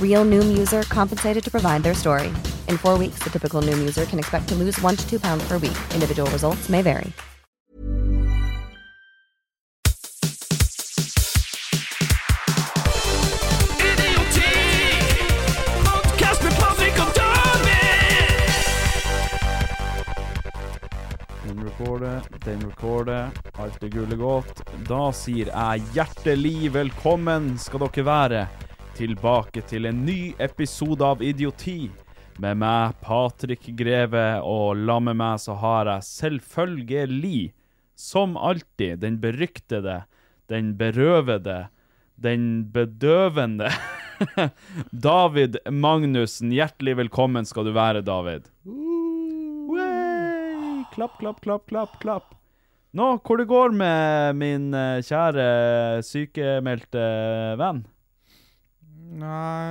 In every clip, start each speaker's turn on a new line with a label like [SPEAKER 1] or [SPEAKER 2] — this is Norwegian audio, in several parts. [SPEAKER 1] Real Noom user compensated to provide their story. In four weeks, the typical Noom user can expect to lose one to two pounds per week. Individual results may vary.
[SPEAKER 2] Idiotik! Podcast med Patrick og Tommy!
[SPEAKER 3] Den recorder, den recorder, alt det gule godt. Da sier jeg hjertelig velkommen skal dere være tilbake til en ny episode av Idioti. Med meg, Patrik Greve, og la med meg så har jeg selvfølgelig, som alltid, den beryktede, den berøvede, den bedøvende David Magnussen. Hjertelig velkommen skal du være, David. Wey! Klapp, klapp, klapp, klapp, klapp. Nå, hvor det går med min eh, kjære sykemeldte eh, venn?
[SPEAKER 4] Nei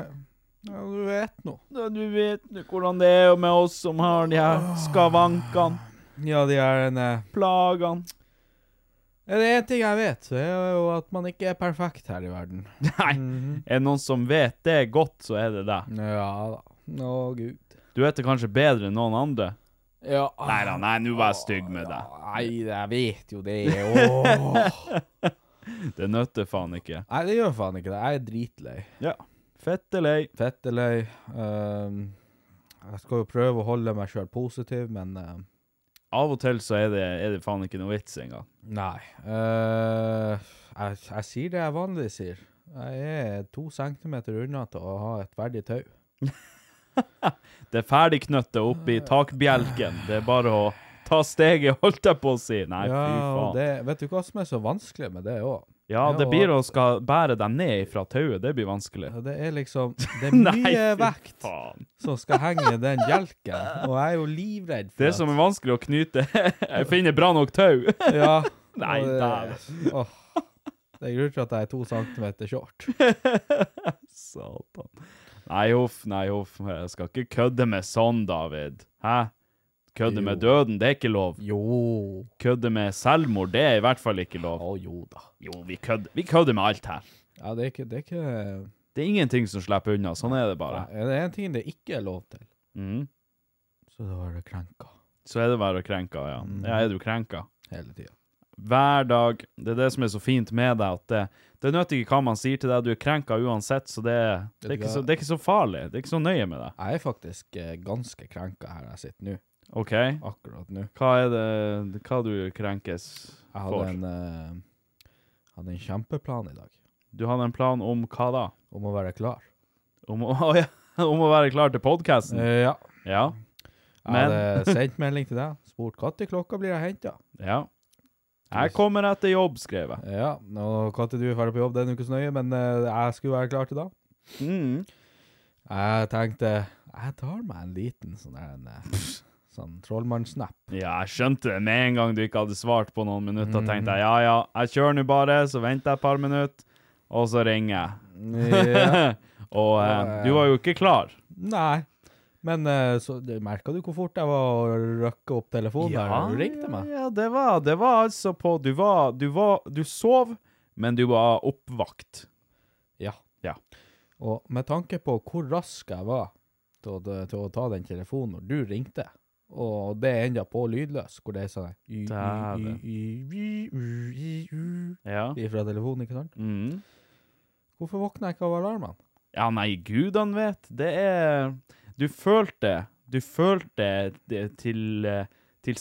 [SPEAKER 4] ja, Du vet nå.
[SPEAKER 3] Ja, Du vet nå hvordan det er med oss som har de her skavankene,
[SPEAKER 4] Ja, de er en eh,
[SPEAKER 3] plagene.
[SPEAKER 4] Er det én ting jeg vet, så er det jo at man ikke er perfekt her i verden. Mm.
[SPEAKER 3] Nei, er det noen som vet det godt, så er det deg.
[SPEAKER 4] Ja da. Å, gud.
[SPEAKER 3] Du vet det kanskje bedre enn noen andre.
[SPEAKER 4] Ja.
[SPEAKER 3] Nei da, nei, nå var jeg stygg med deg.
[SPEAKER 4] Nei, jeg vet jo det. Åh.
[SPEAKER 3] Det nøtter faen ikke.
[SPEAKER 4] Nei, det gjør faen ikke det. Jeg er dritlei.
[SPEAKER 3] Ja. Fette lei.
[SPEAKER 4] Fettelei. Um, jeg skal jo prøve å holde meg sjøl positiv, men eh,
[SPEAKER 3] Av og til så er det, er det faen ikke noe vits engang.
[SPEAKER 4] Nei. Eh, jeg, jeg sier det jeg vanlig sier. Jeg er to centimeter unna til å ha et verdig tau.
[SPEAKER 3] Det er ferdigknøttet oppi takbjelken. Det er bare å ta steget, holdt jeg på å si. Nei, fy
[SPEAKER 4] ja, og
[SPEAKER 3] faen.
[SPEAKER 4] det, vet du hva som er så vanskelig med det òg?
[SPEAKER 3] ja, det blir å skal bære deg ned fra tauet. Det blir vanskelig.
[SPEAKER 4] Det er liksom Det er
[SPEAKER 3] Nei,
[SPEAKER 4] mye
[SPEAKER 3] fy
[SPEAKER 4] vekt
[SPEAKER 3] faen.
[SPEAKER 4] som skal henge i den bjelken, og jeg er jo livredd for
[SPEAKER 3] Det som er vanskelig å knyte Jeg finner bra nok tau.
[SPEAKER 4] at Ja.
[SPEAKER 3] Nei,
[SPEAKER 4] og det- Åh. Det er grunnen til at jeg er to centimeter short.
[SPEAKER 3] Satan. Nei, huff, nei, huff. Jeg skal ikke kødde med sånn, David. Hæ? Kødde med døden, det er ikke lov.
[SPEAKER 4] Jo.
[SPEAKER 3] Kødde med selvmord, det er i hvert fall ikke lov.
[SPEAKER 4] Å jo da.
[SPEAKER 3] Jo, vi kødder, vi kødder med alt her.
[SPEAKER 4] Ja, det er ikke, det er ikke
[SPEAKER 3] Det er ingenting som slipper unna, sånn er det bare.
[SPEAKER 4] Er det én ting det ikke er lov til,
[SPEAKER 3] Mm.
[SPEAKER 4] så da er det krenka.
[SPEAKER 3] Så er det bare å krenke, ja.
[SPEAKER 4] Mhm.
[SPEAKER 3] Ja, er du krenka?
[SPEAKER 4] Hele tida.
[SPEAKER 3] Hver dag. Det er det som er så fint med deg, at det, det nytter ikke hva man sier til deg, du er krenka uansett, så det, det, er ikke så det er ikke så farlig. Det er ikke så nøye med deg.
[SPEAKER 4] Jeg er faktisk eh, ganske krenka her jeg sitter nå.
[SPEAKER 3] OK?
[SPEAKER 4] Akkurat nå.
[SPEAKER 3] Hva er det Hva du krenkes
[SPEAKER 4] Jeg hadde
[SPEAKER 3] for?
[SPEAKER 4] en, eh, hadde en kjempeplan i dag
[SPEAKER 3] Du hadde en plan om hva da?
[SPEAKER 4] om å være klar.
[SPEAKER 3] Om å, å ja, om å være klar til podkasten?
[SPEAKER 4] Eh, ja.
[SPEAKER 3] Ja.
[SPEAKER 4] Jeg
[SPEAKER 3] Men-
[SPEAKER 4] hadde sendt melding til deg, spurt når klokka blir jeg henta.
[SPEAKER 3] Ja. Jeg kommer etter jobb, skrev jeg.
[SPEAKER 4] Ja, og når du er ferdig på jobb, det er nå ikke så nøye, men eh, jeg skulle være klar til da.
[SPEAKER 3] Mm.
[SPEAKER 4] Jeg tenkte jeg tar meg en liten sånn der en eh, sånn trollmannsnap.
[SPEAKER 3] Ja, jeg skjønte det med en gang du ikke hadde svart på noen minutter.
[SPEAKER 4] Mm.
[SPEAKER 3] tenkte jeg ja, ja, jeg kjører nå bare, så venter jeg et par minutter, og så ringer jeg.
[SPEAKER 4] Ja.
[SPEAKER 3] Og eh, du var jo ikke klar.
[SPEAKER 4] Nei. Men eh, så merka du hvor fort jeg var å røkke opp telefonen ja, der du ringte meg?
[SPEAKER 3] Ja, det var, det var altså på du var, du var Du sov, men du var oppvakt.
[SPEAKER 4] Ja.
[SPEAKER 3] Ja.
[SPEAKER 4] Og med tanke på hvor rask jeg var til å, til å ta den telefonen når du ringte, og det er enda på lydløs, hvor det er sånn y- y-
[SPEAKER 3] Dæven.
[SPEAKER 4] y- y- y- y- y-
[SPEAKER 3] Ja.
[SPEAKER 4] y- Ifra telefonen, ikke sant?
[SPEAKER 3] Mm.
[SPEAKER 4] Hvorfor våkner jeg ikke av alarmen?
[SPEAKER 3] Ja, nei, gudene vet. Det er Du følte Du følte det til eh,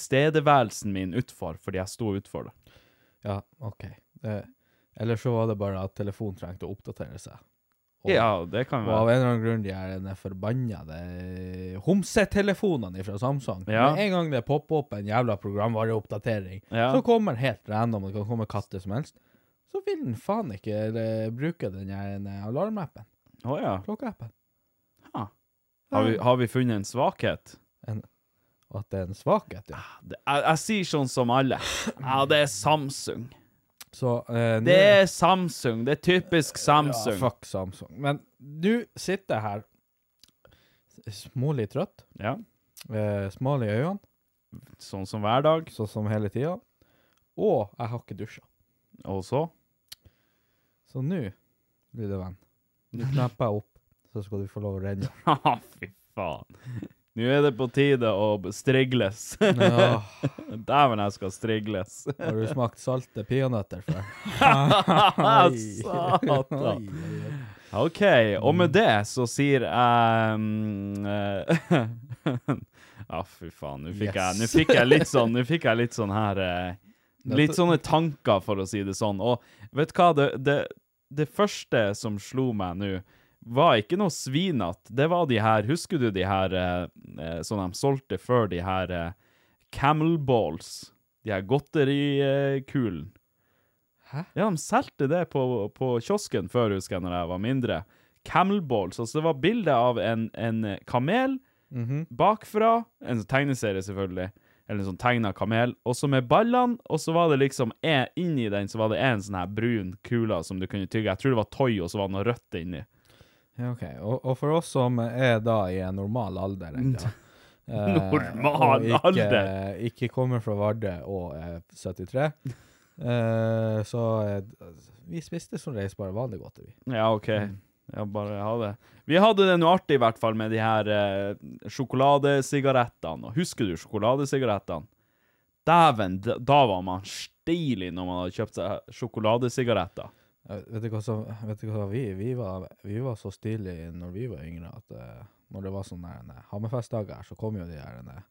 [SPEAKER 3] tilstedeværelsen min utfor fordi jeg sto utfor det.
[SPEAKER 4] Ja, OK. Eh, Eller så var det bare at telefonen trengte å oppdatere seg. Og-
[SPEAKER 3] Ja, det kan
[SPEAKER 4] Og av
[SPEAKER 3] være.
[SPEAKER 4] en eller annen grunn de er denne forbannede eh, homsetelefonene fra Samsung.
[SPEAKER 3] Ja.
[SPEAKER 4] Med en gang det popper opp en jævla programvareoppdatering,
[SPEAKER 3] Ja.
[SPEAKER 4] så kommer den helt random, det kan komme katter som helst, så vil den faen ikke eh, bruke den her eh, alarmappen,
[SPEAKER 3] Å ja.
[SPEAKER 4] klokkeappen.
[SPEAKER 3] Ha. Har vi, har vi funnet en svakhet?
[SPEAKER 4] Og at det er en svakhet, ja.
[SPEAKER 3] Det, jeg, jeg sier sånn som alle. Ja, det er Samsung.
[SPEAKER 4] Så eh, nå-
[SPEAKER 3] Det er Samsung. Det er typisk
[SPEAKER 4] Ja,
[SPEAKER 3] Samsung.
[SPEAKER 4] fuck Samsung. Men du sitter her smålig trøtt,
[SPEAKER 3] Ja,
[SPEAKER 4] eh, smal i øynene,
[SPEAKER 3] sånn som hver dag.
[SPEAKER 4] sånn som hele tida, og jeg har ikke dusja.
[SPEAKER 3] Og så
[SPEAKER 4] Så nå, lille venn, nå knapper jeg opp, så skal du få lov å renne.
[SPEAKER 3] Haha, Fy faen. Nå er det på tide å strigles.
[SPEAKER 4] Ja,
[SPEAKER 3] Dæven, jeg skal strigles.
[SPEAKER 4] har du smakt salte peanøtter før?
[SPEAKER 3] Ah, Satan. OK, og med det så sier jeg mm, eh, Ja, fy faen. Nå fikk, jeg, nå
[SPEAKER 4] Yes.
[SPEAKER 3] fikk jeg litt sånn Nå fikk jeg litt sånn her eh, Litt sånne tanker, for å si det sånn. Og vet du hva, det, det, det første som slo meg nå, var ikke noe svinete. Det var de her Husker du de her eh, eh, som de solgte før, de her eh, Camel Balls? De her godterikulene.
[SPEAKER 4] Hæ?
[SPEAKER 3] Ja, de solgte det på, på kiosken før, husker jeg, når jeg var mindre. Camel Balls. Altså, det var bilde av en, en kamel bakfra. En sånn tegneserie, selvfølgelig. Eller en sånn tegna kamel. Og så med ballene, og så var det liksom en, Inni den så var det en sånn her brun kula som du kunne tygge. Jeg tror det var toy, og så var det noe rødt inni.
[SPEAKER 4] Ja, ok. Og, og for oss som er da i en normal alder, egentlig. eh,
[SPEAKER 3] Normal
[SPEAKER 4] og ikke, eh,
[SPEAKER 3] alder?
[SPEAKER 4] Ikke kommer fra Vardø og er 73. eh, så eh, vi spiste som reis bare vanlig godt. Vi.
[SPEAKER 3] Ja, OK. Ja, bare ha det. Vi hadde det noe artig, i hvert fall, med de her eh, sjokoladesigarettene. Og husker du sjokoladesigarettene? Dæven, da, da var man stilig når man hadde kjøpt seg sjokoladesigaretter.
[SPEAKER 4] Eh, Vet du hva som vet du hva, vi, vi, var, vi var så stilige når vi var yngre at eh, når det var sånne her, eh, Hammerfest-dager, så kom jo de her eh,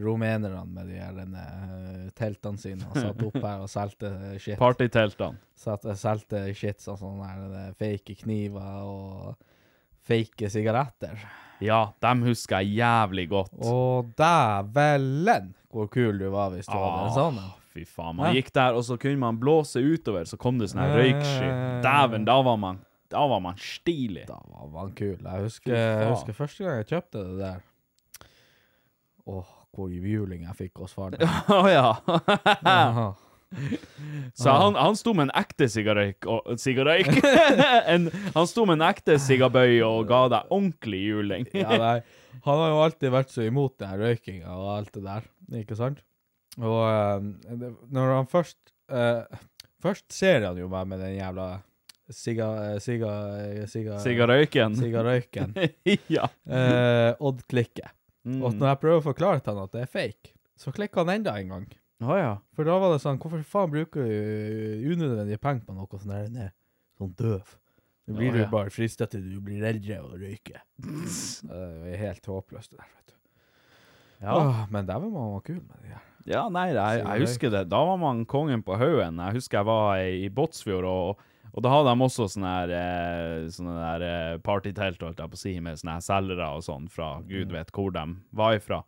[SPEAKER 4] rumenerne med de her eh, teltene sine og satt opp her og solgte eh, shit.
[SPEAKER 3] Partyteltene.
[SPEAKER 4] Satt og solgte shit sånn sånn her eh, fake kniver og fake sigaretter.
[SPEAKER 3] Ja, dem husker jeg jævlig godt.
[SPEAKER 4] Å, dævelen hvor kul du var hvis du hadde en sånn. en.
[SPEAKER 3] Fy faen, man
[SPEAKER 4] Ja.
[SPEAKER 3] gikk der, og så kunne man blåse utover, så kom det sånn her
[SPEAKER 4] Ja, ja,
[SPEAKER 3] røyksky.
[SPEAKER 4] ja, ja.
[SPEAKER 3] Dæven, da var man, da var man stilig.
[SPEAKER 4] Da var man kul. Jeg husker,
[SPEAKER 3] Fy faen.
[SPEAKER 4] jeg husker første gang jeg kjøpte det der. Åh, hvor juling jeg fikk hos faren.
[SPEAKER 3] Å ja.
[SPEAKER 4] Aha.
[SPEAKER 3] Så han, han sto med en ekte sigarøyk og Sigarøyk? en, han sto med en ekte sigabøy og ga deg ordentlig juling.
[SPEAKER 4] Ja, nei. Han har jo alltid vært så imot den her røykinga og alt det der, ikke sant? Og eh, det- når han først eh, Først ser han jo meg med den jævla siga... eh, siga... eh, siga
[SPEAKER 3] Sigarøyken.
[SPEAKER 4] Sigarøyken.
[SPEAKER 3] ja.
[SPEAKER 4] Eh, Odd klikker.
[SPEAKER 3] Mm.
[SPEAKER 4] Og når jeg prøver å forklare til han at det er fake, så klikker han enda en gang.
[SPEAKER 3] Å ja.
[SPEAKER 4] For da var det sånn, hvorfor faen bruker du unødvendige penger på noe sånn der nede? Sånn døv. Nå blir
[SPEAKER 3] Ja, ja.
[SPEAKER 4] du bare fristet til du blir eldre og røyker. Ja, det er helt håpløst det der, vet du.
[SPEAKER 3] Ja.
[SPEAKER 4] Åh, Ah, men der var man kul med det her.
[SPEAKER 3] Ja, nei, jeg, jeg husker det. Da var man kongen på haugen. Jeg husker jeg var i, i Båtsfjord, og, og da hadde de også sånne her, eh, sånne der eh, partytelt, holdt jeg på å si, med sånne her selgere og sånn fra gud vet hvor de var ifra.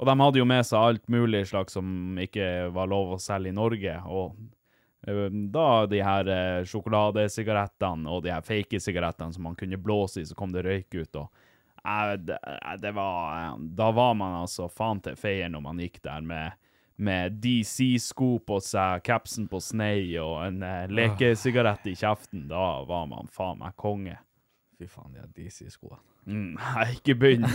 [SPEAKER 3] Og de hadde jo med seg alt mulig slags som ikke var lov å selge i Norge, og eh, da de her eh, sjokoladesigarettene og de her fake sigarettene som man kunne blåse i, så kom det røyk ut, og eh, det, eh, det var, eh, da var man altså faen til feier når man gikk der med med DC-sko på seg, capsen på snei og en eh, lekesigarett i kjeften, da var man faen meg konge.
[SPEAKER 4] Fy faen, de har DC-skoene.
[SPEAKER 3] Mm, nei, ikke begynn.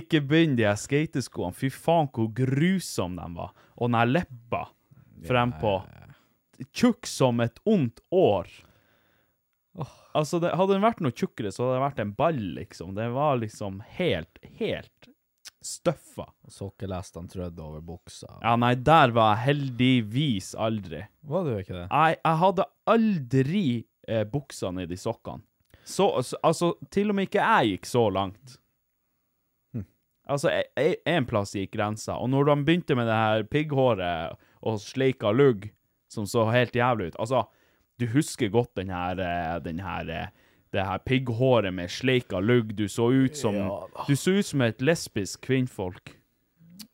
[SPEAKER 3] Ikke begynn de her skateskoene. Fy faen, hvor grusomme de var. Og den her leppa frempå. Tjukk som et ondt år. Altså, det, hadde den vært noe tjukkere, så hadde det vært en ball, liksom. Det var liksom helt, helt støffa.
[SPEAKER 4] Sokkelestene trødde over buksa.
[SPEAKER 3] Ja, nei, der var jeg heldigvis aldri.
[SPEAKER 4] Var du ikke det?
[SPEAKER 3] Jeg, jeg hadde aldri eh, buksa ned i sokkene. Så, så, altså, til og med ikke jeg gikk så langt. Altså, jeg- jeg- en plass gikk grensa, og når de begynte med det her pigghåret og sleika lugg, som så helt jævlig ut, altså, du husker godt den her, eh, den her, eh, det her pigghåret med sleika lugg, du så ut som, du så ut som et lesbisk kvinnfolk.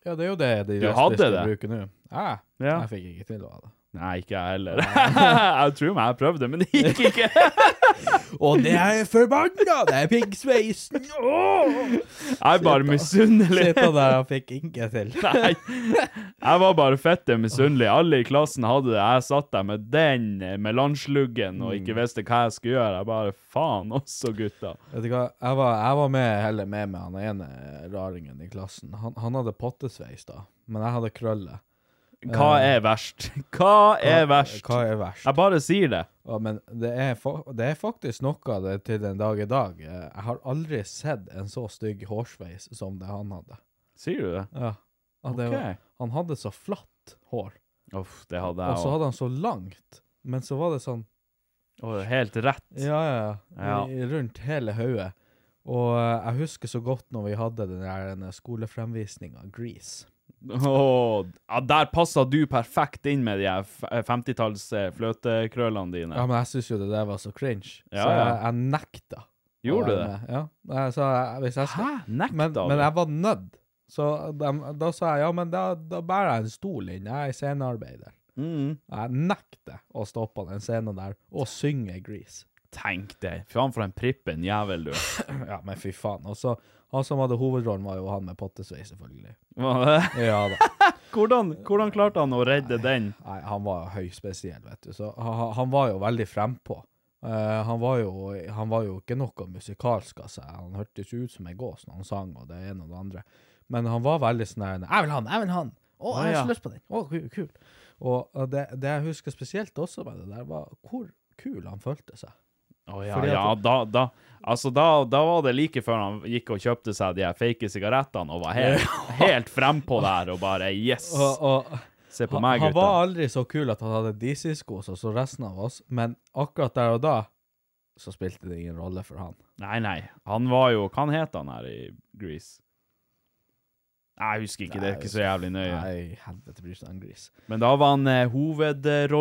[SPEAKER 4] Ja, det er jo det de
[SPEAKER 3] Du hadde
[SPEAKER 4] lesbiske
[SPEAKER 3] det?
[SPEAKER 4] bruker nå. Ja.
[SPEAKER 3] Ja.
[SPEAKER 4] Jeg fikk ikke til å ha det.
[SPEAKER 3] Nei, ikke jeg heller. jeg tror meg jeg prøvde, men det gikk ikke.
[SPEAKER 4] Og det er forbanna! Det er piggsveisen!
[SPEAKER 3] Jeg er bare misunnelig.
[SPEAKER 4] Sitte der og fikk ikke til.
[SPEAKER 3] Nei. Jeg var bare fette misunnelig. Alle i klassen hadde det. Jeg satt der med den eh, melangeluggen og
[SPEAKER 4] Mm.
[SPEAKER 3] ikke visste hva jeg skulle gjøre. Jeg bare faen også, gutta.
[SPEAKER 4] Vet du hva, jeg var, jeg var med, heller med med han ene raringen i klassen. Han, han hadde pottesveis da, men jeg hadde krølle.
[SPEAKER 3] Hva er verst? Hva er verst?
[SPEAKER 4] Eh. Hva er verst?
[SPEAKER 3] Jeg bare sier det.
[SPEAKER 4] Ja, men det er, fa- det er faktisk noe av det til den dag i dag. Eh, Jeg har aldri sett en så stygg hårsveis som det han hadde.
[SPEAKER 3] Sier du det?
[SPEAKER 4] Ja. Ja, det var,
[SPEAKER 3] Ok.
[SPEAKER 4] han hadde så flatt hår,
[SPEAKER 3] Uff, det hadde
[SPEAKER 4] og
[SPEAKER 3] jeg
[SPEAKER 4] så
[SPEAKER 3] òg.
[SPEAKER 4] hadde han så langt. Men så var det sånn
[SPEAKER 3] Og Helt rett.
[SPEAKER 4] Ja, ja, ja.
[SPEAKER 3] Ja.
[SPEAKER 4] i- Rundt hele hodet. Og eh, jeg husker så godt når vi hadde den der denne skolefremvisninga, Grease.
[SPEAKER 3] Åh, ja, der passa du perfekt inn med de her f- 50-talls eh, fløtekrøllene dine.
[SPEAKER 4] Ja, men jeg syns jo det der var så cringe,
[SPEAKER 3] Ja,
[SPEAKER 4] så
[SPEAKER 3] ja.
[SPEAKER 4] jeg, jeg nekta. å
[SPEAKER 3] Gjorde du
[SPEAKER 4] være
[SPEAKER 3] det?
[SPEAKER 4] med. Ja. Nei, Så jeg, hvis jeg skal,
[SPEAKER 3] Hæ? Nekta
[SPEAKER 4] men,
[SPEAKER 3] du?
[SPEAKER 4] men jeg var nødt. Så dem- da sa jeg ja, men da, da bærer jeg en stol inn. Jeg er scenearbeider.
[SPEAKER 3] Mm.
[SPEAKER 4] Jeg nekter å stå på den scenen der og synge Grease.
[SPEAKER 3] Tenk det. Faen for en prippen jævel du er.
[SPEAKER 4] Ja, men fy faen. Og så han som hadde hovedrollen, var jo han med pottesveis, selvfølgelig.
[SPEAKER 3] Var det-
[SPEAKER 4] Ja da.
[SPEAKER 3] Hvordan, hvordan klarte han å redde den?
[SPEAKER 4] Nei, han var jo høyspesiell, vet du. Så han, han var jo veldig frempå. Eh, han, var jo, han var jo ikke noe musikalsk av seg. Han hørtes jo ut som en gås når han sang, og det ene og det andre. Men han var veldig sånn der 'Jeg vil han! Jeg vil han!' 'Å,
[SPEAKER 3] Å,
[SPEAKER 4] jeg har
[SPEAKER 3] ja.
[SPEAKER 4] så lyst på den!' Å, ku- kul. Og eh, det, det jeg husker spesielt også med det der, var hvor kul han følte seg.
[SPEAKER 3] Å ja,
[SPEAKER 4] Fordi at-
[SPEAKER 3] ja, da, da, altså da, da var det like før han gikk og kjøpte seg de her fake sigarettene og var helt, helt frempå der og bare yes,
[SPEAKER 4] Og, og
[SPEAKER 3] se på
[SPEAKER 4] han,
[SPEAKER 3] meg
[SPEAKER 4] han var
[SPEAKER 3] gutta.
[SPEAKER 4] aldri så kul at han hadde DC-sko som så resten av oss, men akkurat der og da så spilte det ingen rolle for han.
[SPEAKER 3] Nei, nei, han var jo, hva het han her i Grease? Nei, Jeg husker ikke, det er ikke så jævlig nøye.
[SPEAKER 4] Nei, helvete bryr seg om gris.
[SPEAKER 3] Men da var han eh,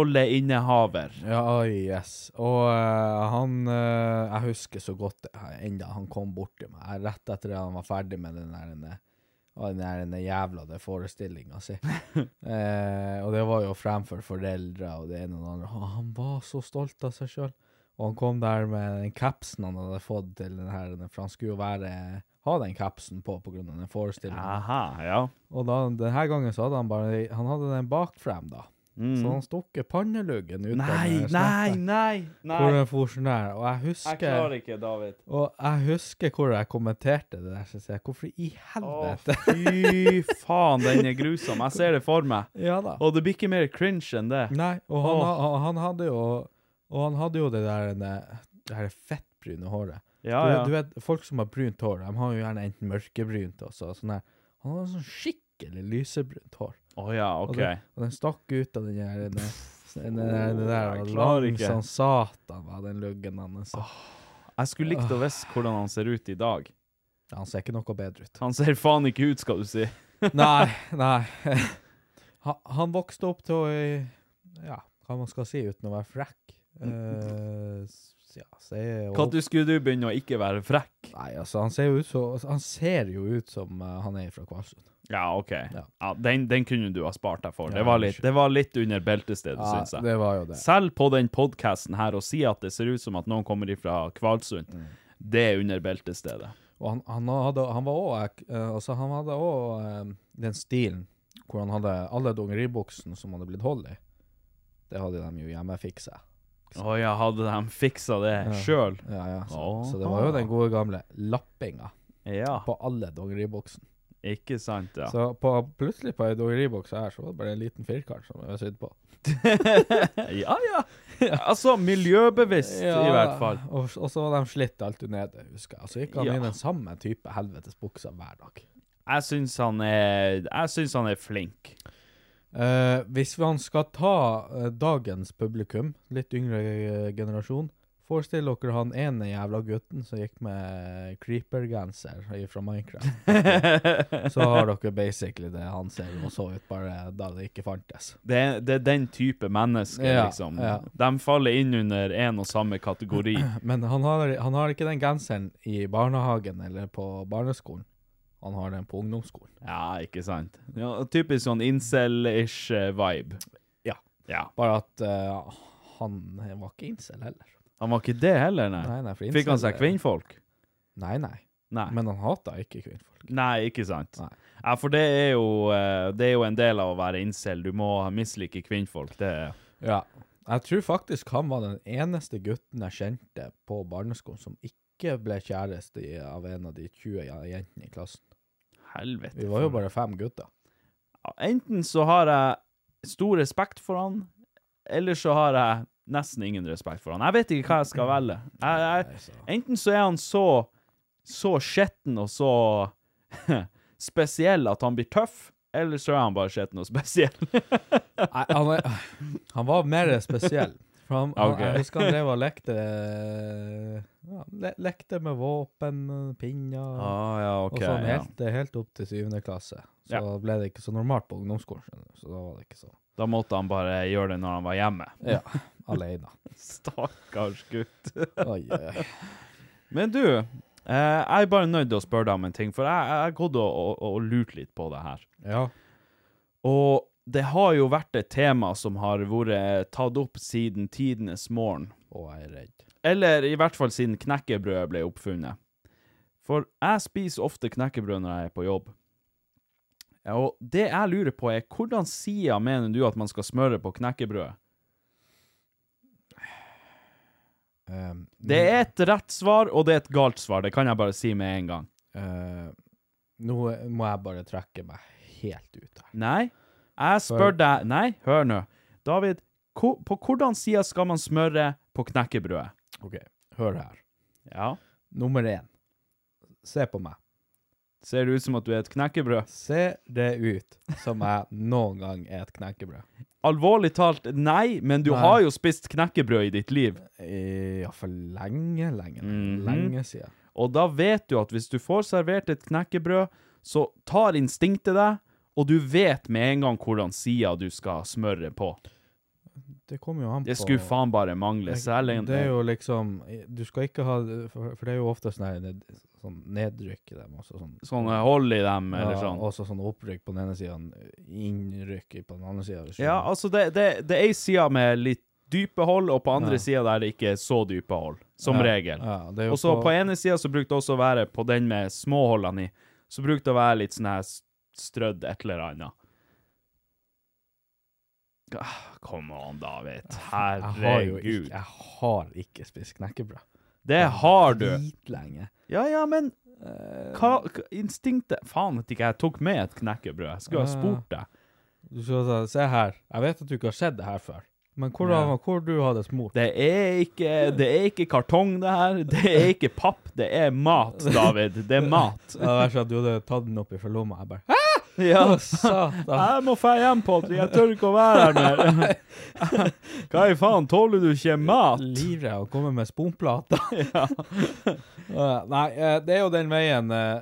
[SPEAKER 3] hovedrolleinnehaver.
[SPEAKER 4] Ja, oi, yes. Og eh, han eh, Jeg husker så godt det her, enda han kom bort til meg eh, rett etter at han var ferdig med den der denne- ja, den der denne jævla det forestillinga si. eh, og det var jo fremfor foreldre og det ene og det andre. Og han var så stolt av seg sjøl. Og han kom der med den capsen han hadde fått til den her, denne- for han skulle jo være ha den capsen på pga. den forestillinga.
[SPEAKER 3] Aha, ja.
[SPEAKER 4] Og da, denne gangen så hadde han bare Han hadde den bakfrem, da. Så han stukket panneluggen ut
[SPEAKER 3] Mm.
[SPEAKER 4] av
[SPEAKER 3] Nei,
[SPEAKER 4] den
[SPEAKER 3] nei,
[SPEAKER 4] slette,
[SPEAKER 3] nei,
[SPEAKER 4] Hvor
[SPEAKER 3] nei.
[SPEAKER 4] den for sånn der. Og jeg
[SPEAKER 3] Jeg
[SPEAKER 4] husker
[SPEAKER 3] klarer ikke, David.
[SPEAKER 4] Og jeg husker hvor jeg kommenterte det der. Så jeg, sier, Hvorfor i
[SPEAKER 3] Å,
[SPEAKER 4] helvete?
[SPEAKER 3] fy faen, den er grusom. Jeg ser det for meg.
[SPEAKER 4] ja da.
[SPEAKER 3] Og det blir ikke mer cringe enn det.
[SPEAKER 4] Nei, og han,
[SPEAKER 3] Åh.
[SPEAKER 4] ha- han hadde jo Og han hadde jo det der eh, Det her fettbrune håret.
[SPEAKER 3] Ja,
[SPEAKER 4] du,
[SPEAKER 3] ja.
[SPEAKER 4] du vet, folk som har brunt hår, de har jo gjerne enten mørkebrunt og så- sånn der. Han hadde sånn skikkelig lysebrunt hår.
[SPEAKER 3] Å ja,
[SPEAKER 4] Og,
[SPEAKER 3] OK.
[SPEAKER 4] den, og den stakk ut av den der den, der- den, der- den der
[SPEAKER 3] jeg
[SPEAKER 4] og
[SPEAKER 3] klarer
[SPEAKER 4] lang
[SPEAKER 3] ikke.
[SPEAKER 4] som satan var den luggen hans.
[SPEAKER 3] Jeg skulle likt å visst hvordan han ser ut i dag.
[SPEAKER 4] Han ser ikke noe bedre ut.
[SPEAKER 3] Han ser faen ikke ut, skal du si.
[SPEAKER 4] nei, nei. Han, han vokste opp til å eh, Ja, hva man skal si uten å være frekk. Eh, s- ja, se og-
[SPEAKER 3] Når skulle Mm. du begynne å ikke være frekk?
[SPEAKER 4] Nei, altså, han ser jo ut, så, han ser jo ut som eh, han er fra Kvalsund.
[SPEAKER 3] Ja, OK.
[SPEAKER 4] Ja.
[SPEAKER 3] Ja, den, den kunne du ha spart deg for.
[SPEAKER 4] Ja,
[SPEAKER 3] Det var litt,
[SPEAKER 4] unnskyld.
[SPEAKER 3] det var litt under beltestedet,
[SPEAKER 4] Ja,
[SPEAKER 3] syns jeg.
[SPEAKER 4] det var jo det.
[SPEAKER 3] Selv på den podkasten her, å si at det ser ut som at noen kommer ifra Kvalsund,
[SPEAKER 4] Mm.
[SPEAKER 3] det er under beltestedet.
[SPEAKER 4] Og han, han, hadde, han var òg altså, Han hadde òg den stilen hvor han hadde alle dongeribuksene som hadde blitt hull i. Det hadde de jo hjemmefiksa.
[SPEAKER 3] Å ja, hadde de fiksa det
[SPEAKER 4] Ja.
[SPEAKER 3] sjøl?
[SPEAKER 4] Ja, ja. Så,
[SPEAKER 3] Åh.
[SPEAKER 4] så det var jo den gode gamle lappinga
[SPEAKER 3] Ja.
[SPEAKER 4] på alle dongeriboksen.
[SPEAKER 3] Ikke sant, ja.
[SPEAKER 4] Så på, plutselig på ei dongeriboks her, så var det bare en liten firkant som var sydd på.
[SPEAKER 3] ja, ja. Altså, miljøbevisst, i hvert fall.
[SPEAKER 4] Og, og så var de slitt alt nede, husker jeg. Og så gikk han
[SPEAKER 3] Ja.
[SPEAKER 4] inn i den samme type helvetes buksa hver dag.
[SPEAKER 3] Jeg syns han er Jeg syns han er flink.
[SPEAKER 4] Eh, hvis man skal ta eh, dagens publikum, litt yngre eh, generasjon Forestill dere han ene jævla gutten som gikk med creeper-genser fra Minecraft. Så har dere basically det han ser og så ut bare da det ikke fantes.
[SPEAKER 3] Det er, det er den type mennesker,
[SPEAKER 4] Ja,
[SPEAKER 3] liksom.
[SPEAKER 4] ja.
[SPEAKER 3] De faller inn under én og samme kategori.
[SPEAKER 4] Men han har, han har ikke den genseren i barnehagen eller på barneskolen. Han har den på ungdomsskolen.
[SPEAKER 3] Ja, ikke sant? Ja, typisk sånn incel-ish eh, vibe.
[SPEAKER 4] Ja.
[SPEAKER 3] Ja.
[SPEAKER 4] Bare at eh, han var ikke incel heller.
[SPEAKER 3] Han var ikke det heller, nei.
[SPEAKER 4] Nei, nei, for
[SPEAKER 3] Fikk han
[SPEAKER 4] incel-
[SPEAKER 3] seg kvinnfolk?
[SPEAKER 4] Nei, nei.
[SPEAKER 3] Nei.
[SPEAKER 4] Men han hata ikke kvinnfolk.
[SPEAKER 3] Nei, ikke sant.
[SPEAKER 4] Nei.
[SPEAKER 3] Ja, for det er, jo, eh, det er jo en del av å være incel. Du må mislike kvinnfolk. Det er
[SPEAKER 4] Ja. Jeg tror faktisk han var den eneste gutten jeg kjente på barneskolen som ikke ble kjæreste i- av en av de 20 ja- jentene i klassen.
[SPEAKER 3] helvete.
[SPEAKER 4] Vi var jo
[SPEAKER 3] for-
[SPEAKER 4] bare fem gutter.
[SPEAKER 3] Ja, Enten så har jeg stor respekt for han, eller så har jeg nesten ingen respekt for han. Jeg vet ikke hva jeg skal velge. Jeg,
[SPEAKER 4] Nei,
[SPEAKER 3] jeg,
[SPEAKER 4] så-
[SPEAKER 3] enten så er han så, så skjetten og så spesiell at han blir tøff, eller så er han bare skjetten og spesiell.
[SPEAKER 4] Nei, han, er, han var mer spesiell. For han, han,
[SPEAKER 3] Ok.
[SPEAKER 4] Jeg husker han drev og lekte eh, ja, le, Lekte med våpen, pinner
[SPEAKER 3] Ah, ja,
[SPEAKER 4] og sånn helt, helt opp til syvende klasse. Så
[SPEAKER 3] Ja.
[SPEAKER 4] ble det ikke så normalt på ungdomsskolen, skjønner du. Så da var det ikke så
[SPEAKER 3] Da måtte han bare gjøre det når han var hjemme.
[SPEAKER 4] Ja, aleine.
[SPEAKER 3] Stakkars gutt.
[SPEAKER 4] Oi, eh, oi, oi.
[SPEAKER 3] Men du, eh, jeg er bare nødt til å spørre deg om en ting, for jeg jeg har gått og, og, og lurt litt på det her.
[SPEAKER 4] Ja.
[SPEAKER 3] Og det har jo vært et tema som har vært tatt opp siden tidenes morgen.
[SPEAKER 4] Og jeg er redd.
[SPEAKER 3] Eller i hvert fall siden knekkebrødet ble oppfunnet. For jeg spiser ofte knekkebrød når jeg er på jobb. Ja, Og det jeg lurer på er, hvordan sida mener du at man skal smøre på knekkebrødet?
[SPEAKER 4] Um,
[SPEAKER 3] Det er et rett svar, og det er et galt svar. Det kan jeg bare si med en gang.
[SPEAKER 4] eh, Nå må jeg bare trekke meg helt ut her.
[SPEAKER 3] Nei, jeg spør
[SPEAKER 4] For-
[SPEAKER 3] deg Nei, hør nå. David, ko, på hvordan sida skal man smøre på knekkebrødet?
[SPEAKER 4] OK, hør her.
[SPEAKER 3] Ja.
[SPEAKER 4] Nummer én. Se på meg.
[SPEAKER 3] Ser det ut som at du er et knekkebrød?
[SPEAKER 4] Ser det ut som jeg noen gang er et knekkebrød?
[SPEAKER 3] Alvorlig talt, nei, men du
[SPEAKER 4] Nei.
[SPEAKER 3] har jo spist knekkebrød i ditt liv.
[SPEAKER 4] I- Ja, for lenge, lenge,
[SPEAKER 3] Mhm.
[SPEAKER 4] lenge siden.
[SPEAKER 3] Og da vet du at hvis du får servert et knekkebrød, så tar instinktet deg, og du vet med en gang hvordan sida du skal smøre på.
[SPEAKER 4] Det kommer jo an på
[SPEAKER 3] Det skulle faen bare mangle, særlig
[SPEAKER 4] Det er jo liksom Du skal ikke ha For, for det er jo ofte sånn, her ned, sånn nedrykk i dem også. Sånn,
[SPEAKER 3] sånn hold i dem, eller
[SPEAKER 4] Ja,
[SPEAKER 3] sånn.
[SPEAKER 4] Også sånn opprykk på den ene sida, innrykk på den andre sida.
[SPEAKER 3] Ja, altså, det, det, det er ei side med litt dype hold, og på andre sida der det ikke er så dype hold, som regel.
[SPEAKER 4] Ja, det er jo
[SPEAKER 3] Og så på ene sida så brukte det også å være på den med små holdene i, så brukte det å være litt sånn her s- strødd et eller annet. Ah, Come on, David.
[SPEAKER 4] Jeg har jo
[SPEAKER 3] Herregud.
[SPEAKER 4] ikke, jeg har ikke spist knekkebrød.
[SPEAKER 3] Det har du.
[SPEAKER 4] Dritlenge.
[SPEAKER 3] Ja, ja, men hva, hva Instinktet Faen at ikke jeg tok med et knekkebrød. Jeg skulle ha
[SPEAKER 4] Ja, ja.
[SPEAKER 3] spurt deg.
[SPEAKER 4] Du skal ta, se her, jeg vet at du ikke har sett det her før, men hvor,
[SPEAKER 3] Nei.
[SPEAKER 4] hvor du hadde smurt?
[SPEAKER 3] Det er ikke Det er ikke kartong, det her. Det er ikke papp. Det er mat, David. Det er mat.
[SPEAKER 4] Det var sånn at du hadde tatt den opp i forlomma, jeg bare,
[SPEAKER 3] Ja.
[SPEAKER 4] «Å, satan.
[SPEAKER 3] Jeg må dra hjem, Patrick. Jeg tør ikke å være her mer. Hva i faen? Tåler du ikke mat?
[SPEAKER 4] Livre og komme med sponplater. Eh, Nei, eh, det er jo den veien eh,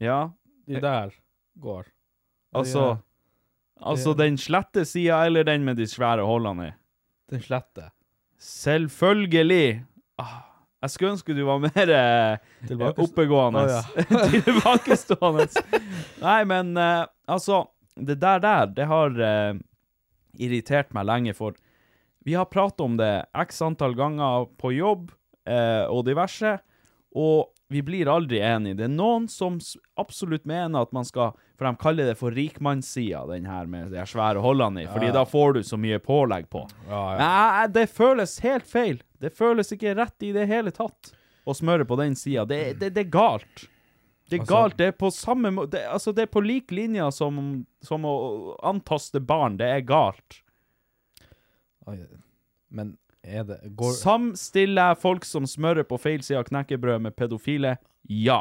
[SPEAKER 3] Ja,
[SPEAKER 4] de der går.
[SPEAKER 3] Eh. altså Altså den slette sida eller den med de svære hullene i?
[SPEAKER 4] Den slette.
[SPEAKER 3] Selvfølgelig. Ah, Jeg skulle ønske du var mer eh,
[SPEAKER 4] Tilbake-
[SPEAKER 3] oppegående.
[SPEAKER 4] Å, ja.
[SPEAKER 3] Tilbakestående. Nei, men eh, altså Det der der, det har eh, irritert meg lenge, for vi har pratet om det x antall ganger på jobb eh, og diverse, og vi blir aldri enige. Det er noen som s- absolutt mener at man skal For de kaller det for rikmannssida, den her med de her svære hullene i. Fordi da får du så mye pålegg på.
[SPEAKER 4] Ja, ja.
[SPEAKER 3] Nei, eh, det føles helt feil. Det føles ikke rett i det hele tatt å smøre på den sida. Det, det, det er galt. Det er
[SPEAKER 4] Altså-
[SPEAKER 3] galt. Det er på samme må... Det, altså, det er på lik linje som, som å antaste barn. Det er galt.
[SPEAKER 4] Oi, Men er det går,
[SPEAKER 3] Samstiller jeg folk som smører på feil side av knekkebrød med pedofile? Ja.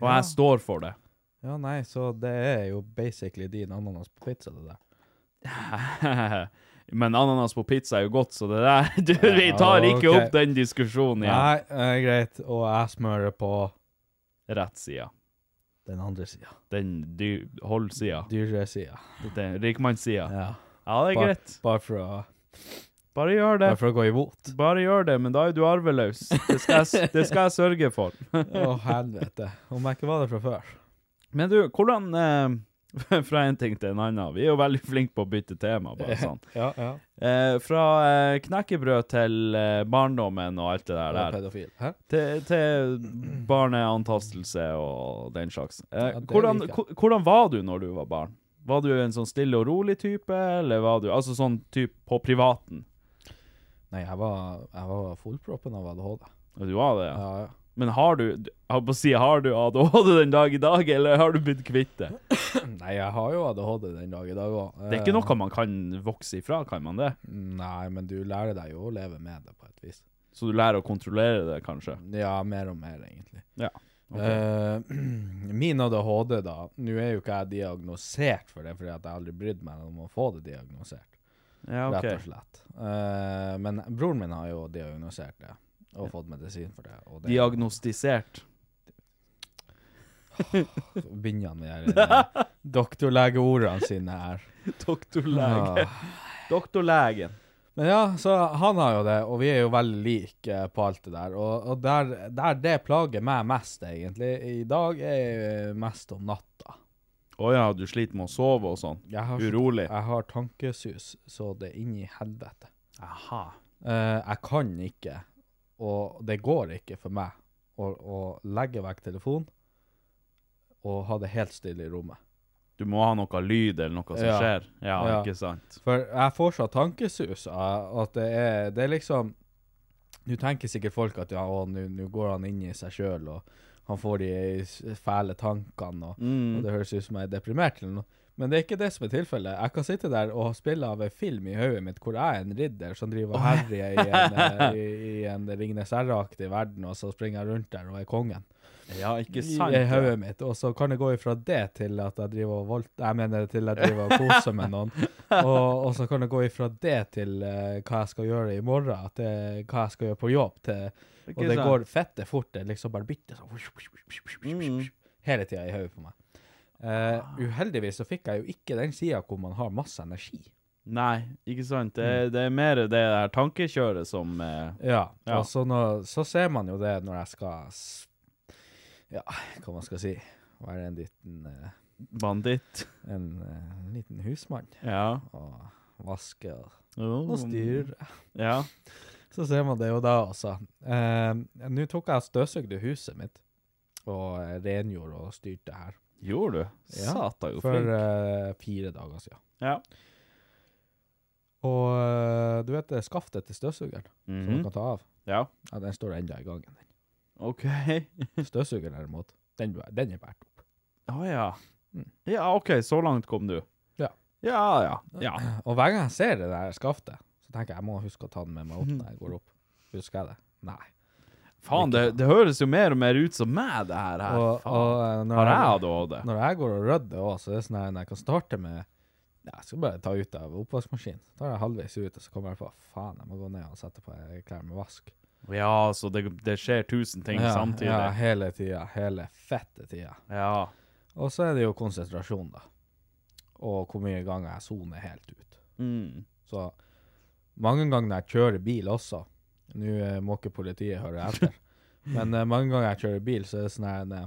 [SPEAKER 3] Og jeg står for det.
[SPEAKER 4] Ja, nei, så det er jo basically din ananas på pizza, det der.
[SPEAKER 3] Men ananas på pizza er jo godt, så det der du, Vi tar ikke
[SPEAKER 4] ok.
[SPEAKER 3] opp den diskusjonen igjen.
[SPEAKER 4] Nei, eh, greit. Og jeg smører på
[SPEAKER 3] Rett side.
[SPEAKER 4] den andre sida.
[SPEAKER 3] Den dy- hold-sida.
[SPEAKER 4] Dyrere sida.
[SPEAKER 3] Den rikmannssida.
[SPEAKER 4] Ja.
[SPEAKER 3] Ja, det er
[SPEAKER 4] Bare,
[SPEAKER 3] greit.
[SPEAKER 4] bare, for å,
[SPEAKER 3] Bare gjør det.
[SPEAKER 4] bare for å gå imot.
[SPEAKER 3] Bare gjør det, men da er du arveløs. Det skal jeg, s- det skal jeg sørge for.
[SPEAKER 4] Å, helvete. Om jeg ikke var det fra før.
[SPEAKER 3] Men du, hvordan eh, Fra en ting til en annen. Vi er jo veldig flinke på å bytte tema. bare sånn.
[SPEAKER 4] Ja, ja.
[SPEAKER 3] Eh, fra eh, knekkebrød til eh, barndommen og alt det
[SPEAKER 4] Du
[SPEAKER 3] der.
[SPEAKER 4] er
[SPEAKER 3] der.
[SPEAKER 4] pedofil. Hæ?
[SPEAKER 3] Til, til barneantastelse og den slags. Eh,
[SPEAKER 4] Ja, det
[SPEAKER 3] hvordan,
[SPEAKER 4] liker
[SPEAKER 3] ko- hvordan var du når du var barn? Var du en sånn stille og rolig type, eller var du altså sånn type på privaten?
[SPEAKER 4] Nei, jeg var, jeg var fullproppen av ADHD.
[SPEAKER 3] Og Du var det, ja.
[SPEAKER 4] Ja, ja.
[SPEAKER 3] Men har du du- jeg holdt på å si, har du ADHD den dag i dag, eller har du blitt kvitt det?
[SPEAKER 4] Nei, jeg har jo ADHD den dag i dag òg.
[SPEAKER 3] Det er ikke noe man kan vokse ifra, kan man det?
[SPEAKER 4] Nei, men du lærer deg jo å leve med det på et vis.
[SPEAKER 3] Så du lærer å kontrollere det, kanskje?
[SPEAKER 4] Ja, mer og mer, egentlig.
[SPEAKER 3] Ja. Ok.
[SPEAKER 4] Eh, min ADHD, da Nå er jo ikke jeg diagnosert for det, fordi at jeg aldri brydde meg om å få det diagnosert.
[SPEAKER 3] ja, ok.
[SPEAKER 4] Rett og slett. Eh, men broren min har jo diagnosert det, og fått medisin for det. Og det
[SPEAKER 3] Diagnostisert.
[SPEAKER 4] Begynner han med de her, eh, doktorlegeordene sine her.
[SPEAKER 3] Doktorlege.
[SPEAKER 4] Ah.
[SPEAKER 3] Doktorlegen.
[SPEAKER 4] Men ja, så han har jo det, og vi er jo veldig like eh, på alt det der. Og, og der, der det plager meg mest, egentlig, i dag, er eh, mest om natta.
[SPEAKER 3] Å ja, du sliter med å sove og sånn?
[SPEAKER 4] Jeg har,
[SPEAKER 3] Urolig?
[SPEAKER 4] Jeg har tankesus, så det er inni helvete.
[SPEAKER 3] Aha.
[SPEAKER 4] Eh, jeg kan ikke, og det går ikke for meg, å, å legge vekk telefonen og ha det helt stille i rommet.
[SPEAKER 3] Du må ha noe lyd eller noe som
[SPEAKER 4] Ja.
[SPEAKER 3] skjer? Ja,
[SPEAKER 4] Ja.
[SPEAKER 3] ikke sant?
[SPEAKER 4] For jeg får så tankesus av at det er, det er liksom Nå tenker sikkert folk at ja, å, nå nå går han inn i seg sjøl, og han får de s- fæle tankene, og, og det høres ut som jeg er deprimert eller noe. Men det er ikke det som er tilfellet. Jeg kan sitte der og spille av en film i hodet mitt hvor jeg er en ridder som driver og herjer i en, eh, i, i en Ringnes R-aktig verden, og så springer jeg rundt der og er kongen
[SPEAKER 3] Ja, ikke sant?
[SPEAKER 4] i hodet mitt, og så kan det gå ifra det til at jeg driver og voldt... Jeg mener til jeg driver og koser med noen. Og, og så kan det gå ifra det til eh, hva jeg skal gjøre i morgen, til hva jeg skal gjøre på jobb, til Og
[SPEAKER 3] Ikke
[SPEAKER 4] det
[SPEAKER 3] sant?
[SPEAKER 4] går fette fort. Det er liksom bare bitte sånn
[SPEAKER 3] Mm.
[SPEAKER 4] Hele tida i hodet på meg. Eh,
[SPEAKER 3] Ah.
[SPEAKER 4] uheldigvis så fikk jeg jo ikke den sida hvor man har masse energi.
[SPEAKER 3] Nei, ikke sant? Det, det er mer det der tankekjøret som eh,
[SPEAKER 4] Ja,
[SPEAKER 3] Ja.
[SPEAKER 4] og så, nå- så ser man jo det når jeg skal s- Ja, hva man skal si Være en liten eh,
[SPEAKER 3] banditt.
[SPEAKER 4] En eh, liten husmann.
[SPEAKER 3] Ja.
[SPEAKER 4] og vaske og,
[SPEAKER 3] Oh.
[SPEAKER 4] og styre.
[SPEAKER 3] Ja.
[SPEAKER 4] Så ser man det jo da også. Eh, Nå tok jeg og støvsugde huset mitt og eh, rengjorde og styrte her
[SPEAKER 3] Gjorde du?
[SPEAKER 4] Ja,
[SPEAKER 3] Satan, jo
[SPEAKER 4] for
[SPEAKER 3] flink.
[SPEAKER 4] eh, fire dager siden.
[SPEAKER 3] Ja.
[SPEAKER 4] Og eh, du vet det skaftet til støvsugeren som
[SPEAKER 3] Mhm.
[SPEAKER 4] du kan ta av?
[SPEAKER 3] Ja.
[SPEAKER 4] Ja, Den står enda i gangen. den.
[SPEAKER 3] OK.
[SPEAKER 4] Støvsugeren derimot, den, den er båret opp.
[SPEAKER 3] Å ja.
[SPEAKER 4] Mm.
[SPEAKER 3] Ja, OK, så langt kom du.
[SPEAKER 4] Ja.
[SPEAKER 3] Ja, ja. ja.
[SPEAKER 4] Og hver gang jeg ser det der skaftet, så tenker jeg jeg må huske å ta den med meg opp når jeg går opp. Husker jeg det? Nei.
[SPEAKER 3] Faen, det, det høres jo mer og mer ut som meg, det her. her.
[SPEAKER 4] Og-
[SPEAKER 3] Faen.
[SPEAKER 4] og, eh, når
[SPEAKER 3] Har
[SPEAKER 4] jeg-
[SPEAKER 3] jeg ADHD?
[SPEAKER 4] Når jeg går og rydder òg, så er det sånn her når jeg kan starte med ja, Jeg skal bare ta ut av oppvaskmaskinen. Så tar jeg halvveis ut, og så kommer jeg på faen, jeg må gå ned og sette på eh, klær med vask.
[SPEAKER 3] Ja, så det, det skjer tusen ting
[SPEAKER 4] ja,
[SPEAKER 3] samtidig.
[SPEAKER 4] Ja,
[SPEAKER 3] Ja.
[SPEAKER 4] hele tida. Hele fette tida. Og så er det jo konsentrasjon, da. Og hvor mye ganger jeg soner helt ut.
[SPEAKER 3] Mm.
[SPEAKER 4] Så mange ganger når jeg kjører bil også Nå eh, må ikke politiet høre etter. Men eh, mange ganger jeg kjører bil, så er det sånn her en, eh,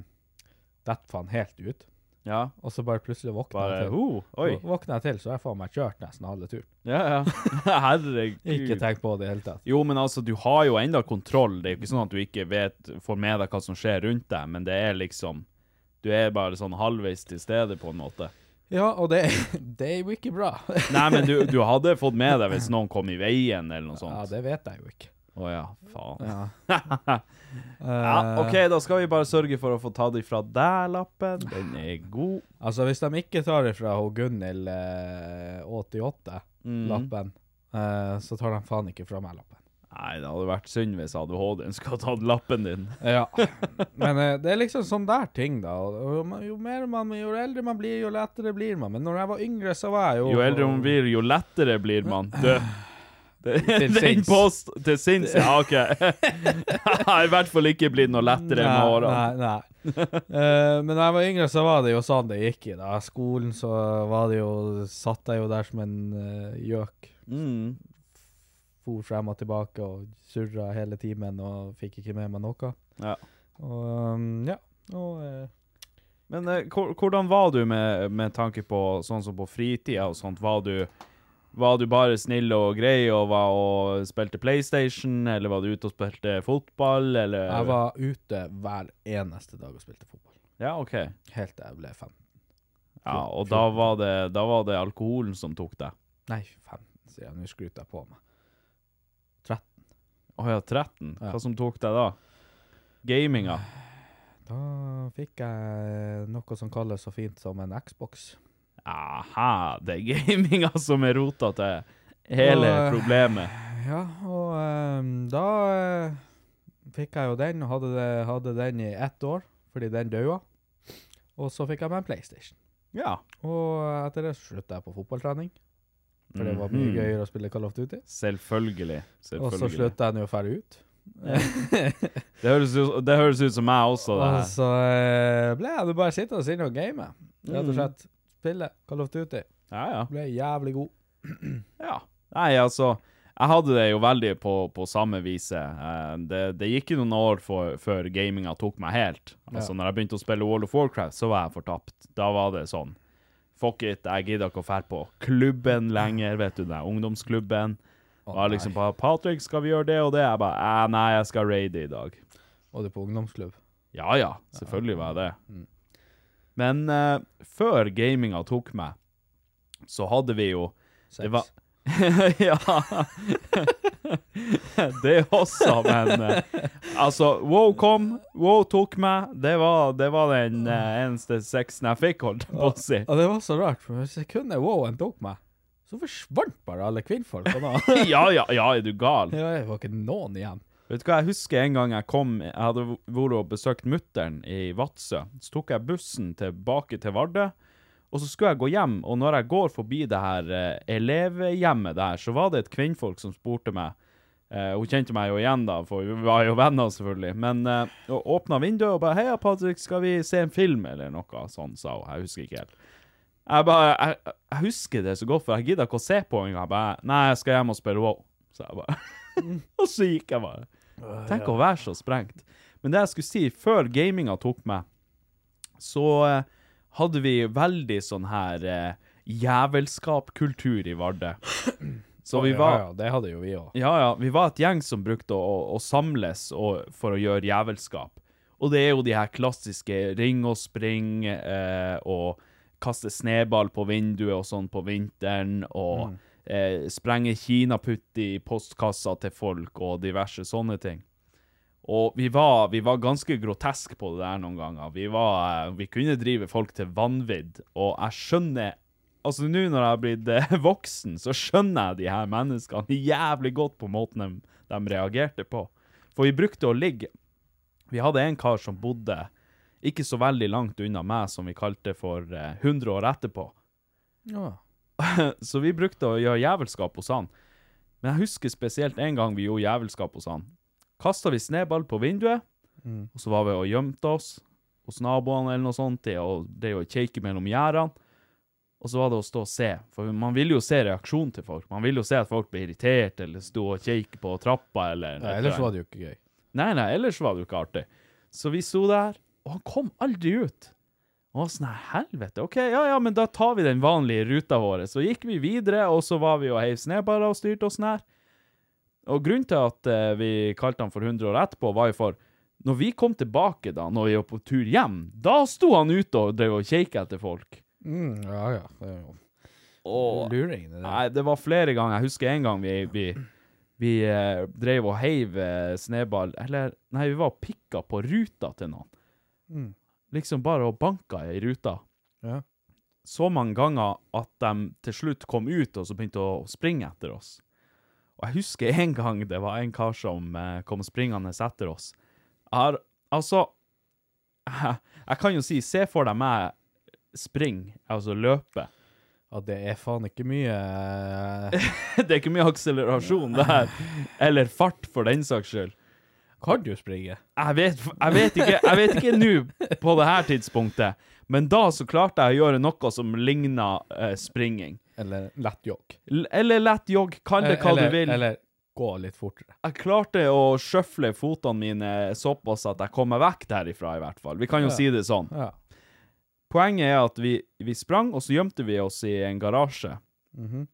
[SPEAKER 4] Detter faen helt ut.
[SPEAKER 3] Ja.
[SPEAKER 4] og så bare plutselig våkna
[SPEAKER 3] Bare
[SPEAKER 4] jeg til.
[SPEAKER 3] ho, oi.
[SPEAKER 4] Våkna jeg til, så jeg faen meg kjørt nesten halve turen.
[SPEAKER 3] Ja, ja. Herregud.
[SPEAKER 4] Ikke tenk på det i det hele tatt.
[SPEAKER 3] Jo, men altså, du har jo enda kontroll. Det er jo ikke sånn at du ikke vet, får med deg hva som skjer rundt deg, men det er liksom Du er bare sånn halvveis til stede, på en måte.
[SPEAKER 4] Ja, og det, det er jo ikke bra.
[SPEAKER 3] Nei, men du, du hadde fått med deg hvis noen kom i veien, eller noe
[SPEAKER 4] Ja,
[SPEAKER 3] sånt.
[SPEAKER 4] det vet jeg jo ikke.
[SPEAKER 3] Å ja, faen.
[SPEAKER 4] Ja. Eh,
[SPEAKER 3] Ja, OK, da skal vi bare sørge for å få tatt ifra deg lappen. Den er god.
[SPEAKER 4] Altså, hvis de ikke tar ifra hun Gunhild eh,
[SPEAKER 3] Mm.
[SPEAKER 4] 88-lappen, eh, så tar de faen ikke fra meg lappen.
[SPEAKER 3] Nei, det hadde vært synd hvis ADHD-en skulle ha tatt lappen din.
[SPEAKER 4] Ja. Men eh, det er liksom sånn der ting, da. Og, og man- jo mer man Jo eldre man blir, jo lettere blir man. Men når jeg var yngre, så var jeg jo
[SPEAKER 3] Jo eldre man blir, jo lettere blir man. Du. Det-
[SPEAKER 4] Til
[SPEAKER 3] Den
[SPEAKER 4] sinns.
[SPEAKER 3] post til sinns, ja, OK. Jeg har i hvert fall ikke blitt noe lettere med
[SPEAKER 4] Nei,
[SPEAKER 3] årene.
[SPEAKER 4] Nei, nei. Eh, men da jeg var yngre, så var det jo sånn det gikk i. da. Skolen så var det jo Satt jeg jo der som en eh, gjøk.
[SPEAKER 3] Mm.
[SPEAKER 4] For frem og tilbake og surra hele timen og fikk ikke med meg noe.
[SPEAKER 3] Ja.
[SPEAKER 4] Og um, ja. Og, eh,
[SPEAKER 3] Men eh, hvor- hvordan var du med, med tanke på sånn som på fritida og sånt? Var du, var du bare snill og grei og, var og spilte PlayStation, eller var du ute og spilte fotball, eller
[SPEAKER 4] jeg var ute hver eneste dag og spilte fotball.
[SPEAKER 3] Ja, OK.
[SPEAKER 4] Helt til jeg ble fem.
[SPEAKER 3] Ja, og da var, det, da var det alkoholen som tok deg.
[SPEAKER 4] Nei, 15, sier jeg. Nå skryter jeg på meg. 13.
[SPEAKER 3] Å ja, 13.
[SPEAKER 4] Ja.
[SPEAKER 3] Hva som tok deg da? Gaminga.
[SPEAKER 4] Da fikk jeg noe som kalles så fint som en Xbox.
[SPEAKER 3] Aha, det er gaminga som er rota til hele
[SPEAKER 4] Og, eh,
[SPEAKER 3] problemet.
[SPEAKER 4] Ja, og ehm, da eh, fikk jeg jo den, og hadde, det- hadde den i ett år, fordi den døde. Og så fikk jeg meg en PlayStation.
[SPEAKER 3] Ja.
[SPEAKER 4] Og etter det slutta jeg på fotballtrening, for det var mye
[SPEAKER 3] Mhm.
[SPEAKER 4] gøyere å spille Call of Duty.
[SPEAKER 3] Selvfølgelig.
[SPEAKER 4] Og så
[SPEAKER 3] selvfølgelig.
[SPEAKER 4] slutta jeg nå å fære ut.
[SPEAKER 3] Det høres, ut, det høres ut som meg også, det
[SPEAKER 4] Og
[SPEAKER 3] her.
[SPEAKER 4] så eh, ble jeg nå bare sittende inne og game. Rett
[SPEAKER 3] Mhm.
[SPEAKER 4] og slett. Spille Call of Duty.
[SPEAKER 3] Ja, ja.
[SPEAKER 4] Ble jævlig god.
[SPEAKER 3] Ja. Nei, altså Jeg hadde det jo veldig på, på samme viset. Eh, Det, det gikk jo noen år for, før gaminga tok meg helt. Altså, når jeg begynte å spille World of Warcraft, så var jeg fortapt. Da var det sånn Fuck it, jeg gidder ikke å fære på klubben lenger, vet du, den der ungdomsklubben. Og jeg liksom bare 'Patrick, skal vi gjøre det og det?' Jeg bare «Eh, 'Nei, jeg skal raide i dag'.
[SPEAKER 4] Og du på ungdomsklubb.
[SPEAKER 3] Ja ja, selvfølgelig var jeg det. Men eh, før gaminga tok meg, så hadde vi jo
[SPEAKER 4] Sex.
[SPEAKER 3] var- ja. det også, men eh, Altså, wow kom, wow tok meg. Det var, det var den eh, eneste sexen jeg fikk, holdt jeg på å si.
[SPEAKER 4] Og det var så rart, for sekundet wow-en tok meg, så forsvant bare alle kvinnfolk. Og da.
[SPEAKER 3] Ja, ja, ja, er du gal?
[SPEAKER 4] Ja, Det var ikke noen igjen.
[SPEAKER 3] Vet du hva, jeg husker en gang jeg kom Jeg hadde vært og besøkt mutteren i Vadsø. Så tok jeg bussen tilbake til Vardø, og så skulle jeg gå hjem. Og når jeg går forbi det her eh, elevhjemmet der, så var det et kvinnfolk som spurte meg eh, Hun kjente meg jo igjen, da, for vi var jo venner, selvfølgelig. Men uh, åpna vinduet og bare 'Heia, Patrick, skal vi se en film?' eller noe sånn, sa hun. Jeg husker ikke helt. Jeg bare, jeg, jeg husker det så godt, for jeg gidder ikke å se på engang. Jeg bare, nei, jeg skal hjem og spille WoW. Så jeg bare, og så gikk jeg bare. Tenk å være så sprengt. Men det jeg skulle si, før gaminga tok meg, så eh, hadde vi veldig sånn her eh, jævelskapkultur i Vardø. Så vi var...
[SPEAKER 4] Ja, ja, det hadde jo vi òg.
[SPEAKER 3] Ja, ja. Vi var et gjeng som brukte å, å, å samles og, for å gjøre jævelskap. Og det er jo de her klassiske ring og spring eh, og kaste sneball på vinduet og sånn på vinteren og eh, sprenge kinaputt i postkassa til folk og diverse sånne ting. Og vi var, vi var ganske groteske på det der noen ganger. Vi, var, eh, vi kunne drive folk til vanvidd, og jeg skjønner Altså, nå når jeg har blitt eh, voksen, så skjønner jeg de her menneskene jævlig godt på måten de, de reagerte på. For vi brukte å ligge Vi hadde en kar som bodde ikke så veldig langt unna meg, som vi kalte for eh, 100 år etterpå.
[SPEAKER 4] Ja.
[SPEAKER 3] Så vi brukte å gjøre jævelskap hos han. Men jeg husker spesielt en gang vi gjorde jævelskap hos han. Kasta vi sneball på vinduet,
[SPEAKER 4] Mm.
[SPEAKER 3] og så var vi og gjemte oss hos naboene eller noe sånt, og det å kjeke mellom gjerdene. Og så var det å stå og se, for man vil jo se reaksjonen til folk. Man vil jo se at folk blir irritert, eller stå og kjeke på trappa, eller
[SPEAKER 4] Ja, ellers var det jo ikke gøy.
[SPEAKER 3] Nei, nei, ellers var det jo ikke artig. Så vi sto der, og han kom aldri ut. Å, sånn her, helvete. Ok, ja, ja, men da tar vi den vanlige ruta vår. Så gikk vi videre, og så var vi og heiv snøballer og styrte oss nær. Og grunnen til at eh, vi kalte han for 100 år etterpå, var jo for når vi kom tilbake da, når vi var på tur hjem, da sto han ute og drev og kjekket etter folk.
[SPEAKER 4] Mm, ja, ja. Det er jo
[SPEAKER 3] Åh.
[SPEAKER 4] luring, det der.
[SPEAKER 3] Nei, det var flere ganger. Jeg husker en gang vi, vi, vi eh, drev og heiv eh, snøball Eller, nei, vi var og pikka på ruta til noen.
[SPEAKER 4] Mm.
[SPEAKER 3] Liksom bare og banka i ruta.
[SPEAKER 4] Ja.
[SPEAKER 3] Så mange ganger at de til slutt kom ut og så begynte å springe etter oss. Og jeg husker en gang det var en kar som eh, kom springende etter oss. Jeg har Altså Jeg kan jo si, se for deg meg springe, altså løpe.
[SPEAKER 4] Ja, det er faen ikke mye eh,
[SPEAKER 3] Det er ikke mye akselerasjon der. Eller fart, for den saks skyld.
[SPEAKER 4] Kan du springe?
[SPEAKER 3] Jeg vet, jeg vet ikke, jeg vet ikke nå, på det her tidspunktet, men da så klarte jeg å gjøre noe som ligna eh, springing.
[SPEAKER 4] Eller lett jogg?
[SPEAKER 3] L eller lett jogg, kall det hva
[SPEAKER 4] eller,
[SPEAKER 3] du vil.
[SPEAKER 4] Eller gå litt fortere.
[SPEAKER 3] Jeg klarte å sjøfle fotene mine såpass at jeg kom meg vekk derifra, i hvert fall. Vi kan jo
[SPEAKER 4] Ja.
[SPEAKER 3] si det sånn.
[SPEAKER 4] Ja.
[SPEAKER 3] Poenget er at vi, vi sprang, og så gjemte vi oss i en garasje.
[SPEAKER 4] Mhm.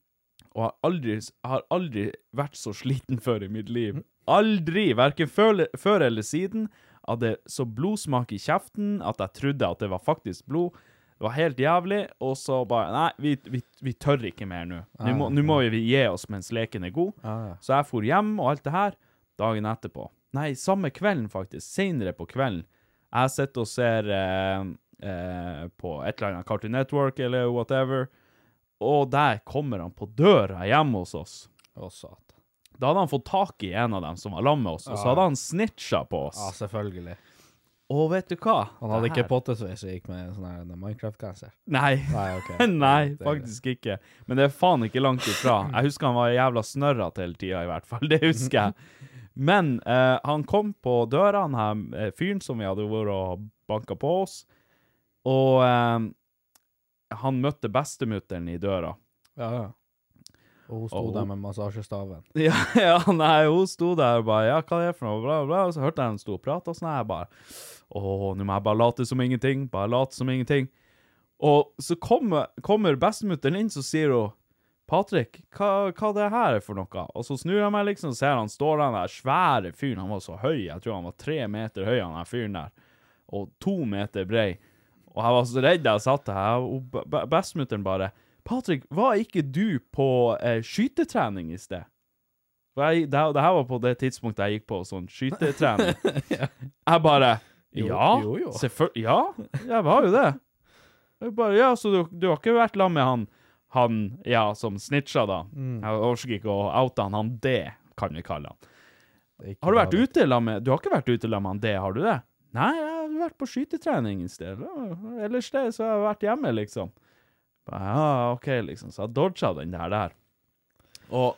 [SPEAKER 3] Og har aldri, har aldri vært så sliten før i mitt
[SPEAKER 4] Mhm.
[SPEAKER 3] liv. Aldri, verken før, før eller siden, hadde så blodsmak i kjeften at jeg trodde at det var faktisk blod. Det var helt jævlig, og så bare Nei, vi, vi, vi tør ikke mer nå. Nå må, nå må vi gi oss mens leken er god.
[SPEAKER 4] Ah, Ja, ja.
[SPEAKER 3] Så jeg for hjem og alt det her dagen etterpå. Nei, samme kvelden faktisk, senere på kvelden. Jeg sitter og ser eh, eh, på et eller annet Cartoon Network eller whatever, og der kommer han på døra hjemme hos oss.
[SPEAKER 4] Å, satan.
[SPEAKER 3] Da hadde han fått tak i en av dem som var lam med oss, og så
[SPEAKER 4] Ja.
[SPEAKER 3] hadde han snitcha på oss.
[SPEAKER 4] Ja, selvfølgelig.
[SPEAKER 3] Og vet du hva?
[SPEAKER 4] Han hadde
[SPEAKER 3] Det
[SPEAKER 4] ikke
[SPEAKER 3] her-
[SPEAKER 4] pottesveis og gikk med sånn her Minecraft-genser.
[SPEAKER 3] Nei.
[SPEAKER 4] Nei, ok.
[SPEAKER 3] Nei,
[SPEAKER 4] Det er
[SPEAKER 3] faktisk ikke. Men det er faen ikke langt ifra. Jeg husker han var jævla snørrete hele tida, i hvert fall. Det husker jeg. Men eh, han kom på døra, han her eh, fyren som vi hadde vært og banka på oss, og eh, han møtte bestemutteren i døra.
[SPEAKER 4] Ja, ja. Og hun sto
[SPEAKER 3] Og
[SPEAKER 4] der
[SPEAKER 3] hun-
[SPEAKER 4] med massasjestaven.
[SPEAKER 3] Ja, ja, nei, hun sto der og bare Ja, hva er det for noe? Bla, bla. Og så hørte jeg hun sto og prate, og sånn. Jeg bare Å, nå må jeg bare late som ingenting. Bare late som ingenting. Og så kommer, kommer bestemutteren inn, så sier hun Patrick, hva, hva det her er for noe? Og så snur jeg meg liksom, ser han står der, den der svære fyren. Han var så høy. Jeg tror han var tre meter høy, han der fyren der. Og to meter brei. Og jeg var så redd jeg satt der. Jeg- og be- be- Bestemutteren bare Patrick, var ikke du på eh, skytetrening i sted? For jeg, det, det her var på det tidspunktet jeg gikk på sånn skytetrening. Jeg bare
[SPEAKER 4] Jo,
[SPEAKER 3] Ja,
[SPEAKER 4] jo, jo.
[SPEAKER 3] selvfølgelig. Ja, jeg var jo det. Jeg bare, ja, så du, du har ikke vært sammen med han Han, ja, som snitcha, da?
[SPEAKER 4] Mm.
[SPEAKER 3] Jeg orker ikke å oute han. Han D, kan vi kalle han. Har du vært ute sammen med Du har ikke vært ute sammen med han D, har du det? Nei, jeg har vært på skytetrening i sted. Ja, Ellers det, så har jeg vært hjemme, liksom. Bare, Ja, OK, liksom. Så jeg dodga den der der. Og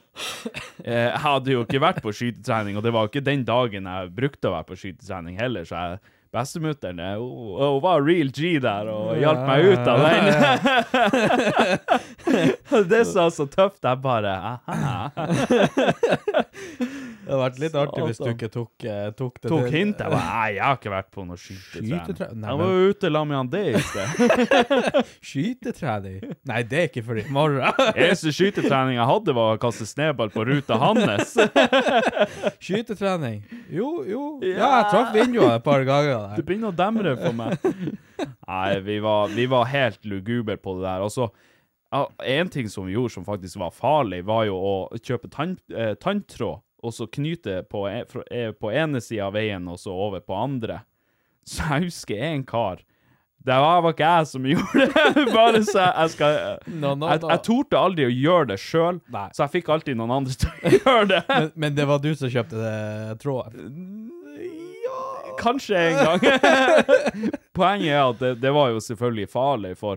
[SPEAKER 3] eh, jeg hadde jo ikke vært på skytetrening, og det var jo ikke den dagen jeg brukte å være på skytetrening heller, så jeg Bestemutteren eh, hun hun var real G der og hjalp meg ut av den. det sa så tøft. Jeg bare aha.
[SPEAKER 4] Det hadde vært litt artig hvis du
[SPEAKER 3] Satan.
[SPEAKER 4] ikke tok, eh, tok det
[SPEAKER 3] Tok
[SPEAKER 4] til-
[SPEAKER 3] hint. Jeg bare Nei, jeg har ikke vært på noe skytetrening.
[SPEAKER 4] Skytetrening? Nei,
[SPEAKER 3] Jeg
[SPEAKER 4] men-
[SPEAKER 3] var jo ute sammen med han det i sted.
[SPEAKER 4] Skytetrening? Nei, det er ikke for i morgen.
[SPEAKER 3] Eneste skytetrening jeg hadde, var å kaste snøball på ruta hans.
[SPEAKER 4] Skytetrening? Jo, jo. Ja, jeg traff vinduet et par ganger
[SPEAKER 3] Det
[SPEAKER 4] der.
[SPEAKER 3] begynner å demre for meg. Nei, vi var, vi var helt luguber på det der. Og så ja, En ting som vi gjorde som faktisk var farlig, var jo å kjøpe tann, eh, tanntråd og så knyte på, e- fra- eh, på ene sida av veien og så over på andre. Så jeg husker en kar Det var var ikke jeg som gjorde det, bare så jeg, jeg skal
[SPEAKER 4] No, no,
[SPEAKER 3] Jeg,
[SPEAKER 4] no.
[SPEAKER 3] jeg torde aldri å gjøre det sjøl,
[SPEAKER 4] Nei.
[SPEAKER 3] så jeg fikk alltid noen andre til å gjøre det.
[SPEAKER 4] Men, men det var du som kjøpte det tråden?
[SPEAKER 3] Kanskje en gang. Poenget er at det, det var jo selvfølgelig farlig, for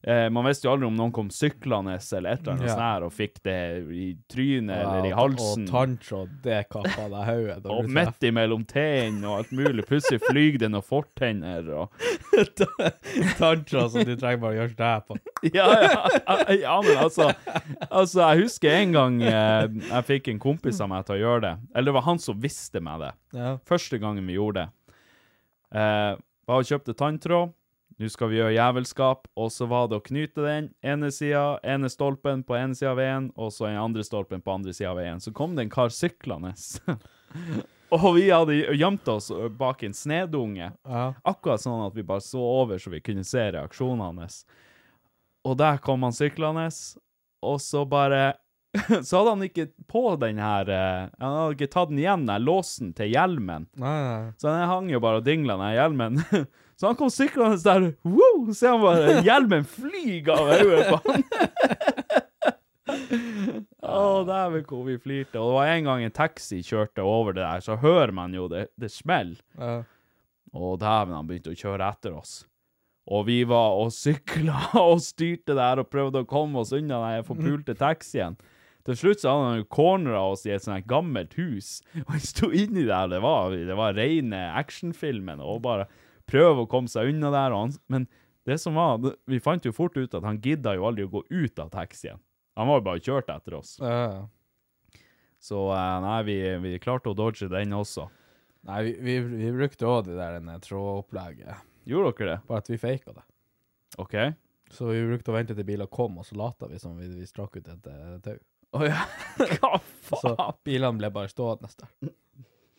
[SPEAKER 3] eh, man visste jo aldri om noen kom syklende eller et eller annet
[SPEAKER 4] Ja.
[SPEAKER 3] sånt her, og fikk det i trynet eller i
[SPEAKER 4] Ja,
[SPEAKER 3] halsen.
[SPEAKER 4] Og tanntråd, det kappa deg hodet. da
[SPEAKER 3] og
[SPEAKER 4] du
[SPEAKER 3] midt imellom tennene og alt mulig. Plutselig flyr det noen fortenner og
[SPEAKER 4] traff Tanntråd som du trenger bare å gjøre sånn her på.
[SPEAKER 3] ja, ja, ja, men altså, altså Jeg husker en gang eh, jeg fikk en kompis av meg til å gjøre det. Eller det var han som visste meg det.
[SPEAKER 4] Ja.
[SPEAKER 3] Første gangen vi gjorde det. Eh, var og kjøpte tanntråd. Nå skal vi gjøre jævelskap, og så var det å knyte den ene sida, ene stolpen på ene sida av veien, og så den andre stolpen på andre sida av veien. Så kom det en kar syklende. og vi hadde gjemt oss bak en snedunge.
[SPEAKER 4] Ja.
[SPEAKER 3] Akkurat sånn at vi bare så over, så vi kunne se reaksjonene hans. Og der kom han syklende, og så bare Så hadde han ikke på den her eh, Han hadde ikke tatt den igjen, den her låsen til hjelmen.
[SPEAKER 4] Nei, nei.
[SPEAKER 3] Så den hang jo bare og dingla ned i hjelmen. Så han kom syklende der, wow, ser han bare hjelmen flyger av øyet på han. Å, dæven hvor vi flirte. Og det var en gang en taxi kjørte over det der, så hører man jo det, det smell.
[SPEAKER 4] Ja.
[SPEAKER 3] Og dæven, han begynte å kjøre etter oss. Og vi var og sykla og styrte der og prøvde å komme oss unna den her forpulte taxien. Til slutt så hadde han jo cornera oss i et sånt her gammelt hus, og vi sto inni der. Det var, det var rene actionfilmen, og bare prøve å komme seg unna der. Og han, men det som var, vi fant jo fort ut at han gidda jo aldri å gå ut av taxien. Han var jo bare kjørt etter oss.
[SPEAKER 4] Ja, ja.
[SPEAKER 3] Så eh, nei, vi, vi klarte å dodge den også.
[SPEAKER 4] Nei, vi, vi, vi brukte òg det der denne trådopplegget,
[SPEAKER 3] Gjorde dere det?
[SPEAKER 4] bare at vi faka det.
[SPEAKER 3] OK.
[SPEAKER 4] Så vi brukte å vente til biler kom, og så lata vi som vi, vi strakk ut et eh, tau.
[SPEAKER 3] Å ja. Hva
[SPEAKER 4] Så
[SPEAKER 3] faen?
[SPEAKER 4] bilene ble bare stående der.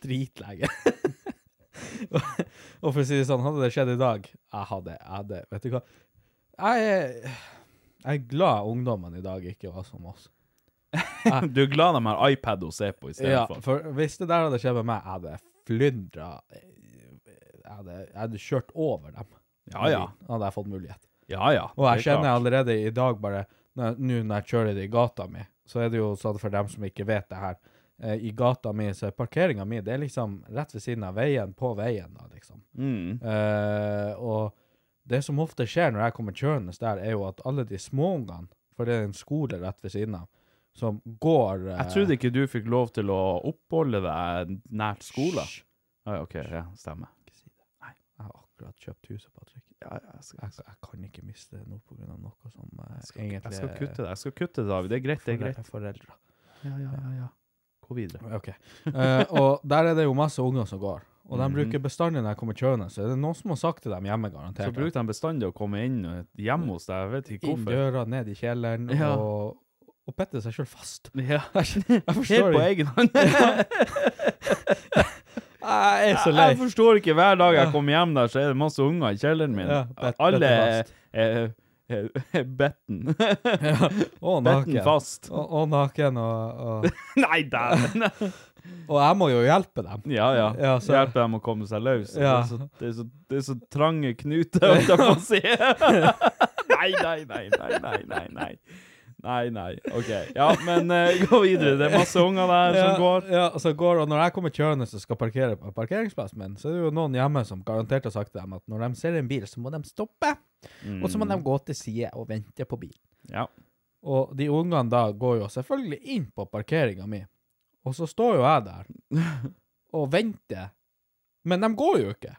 [SPEAKER 4] Dritlenge. og for å si det sånn, hadde det skjedd i dag Jeg hadde, jeg hadde Vet du hva? Jeg er, jeg er glad ungdommene i dag ikke var som oss.
[SPEAKER 3] Du er glad de har iPad å se på i stedet
[SPEAKER 4] Ja,
[SPEAKER 3] for.
[SPEAKER 4] for hvis det der hadde skjedd med meg, jeg hadde flyndra jeg hadde, jeg hadde kjørt over dem.
[SPEAKER 3] Ja, ja.
[SPEAKER 4] Hadde jeg fått mulighet.
[SPEAKER 3] Ja, ja.
[SPEAKER 4] Og jeg
[SPEAKER 3] det er
[SPEAKER 4] kjenner
[SPEAKER 3] klart.
[SPEAKER 4] allerede i dag bare når- Nå når jeg kjører det i gata mi, så er det jo sånn for dem som ikke vet det her eh, I gata mi så er parkeringa mi det er liksom rett ved siden av veien, på veien, da, liksom.
[SPEAKER 3] Mm.
[SPEAKER 4] Eh, og det som ofte skjer når jeg kommer kjørende der, er jo at alle de småungene, for det er en skole rett ved siden av, som går eh,
[SPEAKER 3] Jeg trodde ikke du fikk lov til å oppholde deg nært skolen. Ah, ja, OK, ja, stemmer.
[SPEAKER 4] Jeg har akkurat kjøpt huset, Patrick. jeg, jeg kan ikke miste noe på grunn av noe som eh,
[SPEAKER 3] Jeg skal,
[SPEAKER 4] egentlig
[SPEAKER 3] jeg skal kutte det, jeg skal kutte det, David. Det er greit, det er greit.
[SPEAKER 4] Foreldre.
[SPEAKER 3] Ja, ja, ja, ja. Gå videre.
[SPEAKER 4] Ok. Eh, og der er det jo masse unger som går. Og de
[SPEAKER 3] Mhm.
[SPEAKER 4] bruker bestandig når jeg kommer kjørende, så er det noen som har sagt til dem hjemme, garantert.
[SPEAKER 3] Så brukte de bestandig å komme inn eh, hjemme hos deg, jeg vet ikke
[SPEAKER 4] Inn
[SPEAKER 3] hvorfor.
[SPEAKER 4] døra, ned i kjelleren,
[SPEAKER 3] Ja.
[SPEAKER 4] og, og pette seg sjøl fast.
[SPEAKER 3] Ja.
[SPEAKER 4] Jeg
[SPEAKER 3] Helt
[SPEAKER 4] forstår
[SPEAKER 3] på
[SPEAKER 4] ikke.
[SPEAKER 3] egen hånd.
[SPEAKER 4] Jeg er så lei.
[SPEAKER 3] Jeg forstår ikke. Hver dag jeg kommer hjem der, så er det masse unger i kjelleren min.
[SPEAKER 4] Ja, bet-
[SPEAKER 3] Alle
[SPEAKER 4] betten fast.
[SPEAKER 3] er er- er betten. Betten
[SPEAKER 4] Og naken.
[SPEAKER 3] fast.
[SPEAKER 4] Og, og naken, og, og,
[SPEAKER 3] Nei, dæven!
[SPEAKER 4] og jeg må jo hjelpe dem.
[SPEAKER 3] Ja, ja.
[SPEAKER 4] Ja, så-
[SPEAKER 3] Hjelpe dem å komme seg løs.
[SPEAKER 4] Ja.
[SPEAKER 3] Det, er så, det, er så, det er så trange knuter, holdt jeg på å si. nei, nei, nei, nei, nei, nei, nei. Nei, nei. OK. Ja, men eh, gå videre. Det er masse unger der
[SPEAKER 4] Ja,
[SPEAKER 3] som går.
[SPEAKER 4] Ja, og så går, og når jeg kommer kjørende og skal parkere på parkeringsplassen min, så er det jo noen hjemme som garantert har sagt til dem at når de ser en bil, så må de stoppe, og så må de gå til side og vente på bilen.
[SPEAKER 3] Mm. Ja.
[SPEAKER 4] Og de ungene da går jo selvfølgelig inn på parkeringa mi, og så står jo jeg der og venter, men de går jo ikke.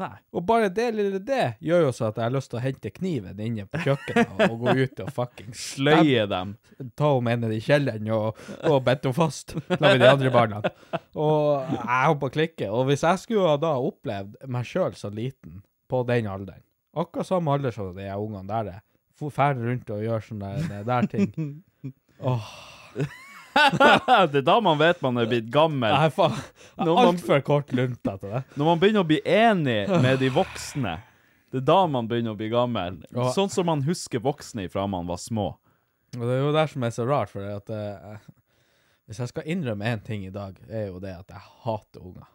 [SPEAKER 3] Nei.
[SPEAKER 4] Og bare det lille det gjør jo så at jeg har lyst til å hente kniven inne på kjøkkenet og, og gå ut og fucking stab-
[SPEAKER 3] Sløye dem.
[SPEAKER 4] ta henne med ned i kjelleren og, og bedt henne fast sammen med de andre barna. Og jeg holdt på å klikke. Og hvis jeg skulle ha da opplevd meg sjøl så liten på den alderen, akkurat samme alder som de her ungene der er, for- fer rundt og gjør sånne der, der ting Åh,
[SPEAKER 3] det er da man vet man er blitt gammel.
[SPEAKER 4] Jeg er faen jeg
[SPEAKER 3] Når
[SPEAKER 4] har
[SPEAKER 3] man-
[SPEAKER 4] altfor kort lunte til det.
[SPEAKER 3] Når man begynner å bli enig med de voksne, det er da man begynner å bli gammel.
[SPEAKER 4] Ja.
[SPEAKER 3] Sånn som man husker voksne fra man var små.
[SPEAKER 4] Og det er jo det som er så rart, for at eh, hvis jeg skal innrømme én ting i dag, er jo det at jeg hater unger.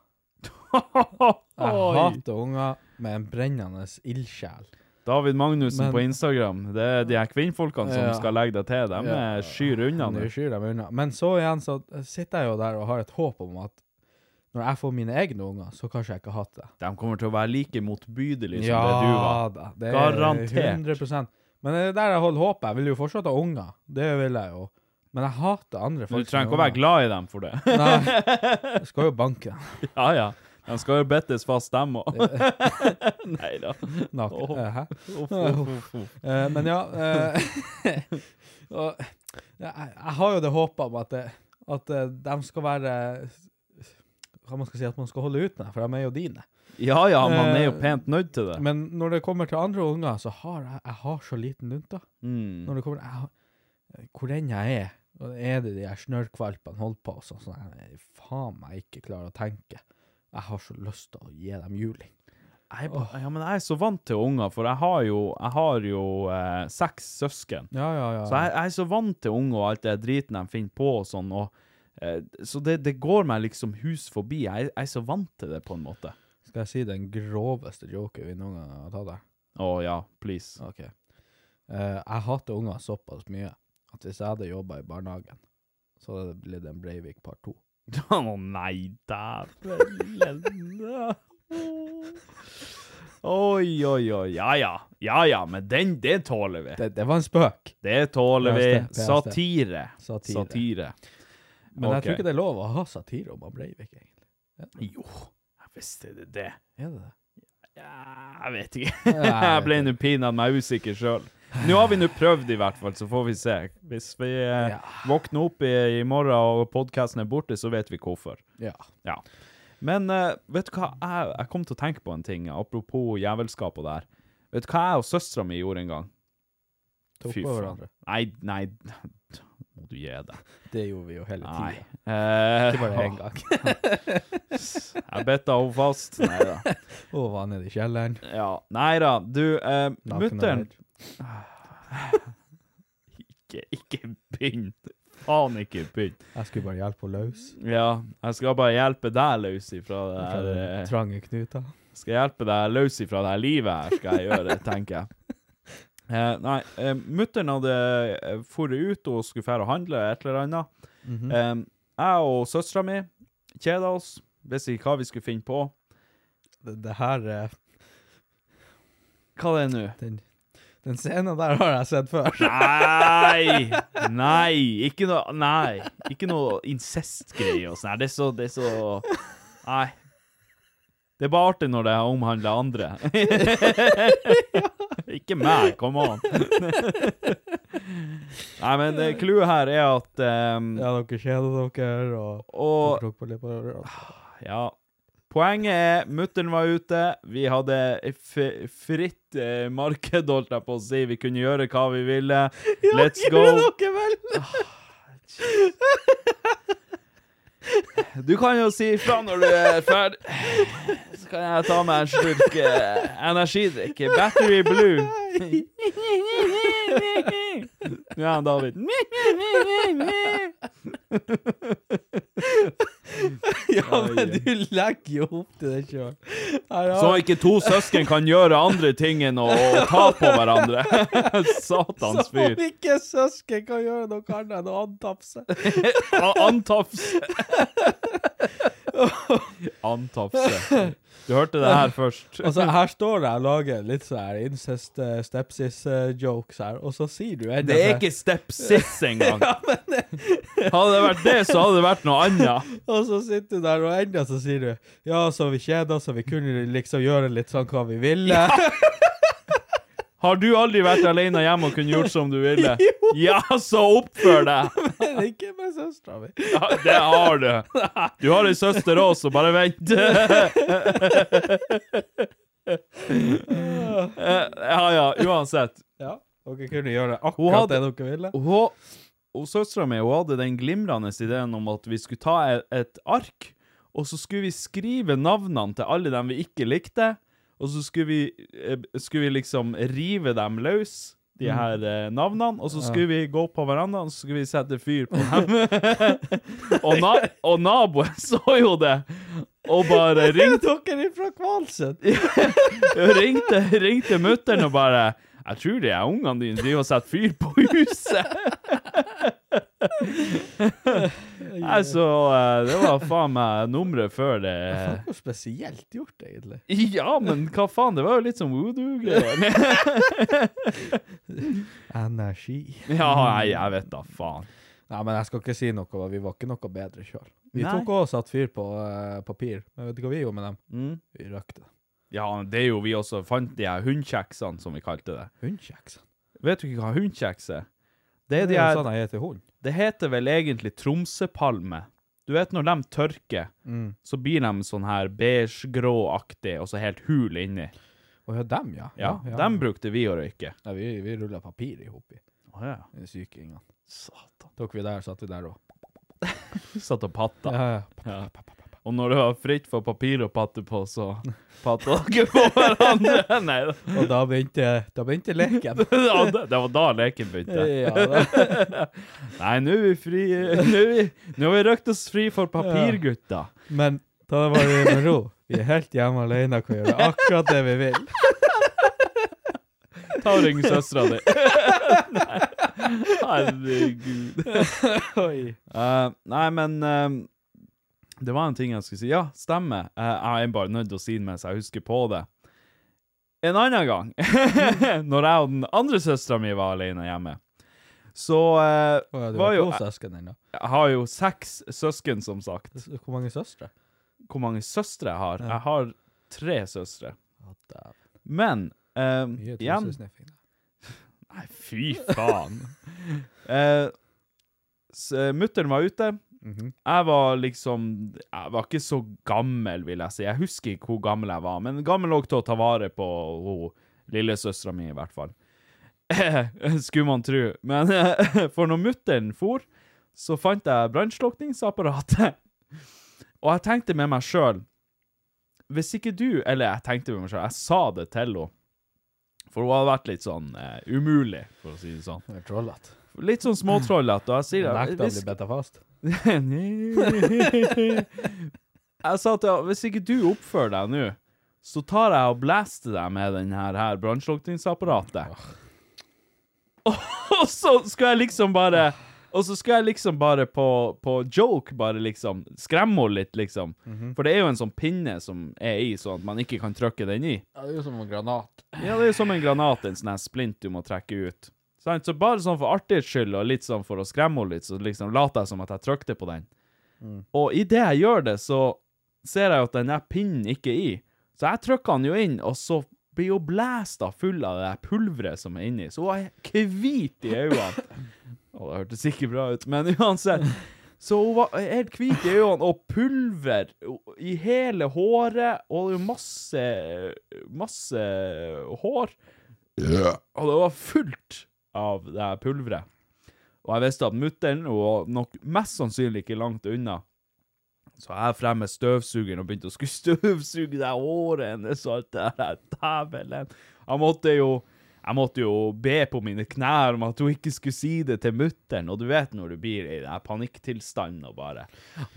[SPEAKER 4] Jeg hater unger med en brennende ildsjel.
[SPEAKER 3] David Magnussen
[SPEAKER 4] Men-
[SPEAKER 3] på Instagram. Det er de her kvinnfolkene som
[SPEAKER 4] Ja.
[SPEAKER 3] skal legge deg til. De
[SPEAKER 4] Ja.
[SPEAKER 3] er skyr unna nå.
[SPEAKER 4] Nå skyr de unna. Men så igjen så sitter jeg jo der og har et håp om at når jeg får mine egne unger, så kanskje jeg ikke hater det.
[SPEAKER 3] De kommer til å være like motbydelige som Liksom det du var.
[SPEAKER 4] da. Det er
[SPEAKER 3] Garantert.
[SPEAKER 4] 100 Men det er der jeg holder håpet. Jeg vil jo fortsatt ha unger. Det vil jeg jo. Men jeg hater andre
[SPEAKER 3] Men
[SPEAKER 4] folk.
[SPEAKER 3] du trenger ikke å være glad i dem for det.
[SPEAKER 4] Nei. Jeg skal jo banke
[SPEAKER 3] ja, ja. De skal jo bittes fast, dem òg. Nei da.
[SPEAKER 4] naken.
[SPEAKER 3] Åh.
[SPEAKER 4] Eh, Hæ?
[SPEAKER 3] Uff, uff, uff, uff.
[SPEAKER 4] Eh, men ja eh, og, ja, jeg, jeg har jo det håpet om at, eh, det, at eh, de skal være Hva man skal si, at man skal holde ut med, for de er jo dine.
[SPEAKER 3] Ja ja, man er jo
[SPEAKER 4] Eh,
[SPEAKER 3] pent nødt til det.
[SPEAKER 4] Men når det kommer til andre unger, så har jeg, jeg har så liten lunte.
[SPEAKER 3] Mm.
[SPEAKER 4] Når det kommer, jeg, har- hvor enn jeg er, og er det de her snørrkvalpene holder på, sånn som jeg faen meg ikke klarer å tenke. Jeg har så lyst til å gi dem juling.
[SPEAKER 3] Jeg, er ba- ja, men jeg er så vant til unger, for jeg har jo, jeg har jo eh, seks søsken.
[SPEAKER 4] Ja, ja, ja.
[SPEAKER 3] Så jeg, jeg er så vant til unger og alt det driten de finner på og sånn. Og, eh, så det, det går meg liksom hus forbi. Jeg, jeg er så vant til det, på en måte.
[SPEAKER 4] Skal jeg si den groveste joken vi noen gang har tatt her?
[SPEAKER 3] Å ja, please.
[SPEAKER 4] Ok. Eh, jeg hater unger såpass mye at hvis jeg hadde jobba i barnehagen, så hadde det blitt en Breivik part to.
[SPEAKER 3] Å nei, dæven. Oi, oi, oi. Ja ja. Ja ja, men den, det tåler vi.
[SPEAKER 4] Det, det var en spøk!
[SPEAKER 3] Det tåler vi.
[SPEAKER 4] PST.
[SPEAKER 3] Satire.
[SPEAKER 4] Satire.
[SPEAKER 3] Satire.
[SPEAKER 4] Men jeg
[SPEAKER 3] Ok.
[SPEAKER 4] tror ikke det er lov å ha satire om han Breivik, egentlig.
[SPEAKER 3] Jo, jeg visste det det.
[SPEAKER 4] Er det det?
[SPEAKER 3] Ja, Jeg vet ikke.
[SPEAKER 4] jeg
[SPEAKER 3] Jeg ble
[SPEAKER 4] vet
[SPEAKER 3] nå pinadø meg usikker sjøl. Nå har vi nå prøvd, i hvert fall, så får vi se. Hvis vi eh,
[SPEAKER 4] Ja.
[SPEAKER 3] våkner opp i, i morgen og podkasten er borte, så vet vi hvorfor.
[SPEAKER 4] Ja.
[SPEAKER 3] Ja. Men eh, vet du hva, jeg, jeg kom til å tenke på en ting, apropos jævelskap og det her. Vet du hva jeg og søstera mi gjorde en gang?
[SPEAKER 4] Tok på hverandre.
[SPEAKER 3] Nei, nei, må du gi deg.
[SPEAKER 4] Det gjorde vi jo hele
[SPEAKER 3] Nei.
[SPEAKER 4] tida.
[SPEAKER 3] Eh,
[SPEAKER 4] Ikke bare én gang.
[SPEAKER 3] Jeg betta henne fast. Nei da.
[SPEAKER 4] Og var nede i kjelleren.
[SPEAKER 3] Ja. Nei da. Du, eh,
[SPEAKER 4] Naken og
[SPEAKER 3] mutter'n
[SPEAKER 4] redd.
[SPEAKER 3] ikke, ikke begynn. Faen, ikke begynn.
[SPEAKER 4] Jeg skulle bare hjelpe henne løs.
[SPEAKER 3] Ja, jeg skal bare hjelpe deg løs ifra det
[SPEAKER 4] Fra
[SPEAKER 3] her
[SPEAKER 4] den
[SPEAKER 3] eh,
[SPEAKER 4] trange knuta.
[SPEAKER 3] Skal jeg hjelpe deg løs ifra det her livet her, skal jeg gjøre det, tenker jeg. Eh, nei, eh, mutter'n hadde eh, forret ut og skulle fære og handle et eller annet. eh, jeg og søstera mi kjeda oss, visste ikke hva vi skulle finne på.
[SPEAKER 4] Det, det her eh,
[SPEAKER 3] Hva det er nå?
[SPEAKER 4] den, den scenen der har jeg sett før.
[SPEAKER 3] Nei! Nei! Ikke noe Nei. Ikke noe incestgreie og sånn her. Det er så Det er så Nei. Det er bare artig når det omhandler andre. ikke meg, come on. Nei, men eh, clouet her er at ehm,
[SPEAKER 4] Ja, dere kjeder dere, og
[SPEAKER 3] Og Ah,
[SPEAKER 4] dere tok på litt på hverandre.
[SPEAKER 3] ja. Poenget er, mutter'n var ute, vi hadde f fritt eh, marked, holdt jeg på å si. Vi kunne gjøre hva vi ville. Let's go. Ah,
[SPEAKER 4] dere vel?
[SPEAKER 3] Du kan jo si ifra når du er ferdig. Så kan jeg ta meg en slurk eh, energidrikk. Battery Blue. Ja, David.
[SPEAKER 4] Ja, men du legger jo opp til det sjøl.
[SPEAKER 3] Så ikke to søsken kan gjøre andre ting enn å ta på hverandre. Satans
[SPEAKER 4] Som
[SPEAKER 3] fyr.
[SPEAKER 4] om ikke søsken kan gjøre noe annet enn å antafse.
[SPEAKER 3] A- Antafse. Antafse. Du hørte det her først.
[SPEAKER 4] Altså, her står det og lager litt sånn her incest eh, stepsis-jokes her, og så sier du enda
[SPEAKER 3] Det er ikke stepsis engang. Hadde det vært det, så hadde det vært noe annet.
[SPEAKER 4] Og så sitter du der, og enda så sier du Ja, så vi kjeda, så vi kunne liksom gjøre litt sånn hva vi ville.
[SPEAKER 3] Har du aldri vært alene hjemme og kunne gjort som du ville? Ja, så oppfør deg!
[SPEAKER 4] Men ikke med søstera mi.
[SPEAKER 3] Ja, det har du. Du har ei søster òg, så bare vent. Eh, Ja ja, uansett.
[SPEAKER 4] Ja, dere kunne gjøre
[SPEAKER 3] Hun
[SPEAKER 4] akkurat
[SPEAKER 3] hadde-
[SPEAKER 4] det dere ville.
[SPEAKER 3] Hun, hun Søstera mi hun hadde den glimrende ideen om at vi skulle ta et, et ark, og så skulle vi skrive navnene til alle dem vi ikke likte, og så skulle vi, eh, skulle vi liksom rive dem løs, de her eh, navnene, og så skulle vi gå på verandaen, så skulle vi sette fyr på dem. og, na, og naboen så jo det, og bare ringte
[SPEAKER 4] Dere er fra Kvalsund!
[SPEAKER 3] ringte, ringte mutteren og bare Jeg tror det er ungene dine driver og setter fyr på huset. Nei, så eh, det var faen meg nummeret før det
[SPEAKER 4] Det var spesielt gjort, egentlig.
[SPEAKER 3] Ja, men hva faen? Det var jo litt som voodoo-greier.
[SPEAKER 4] Energi.
[SPEAKER 3] Ja, nei, jeg vet da faen.
[SPEAKER 4] Nei, men jeg skal ikke si noe. da. Vi var ikke noe bedre sjøl. Vi
[SPEAKER 3] Nei.
[SPEAKER 4] tok også satt fyr på eh, papir. Men vet du hva vi gjorde med dem?
[SPEAKER 3] Mm.
[SPEAKER 4] Vi røkte dem.
[SPEAKER 3] Ja, det er jo vi også fant de her hundkjeksene, som vi kalte det.
[SPEAKER 4] Hundkjeks.
[SPEAKER 3] Vet du ikke hva hundkjeks er? Det er
[SPEAKER 4] Det
[SPEAKER 3] de
[SPEAKER 4] er sånn
[SPEAKER 3] her
[SPEAKER 4] jo sånn jeg heter hund.
[SPEAKER 3] Det heter vel egentlig Tromsøpalme. Du vet når de tørker,
[SPEAKER 4] Mm.
[SPEAKER 3] så blir de sånn her beige-grå-aktig, og så helt hul inni.
[SPEAKER 4] Og ja, dem, ja.
[SPEAKER 3] Ja, dem brukte vi å røyke.
[SPEAKER 4] ja vi, vi rulla papir i hop i
[SPEAKER 3] Å ja.
[SPEAKER 4] de syke ingene.
[SPEAKER 3] Satan.
[SPEAKER 4] Tok vi der, satt vi der òg.
[SPEAKER 3] Satt og patta.
[SPEAKER 4] Ja, ja.
[SPEAKER 3] Ja. Og når det var fritt for papir å patte på, så patta dere på hverandre. Nei da.
[SPEAKER 4] Og da begynte, da begynte leken.
[SPEAKER 3] Ja, det- Det var da leken begynte.
[SPEAKER 4] ja, da.
[SPEAKER 3] Nei, nå er vi fri. Nå er vi, nå har vi røkt oss fri for papir, gutta.
[SPEAKER 4] Men ta det bare med ro. Vi er helt hjemme alene og kan gjøre akkurat det vi vil.
[SPEAKER 3] Ta og ring søstera di. Nei, Herregud.
[SPEAKER 4] Oi.
[SPEAKER 3] Eh, nei, men eh, Det var en ting jeg skulle si. Ja, stemmer. Eh, jeg er bare nødt til å si det mens jeg husker på det. En annen gang, når jeg og den andre søstera mi var alene hjemme, så eh,
[SPEAKER 4] Å ja, du
[SPEAKER 3] var
[SPEAKER 4] har
[SPEAKER 3] jo
[SPEAKER 4] to søsken ennå.
[SPEAKER 3] Jeg har jo seks søsken, som sagt.
[SPEAKER 4] Hvor mange søstre?
[SPEAKER 3] Hvor mange søstre jeg har? Jeg har tre søstre.
[SPEAKER 4] Å, dæven.
[SPEAKER 3] Men eh,
[SPEAKER 4] Mye
[SPEAKER 3] igjen
[SPEAKER 4] trusesniffing. da.
[SPEAKER 3] Nei, fy faen. eh, s- Mutter'n var ute. Jeg var liksom Jeg var ikke så gammel, vil jeg si. Jeg husker ikke hvor gammel jeg var, men gammel nok til å ta vare på ho- lillesøstera mi, i hvert fall. Skulle man tro. Men for når mutter'n for, så fant jeg brannslukningsapparatet. Og jeg tenkte med meg sjøl Hvis ikke du Eller jeg tenkte med meg sjøl, jeg sa det til henne. For hun har vært litt sånn eh, umulig, for å si det sånn.
[SPEAKER 4] Hun er trollete.
[SPEAKER 3] Litt sånn småtrollete. Og jeg sier
[SPEAKER 4] Nekta å
[SPEAKER 3] hvis-
[SPEAKER 4] bli bitt fast.
[SPEAKER 3] jeg sa til henne, hvis ikke du oppfører deg nå, så tar jeg og blaster deg med den her, her brannslukningsapparatet. Og så skal jeg liksom bare Og så skal jeg liksom bare på, på joke, bare liksom skremme henne litt, liksom.
[SPEAKER 4] Mhm.
[SPEAKER 3] For det er jo en sånn pinne som er i, sånn at man ikke kan trykke den i.
[SPEAKER 4] Ja, det er jo som en granat.
[SPEAKER 3] Ja, det er jo som en granat, en sånn her splint du må trekke ut. Sant? Så bare sånn for artighets skyld, og litt sånn for å skremme henne litt, så liksom later jeg som at jeg trykte på den. Og idet jeg gjør det, så ser jeg jo at den der pinnen ikke er i. Så jeg trykker den jo inn, og så blir hun blæsta full av det der pulveret som er inni. Så hun er hvit i øynene. Og det hørtes ikke bra ut, men uansett. Så hun var helt hvit i øynene, og pulver i hele håret, og det var masse, masse hår. Og det var fullt av det her pulveret. Og jeg visste at mutter'n hun var nok mest sannsynlig ikke langt unna. Så jeg frem med støvsugeren og begynte å skulle støvsuge det håret hennes og alt det der. Dævelen. Jeg måtte jo jeg måtte jo be på mine knær om at hun ikke skulle si det til mutter'n. Og du vet når du blir i den her panikktilstanden og bare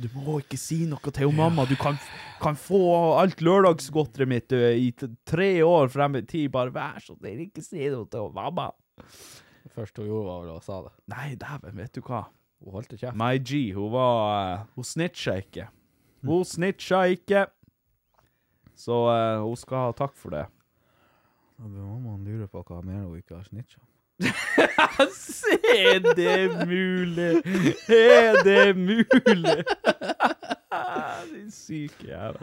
[SPEAKER 3] Du må ikke si noe til hun mamma. Du kan, kan få alt lørdagsgodteriet mitt ø, i t- tre år frem i tid. Bare vær så snill, ikke si noe til hun mamma.
[SPEAKER 4] Det første hun gjorde, var vel å sa det.
[SPEAKER 3] Nei, dæven, vet du hva.
[SPEAKER 4] Hun holdt ikke kjeft.
[SPEAKER 3] My G, hun var eh, Hun snitcha ikke. Hun snitcha ikke. Så eh, hun skal ha takk for det.
[SPEAKER 4] Mammaen lurer på hva mer hun ikke har snitcha.
[SPEAKER 3] Er det mulig? Er det mulig? Din syke jævel.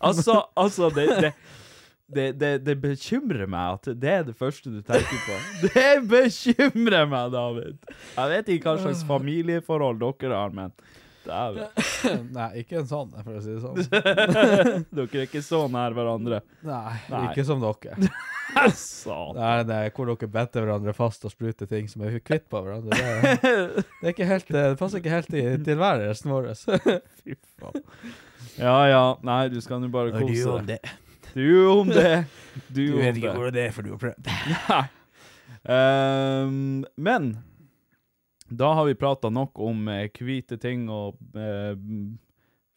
[SPEAKER 3] Altså, altså det, det, det, det, det bekymrer meg at det er det første du tenker på. Det bekymrer meg, David. Jeg vet ikke hva slags familieforhold dere har, men dæven.
[SPEAKER 4] Nei, ikke en sånn, for å si det sånn.
[SPEAKER 3] Dere er ikke så nær hverandre.
[SPEAKER 4] Nei,
[SPEAKER 3] Nei.
[SPEAKER 4] ikke som dere.
[SPEAKER 3] Satan.
[SPEAKER 4] Nei, det er hvor dere better hverandre fast og spruter ting som er kvitt på hverandre. Det, er- det, er ikke helt, eh, det passer ikke helt i tilværelsen vår.
[SPEAKER 3] Fy faen. Ja ja, nei, du skal nå bare kose deg.
[SPEAKER 4] det?
[SPEAKER 3] Du om det. Du om det.
[SPEAKER 4] det er, for du har prøvd.
[SPEAKER 3] Nei. Ehm, men da har vi prata nok om eh, hvite ting og eh,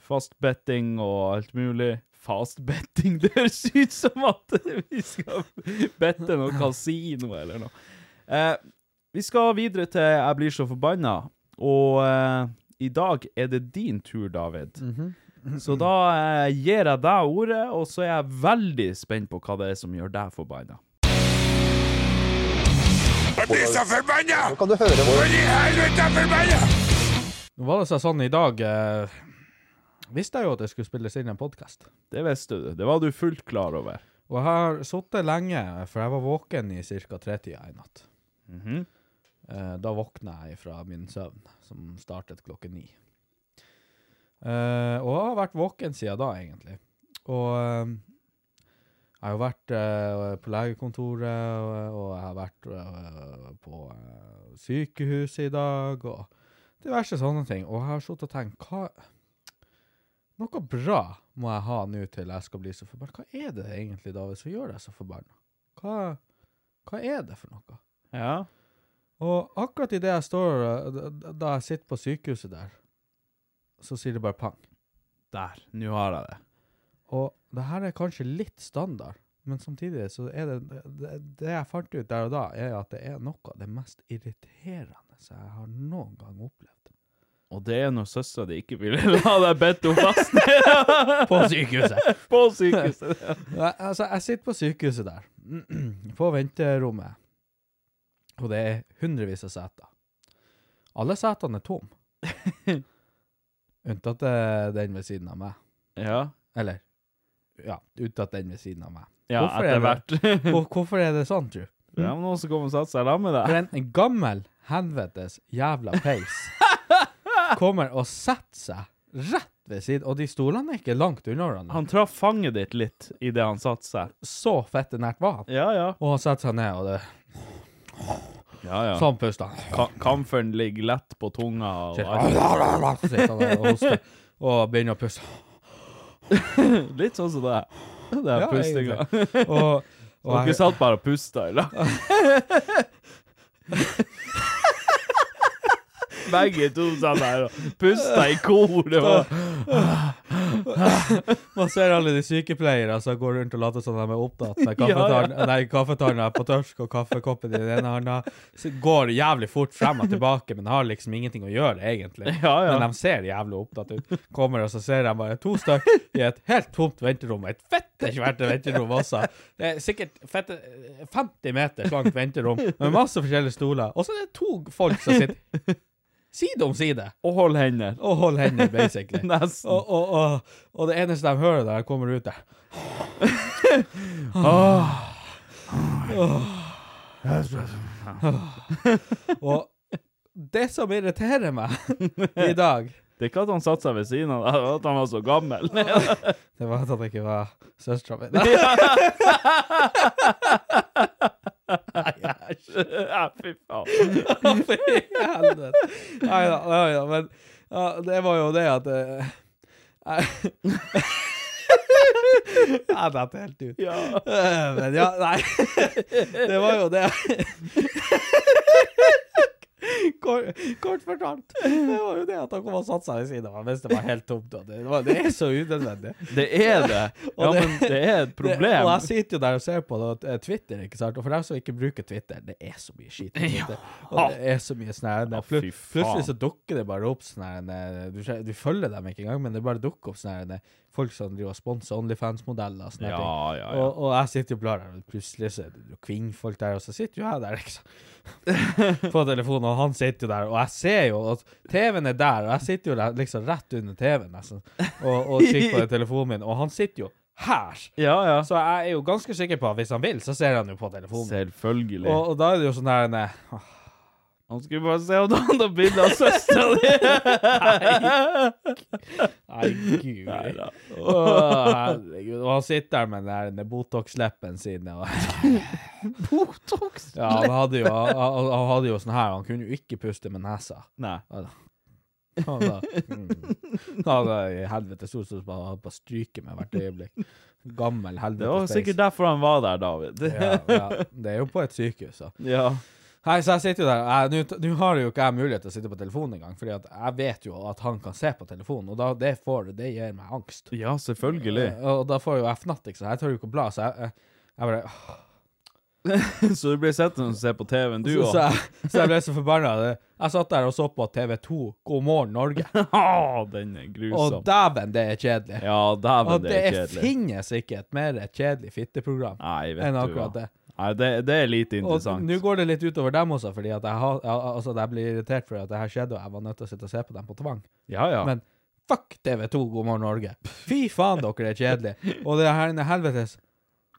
[SPEAKER 3] fastbetting og alt mulig. Fastbetting Det høres ut som at vi skal bette noe kasino eller noe. Eh, vi skal videre til Jeg blir så forbanna, og eh, i dag er det din tur, David. Så da eh, gir jeg deg ordet, og så er jeg veldig spent på hva det er som gjør deg forbanna.
[SPEAKER 4] Nå var det seg sånn i dag eh, Visste jeg jo at det skulle spilles inn en podkast.
[SPEAKER 3] Det visste du. Det var du fullt klar over.
[SPEAKER 4] Og jeg har sittet lenge, for jeg var våken i ca. tretida i natt. Eh, Da våkna jeg fra min søvn, som startet klokken ni. Eh, og jeg har vært våken siden da, egentlig. Og eh, jeg har jo vært eh, på legekontoret, og, og jeg har vært eh, på eh, sykehuset i dag, og diverse sånne ting. Og jeg har sittet og tenkt hva Noe bra må jeg ha nå til jeg skal bli så forbanna. Hva er det egentlig, David, som gjør deg så forbanna? Hva, hva er det for noe?
[SPEAKER 3] Ja.
[SPEAKER 4] Og akkurat idet jeg står eh, da- Da jeg sitter på sykehuset der, så sier det bare pang.
[SPEAKER 3] Der. Nå har jeg det.
[SPEAKER 4] Og det her er kanskje litt standard, men samtidig så er det, det Det jeg fant ut der og da, er at det er noe av det mest irriterende som jeg har noen gang opplevd.
[SPEAKER 3] Og det er når søstera di ikke ville la deg bedt henne fast ned
[SPEAKER 4] På sykehuset.
[SPEAKER 3] På sykehuset.
[SPEAKER 4] Nei, altså, jeg sitter på sykehuset der, på venterommet, og det er hundrevis av seter. Alle setene er tomme. Unntatt eh, den ved siden av meg.
[SPEAKER 3] Ja.
[SPEAKER 4] Eller, ja, unntatt den ved siden av meg.
[SPEAKER 3] ja
[SPEAKER 4] Hvorfor er
[SPEAKER 3] etter hvert.
[SPEAKER 4] det-
[SPEAKER 3] Det
[SPEAKER 4] Og hvorfor er det sånn, tru?
[SPEAKER 3] er noen som kommer og satser seg sammen med
[SPEAKER 4] For
[SPEAKER 3] deg.
[SPEAKER 4] en, en gammel helvetes jævla peis kommer og setter seg rett ved siden, og de stolene er ikke langt unna hverandre.
[SPEAKER 3] Han traff fanget ditt litt idet han satte seg.
[SPEAKER 4] Så fette nært var han.
[SPEAKER 3] Ja, ja.
[SPEAKER 4] Og han setter seg ned, og det
[SPEAKER 3] ja, ja.
[SPEAKER 4] sånn puster han.
[SPEAKER 3] Ka kamferen ligger lett på tunga. Og alt.
[SPEAKER 4] Så sitter han der og hoster, og begynner å puste.
[SPEAKER 3] Litt sånn som det. Det er
[SPEAKER 4] Ja,
[SPEAKER 3] pustinga.
[SPEAKER 4] Og, og
[SPEAKER 3] Dere
[SPEAKER 4] jeg,
[SPEAKER 3] satt bare og pusta i lag. Begge to satt der og pusta i kor. Det var
[SPEAKER 4] man ser alle de sykepleiere som går rundt og later som de er opptatt med kaffetann- nei, kaffetanna er på tørsk og kaffekoppen i den ene handa. Så Går jævlig fort frem og tilbake, men har liksom ingenting å gjøre, egentlig.
[SPEAKER 3] Ja, ja.
[SPEAKER 4] Men de ser jævlig opptatt ut. Kommer, og så ser de bare to stykk i et helt tomt venterom. Et fette svært venterom også. Det er sikkert fette, 50 meter langt venterom med masse forskjellige stoler. Og så er det to folk som sitter side om side
[SPEAKER 3] Å, hold hender.
[SPEAKER 4] og holder hender, basically.
[SPEAKER 3] Nesten.
[SPEAKER 4] Og, og, og, og det eneste de hører der, kommer ut der. Ah. Ah. Og det som irriterer meg i dag
[SPEAKER 3] Det er ikke at han satte seg ved siden av deg, det var at han var så gammel.
[SPEAKER 4] Det var at han ikke var søstera mi.
[SPEAKER 3] Ja, fy faen.
[SPEAKER 4] Helvete. Nei da, nei da, men ja, det var jo det at eh, Jeg Jeg datt helt ut.
[SPEAKER 3] Ja.
[SPEAKER 4] Eh, Men ja, nei Det var jo det Kort, kort fortalt Det var jo det at han kom og satt seg ved siden av meg Mens det var helt tomt og det, var, det er så unødvendig
[SPEAKER 3] Det er det. Ja,
[SPEAKER 4] Og det-
[SPEAKER 3] men det er et
[SPEAKER 4] det,
[SPEAKER 3] problem.
[SPEAKER 4] Og jeg sitter jo der og ser på det, og, eh, Twitter, ikke sant? Og for dem som ikke bruker Twitter, det er så mye skit. på Twitter. Og det er så mye sånn her
[SPEAKER 3] Ja, fy
[SPEAKER 4] plut-
[SPEAKER 3] faen.
[SPEAKER 4] Plutselig så dukker det bare opp sånn her eh, du, ser- du følger dem ikke engang, men det bare dukker opp sånn her eh, folk som driver og sponser Onlyfans-modeller og sånne her
[SPEAKER 3] Ja,
[SPEAKER 4] ting.
[SPEAKER 3] ja, ja.
[SPEAKER 4] Og, og jeg sitter jo og blar der, og plutselig så er det jo kvinnfolk der, og så sitter jo jeg der, ikke sant. På telefonen, og han sitter jo der, og jeg ser jo at TV-en er der, og jeg sitter jo der, liksom rett under TV-en, nesten, og, og kikker på den telefonen min, og han sitter jo her.
[SPEAKER 3] Ja, ja.
[SPEAKER 4] Så jeg er jo ganske sikker på at hvis han vil, så ser han jo på telefonen.
[SPEAKER 3] Selvfølgelig.
[SPEAKER 4] Og, og da er det jo sånn her nei,
[SPEAKER 3] Han skulle bare se om han hadde bilde av søstera di.
[SPEAKER 4] Nei, gud.
[SPEAKER 3] Nei da.
[SPEAKER 4] Å, herregud. Og han sitter der med den der- den der Botox-leppen sin. Og,
[SPEAKER 3] Botox?
[SPEAKER 4] ja, han, hadde jo, han, han- han hadde jo sånn her Han kunne jo ikke puste med nesa.
[SPEAKER 3] Nei.
[SPEAKER 4] Han da, mm. han da i helvete stort sett bare hadde på stryket med hvert øyeblikk. Gammel helvete.
[SPEAKER 3] Det var
[SPEAKER 4] space.
[SPEAKER 3] sikkert derfor han var der, David.
[SPEAKER 4] ja, ja, det er jo på et sykehus, da.
[SPEAKER 3] Ja.
[SPEAKER 4] Nei, så jeg sitter jo der. Jeg- nå- Nå har jo ikke jeg mulighet til å sitte på telefonen engang, fordi at jeg vet jo at han kan se på telefonen, og da, det, får, det gir meg angst.
[SPEAKER 3] Ja, selvfølgelig.
[SPEAKER 4] Eh, Og da får jo jeg fnatt, ikke sant. Jeg tør jo ikke å bla, så jeg, jeg, jeg bare ah. åh.
[SPEAKER 3] Så du blir sittende og se på TV-en, du
[SPEAKER 4] så, så,
[SPEAKER 3] òg.
[SPEAKER 4] jeg, så jeg ble så forbanna. Jeg satt der og så på TV2 God morgen Norge,
[SPEAKER 3] Ah, den er
[SPEAKER 4] og
[SPEAKER 3] grusom.
[SPEAKER 4] dæven, det er kjedelig.
[SPEAKER 3] Ja, dæven,
[SPEAKER 4] og
[SPEAKER 3] det er kjedelig.
[SPEAKER 4] finnes ikke et mer kjedelig fitteprogram
[SPEAKER 3] Nei, vet
[SPEAKER 4] enn
[SPEAKER 3] du
[SPEAKER 4] akkurat
[SPEAKER 3] hva.
[SPEAKER 4] det.
[SPEAKER 3] Nei, det, det er lite
[SPEAKER 4] Og
[SPEAKER 3] interessant.
[SPEAKER 4] nå går det litt utover dem også, fordi at jeg, har, al- altså, jeg blir irritert fordi at det her skjedde, og jeg var nødt til å sitte og se på dem på tvang.
[SPEAKER 3] Ja, ja.
[SPEAKER 4] Men fuck TV2 God morgen Norge. Fy faen, dere er kjedelige. Og det her denne helvetes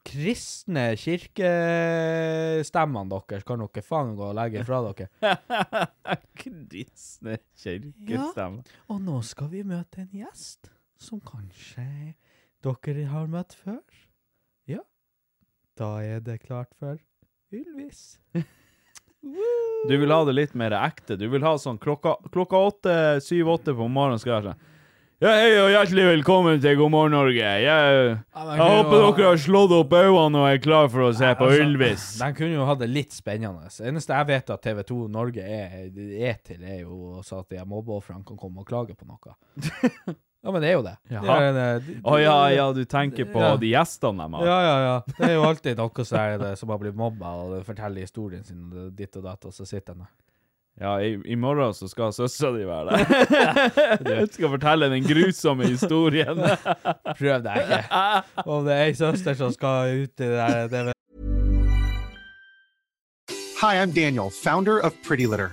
[SPEAKER 4] kristne kirkestemmene deres kan dere faen gå og legge fra dere.
[SPEAKER 3] Kristne kirkestemme.
[SPEAKER 4] Og nå skal vi møte en gjest som kanskje dere har møtt før. Ja, da er det klart for Ylvis.
[SPEAKER 3] Du vil ha det litt mer ekte. Du vil ha sånn klokka, klokka åtte, syv-åtte på morgenen skal jeg være sånn Ja, hei og hjertelig velkommen til God morgen, Norge. Jeg, jeg håper dere har slått opp øynene og er klar for å se på
[SPEAKER 4] altså,
[SPEAKER 3] Ylvis.
[SPEAKER 4] De kunne jo hatt det litt spennende. Det eneste jeg vet at TV2 Norge er, er til, er jo så at de her mobbeofrene kan komme og klage på noe. Ja, men det er jo det.
[SPEAKER 3] Ja.
[SPEAKER 4] Det er en, eh, de-
[SPEAKER 3] Å ja, ja, du tenker på
[SPEAKER 4] Ja.
[SPEAKER 3] de gjestene de har.
[SPEAKER 4] Ja, ja, ja. Det er jo alltid noe som, er det, som har blitt mobba, og det forteller historien sin og det- ditt og datt, og så sitter den der.
[SPEAKER 3] Ja, i, i morgen så skal søstera di være der. Hun skal fortelle den grusomme historien.
[SPEAKER 4] Prøv deg ikke. Om det er ei søster som skal ut i det der det vet-
[SPEAKER 5] Hi, I'm Daniel, founder of Pretty Litter.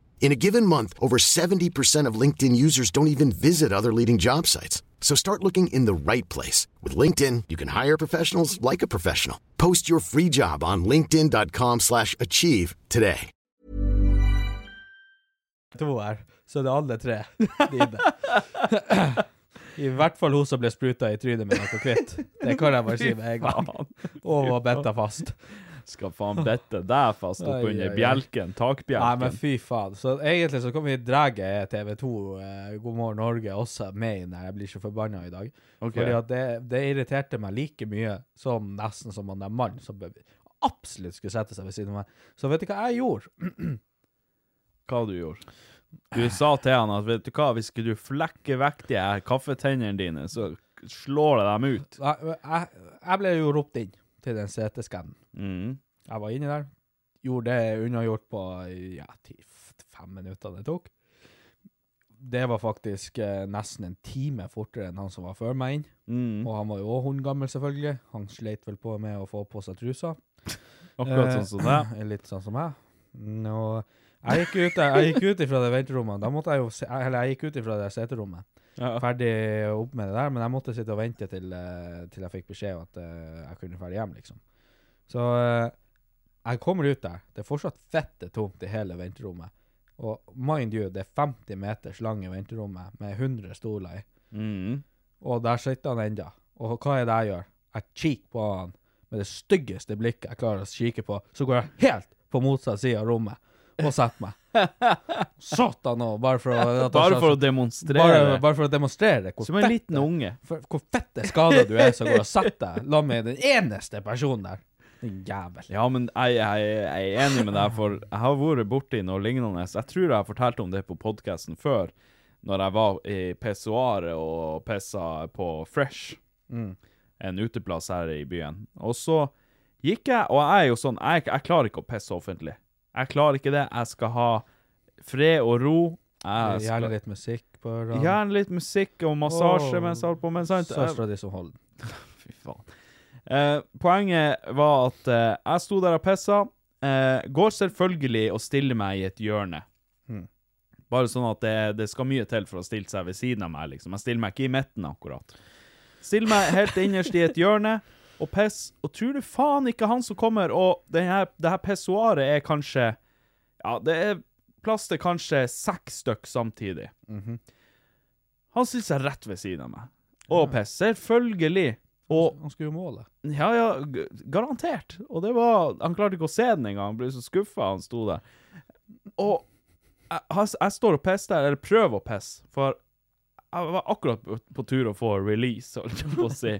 [SPEAKER 6] In a given month, over 70% of LinkedIn users don't even visit other leading job sites. So start looking in the right place. With LinkedIn, you can hire professionals like a professional. Post your free job on linkedin.com/achieve slash achieve today.
[SPEAKER 4] to her, så er det alle tre dine. I hvert fall hun som ble spruta i trynet med noe hvitt. Det kan jeg bare si med en gang.
[SPEAKER 3] Faen.
[SPEAKER 4] Og var bitta fast.
[SPEAKER 3] Skal faen bette deg fast
[SPEAKER 4] Ai, ai,
[SPEAKER 3] oppunder
[SPEAKER 4] ai.
[SPEAKER 3] bjelken,
[SPEAKER 4] Nei, men
[SPEAKER 3] takbjelken.
[SPEAKER 4] fy faen. Så egentlig så kan vi dra TV2 eh, God morgen Norge også med inn her. Jeg blir så forbanna i dag.
[SPEAKER 3] Ok.
[SPEAKER 4] Fordi at det, det irriterte meg like mye som nesten som han der mannen som be- absolutt skulle sette seg ved siden av meg. Så vet du hva jeg gjorde?
[SPEAKER 3] hva du gjorde. Du sa til han at vet du hva, hvis ikke du flekker vekk de her kaffetennene dine, så slår jeg dem ut.
[SPEAKER 4] Jeg, jeg, jeg ble jo ropt inn til den CT-skannen.
[SPEAKER 3] Mm.
[SPEAKER 4] Jeg var inni der. Gjorde det unnagjort på ja, ti, f- fem minutter det tok. Det var faktisk eh, nesten en time fortere enn han som var før meg inn.
[SPEAKER 3] Mm.
[SPEAKER 4] Og han var jo òg hundegammel, selvfølgelig. Han sleit vel på med å få på seg trusa.
[SPEAKER 3] Akkurat sånn som deg.
[SPEAKER 4] Eh, Litt sånn som meg. Nå, jeg gikk ut, jeg gikk ut ifra det venterommet. Da måtte jeg jo se, eller jeg gikk ut ifra det seterommet.
[SPEAKER 3] Ja.
[SPEAKER 4] Ferdig opp med det der, men jeg måtte sitte og vente til, eh, til jeg fikk beskjed om at eh, jeg kunne ferdig hjem, liksom. Så eh, jeg kommer ut der. Det er fortsatt fette tomt i hele venterommet. Og mind you, det er 50 meters lange venterommet med 100 stoler i.
[SPEAKER 3] Mm.
[SPEAKER 4] Og der sitter han enda. Og hva er det jeg gjør? Jeg kikker på han med det styggeste blikket jeg klarer å kikke på. Så går jeg helt på motsatt side av rommet og setter meg. Satan òg, bare for å at han
[SPEAKER 3] Bare
[SPEAKER 4] skal-
[SPEAKER 3] for å
[SPEAKER 4] bare,
[SPEAKER 3] demonstrere.
[SPEAKER 4] bare for å demonstrere hvor
[SPEAKER 3] Som en liten unge.
[SPEAKER 4] for, hvor fette skada du er som går og setter deg la meg den eneste personen der. Din jævel.
[SPEAKER 3] Ja, men jeg, jeg, jeg er enig med deg, for jeg har vært borti noe lignende. Jeg tror jeg har fortalt om det på podkasten før, når jeg var i pissoaret og pissa på Fresh,
[SPEAKER 4] Mm.
[SPEAKER 3] en uteplass her i byen. Og så gikk jeg, og jeg er jo sånn Jeg, jeg klarer ikke å pisse offentlig. Jeg klarer ikke det. Jeg skal ha fred og ro. Jeg skal,
[SPEAKER 4] Gjerne litt musikk på ørene.
[SPEAKER 3] Gjerne litt musikk og massasje
[SPEAKER 4] Åh.
[SPEAKER 3] mens jeg holder på med sant? Jeg-
[SPEAKER 4] Søstera di som holder den.
[SPEAKER 3] Fy faen. Eh, poenget var at eh, jeg sto der og pissa. eh, går selvfølgelig og stiller meg i et hjørne. Bare sånn at det, det skal mye til for å stille seg ved siden av meg. liksom. Jeg stiller meg ikke i midten, akkurat. Stiller meg helt innerst i et hjørne og piss, og tror du faen ikke han som kommer Og det her, det her pissoaret er kanskje Ja, det er plass til kanskje seks stykk samtidig. Han stiller seg rett ved siden av meg og pisser, selvfølgelig. Og
[SPEAKER 4] Han skulle jo måle.
[SPEAKER 3] ja, ja, g- garantert. Og det var Han klarte ikke å se den engang. Han ble så skuffa han sto der. Og jeg, han s- jeg står og pisser der, eller prøver å pisse, for jeg var akkurat på, på tur å få release, holdt jeg på å si.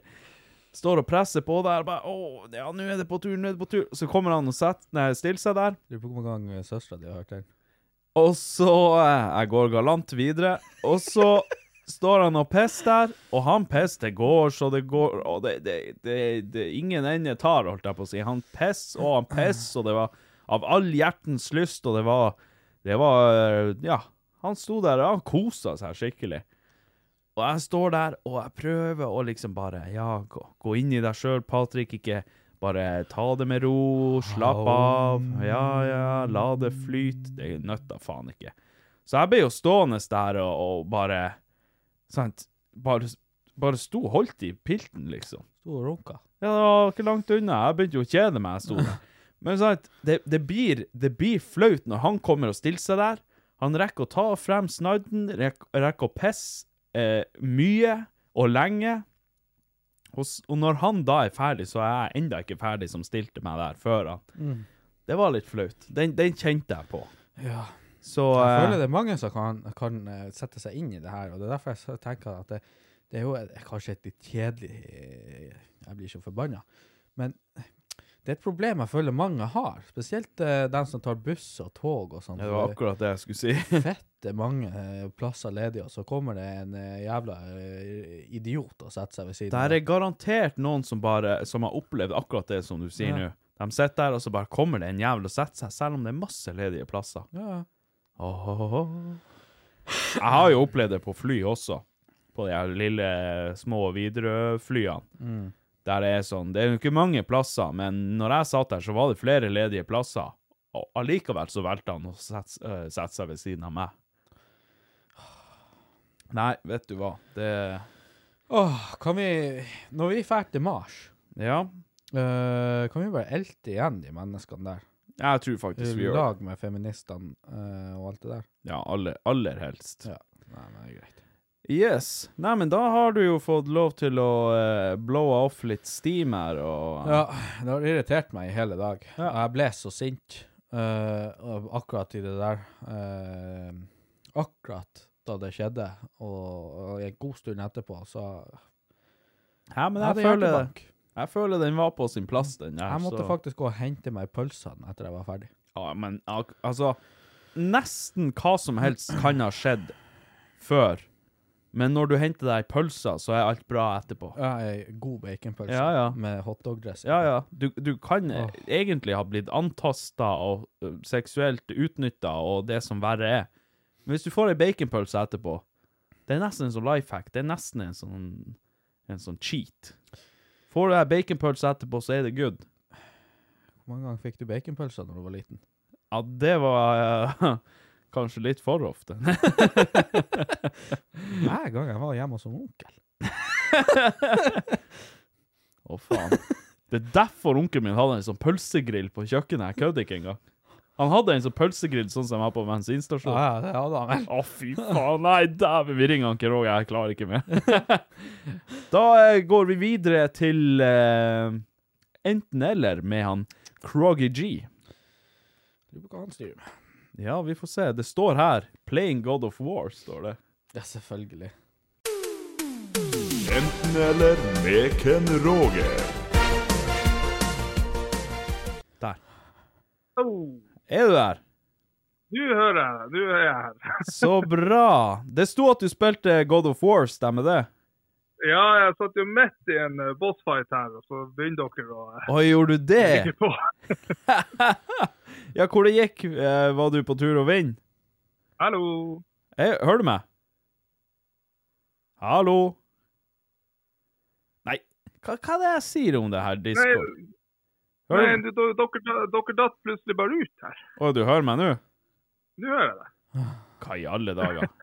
[SPEAKER 3] Står og presser på der. Bare, å, ja, nå er det på tur, nå er det på tur. Så kommer han og setter, nei, stiller seg der.
[SPEAKER 4] Lurer på hvor mange ganger søstera di har hørt den.
[SPEAKER 3] Og så eh, Jeg går galant videre. Og så står han og pisser der, og han pisser det går så det går Og det, det, det, det ingen ende tar, holdt jeg på å si. Han pisser og han pisser, og det var av all hjertens lyst, og det var Det var eh, Ja. Han sto der, og han kosa seg skikkelig. Og jeg står der, og jeg prøver å liksom bare Ja, gå, gå inn i deg sjøl, Patrick. Ikke bare ta det med ro, slapp av. Ja, ja, la det flyte. Det nøtta faen ikke. Så jeg ble jo stående der og, og bare Sant? Bare, bare sto og holdt i pilten, liksom.
[SPEAKER 4] Sto og runka.
[SPEAKER 3] Ja, det var ikke langt unna. Jeg begynte jo å kjede meg. Jeg sto der. Men sant, det, det, blir, det blir flaut når han kommer og stiller seg der. Han rekker å ta frem snadden, rek, rekker å pisse eh, mye og lenge. Og, s- og når han da er ferdig, så er jeg enda ikke ferdig som stilte meg der før han.
[SPEAKER 4] Mm.
[SPEAKER 3] Det var litt flaut. Den, den kjente jeg på.
[SPEAKER 4] Ja.
[SPEAKER 3] Så
[SPEAKER 4] Jeg
[SPEAKER 3] eh,
[SPEAKER 4] føler det er mange som kan, kan eh, sette seg inn i det her, og det er derfor jeg s- tenker at det, det er jo et, kanskje et litt kjedelig eh, Jeg blir så forbanna. Men det er et problem jeg føler mange har, spesielt eh, dem som tar buss og tog og sånn.
[SPEAKER 3] ja, det var akkurat det jeg skulle si.
[SPEAKER 4] Fette mange eh, plasser ledige, og så kommer det en eh, jævla eh, idiot og setter seg ved siden
[SPEAKER 3] Der er garantert noen som bare Som har opplevd akkurat det som du sier nå.
[SPEAKER 4] Ja.
[SPEAKER 3] De sitter der, og så bare kommer det en jævel og setter seg, selv om det er masse ledige plasser.
[SPEAKER 4] Ja, ja.
[SPEAKER 3] Åhåhå. Jeg har jo opplevd det på fly også. På de her lille, små Widerøe-flyene.
[SPEAKER 4] Mm.
[SPEAKER 3] Der det er sånn Det er jo ikke mange plasser, men når jeg satt der, så var det flere ledige plasser. Og allikevel så valgte han å sette, øh, sette seg ved siden av meg. Nei, vet du hva. Det
[SPEAKER 4] Åh, kan vi Når vi drar til Mars,
[SPEAKER 3] Ja.
[SPEAKER 4] eh, kan vi bare elte igjen de menneskene der?
[SPEAKER 3] Jeg tror faktisk vi
[SPEAKER 4] I
[SPEAKER 3] gjør det.
[SPEAKER 4] lag med feministene eh, og alt det der.
[SPEAKER 3] Ja, aller, aller helst.
[SPEAKER 4] Ja. Nei, men det er greit.
[SPEAKER 3] Yes. Nei, men da har du jo fått lov til å eh, blowa off litt steam her, og eh,
[SPEAKER 4] Ja, det har irritert meg i hele dag. Og Jeg ble så sint eh, av akkurat i det der. eh, akkurat da det skjedde, og, og en god stund etterpå, så
[SPEAKER 3] Hæ, men jeg
[SPEAKER 4] Jeg hadde
[SPEAKER 3] føler,
[SPEAKER 4] hjertebank.
[SPEAKER 3] jeg føler den var på sin plass, den der.
[SPEAKER 4] Jeg måtte
[SPEAKER 3] så-
[SPEAKER 4] faktisk gå og hente meg pølsene etter jeg var ferdig.
[SPEAKER 3] Ja, men ak- altså Nesten hva som helst kan ha skjedd før, men når du henter deg pølser, så er alt bra etterpå.
[SPEAKER 4] Ja, ei god baconpølse
[SPEAKER 3] Ja, ja.
[SPEAKER 4] med hotdog-dressing.
[SPEAKER 3] Ja, ja. Du, du kan
[SPEAKER 4] Åh.
[SPEAKER 3] egentlig ha blitt antasta og ø, seksuelt utnytta og det som verre er. Men hvis du får ei baconpølse etterpå, det er nesten en sånn life hack. Det er nesten en sånn, en sånn cheat. Får du ei baconpølse etterpå, så er det good.
[SPEAKER 4] Hvor mange ganger fikk du baconpølser når du var liten?
[SPEAKER 3] Ja, det var ø, kanskje litt for ofte.
[SPEAKER 4] Hver gang jeg var hjemme hos en onkel.
[SPEAKER 3] Å, faen. Det er derfor onkelen min hadde en sånn pølsegrill på kjøkkenet. Jeg kødder ikke engang. Han hadde en sånn pølsegrill sånn som jeg har på bensinstasjonen.
[SPEAKER 4] Ja, ja, det hadde han vel.
[SPEAKER 3] Å, fy faen. Nei, dæven, vi ringer han ikke Roger. Jeg klarer ikke mer. da eh, går vi videre til eh, enten-eller med han Croggy G.
[SPEAKER 4] Lurer på hva han styrer med.
[SPEAKER 3] Ja, vi får se. Det står her 'Playing God of War', står det.
[SPEAKER 4] Ja, selvfølgelig.
[SPEAKER 7] Enten eller med Ken Roger.
[SPEAKER 3] Der. Er du der?
[SPEAKER 8] Du hører, du er jeg her.
[SPEAKER 3] Så bra. Det sto at du spilte God of War, stemmer det?
[SPEAKER 8] Ja, jeg satt jo midt i en eh, bossfight her, og så begynner dere å eh,
[SPEAKER 3] Oi, gjorde du det?
[SPEAKER 8] kikke på.
[SPEAKER 3] ja, hvor det gikk? Eh, var du på tur å vinne?
[SPEAKER 8] Hallo.
[SPEAKER 3] Hei, hører du meg? Hallo? Nei, hva, hva er det jeg sier om det her
[SPEAKER 8] Nei,
[SPEAKER 3] Discord?
[SPEAKER 8] nei
[SPEAKER 3] Hører du?
[SPEAKER 8] du, du- dere, dere datt plutselig bare ut her.
[SPEAKER 3] Å, du hører meg nå?
[SPEAKER 8] Nå hører jeg det.
[SPEAKER 3] Hva i alle dager?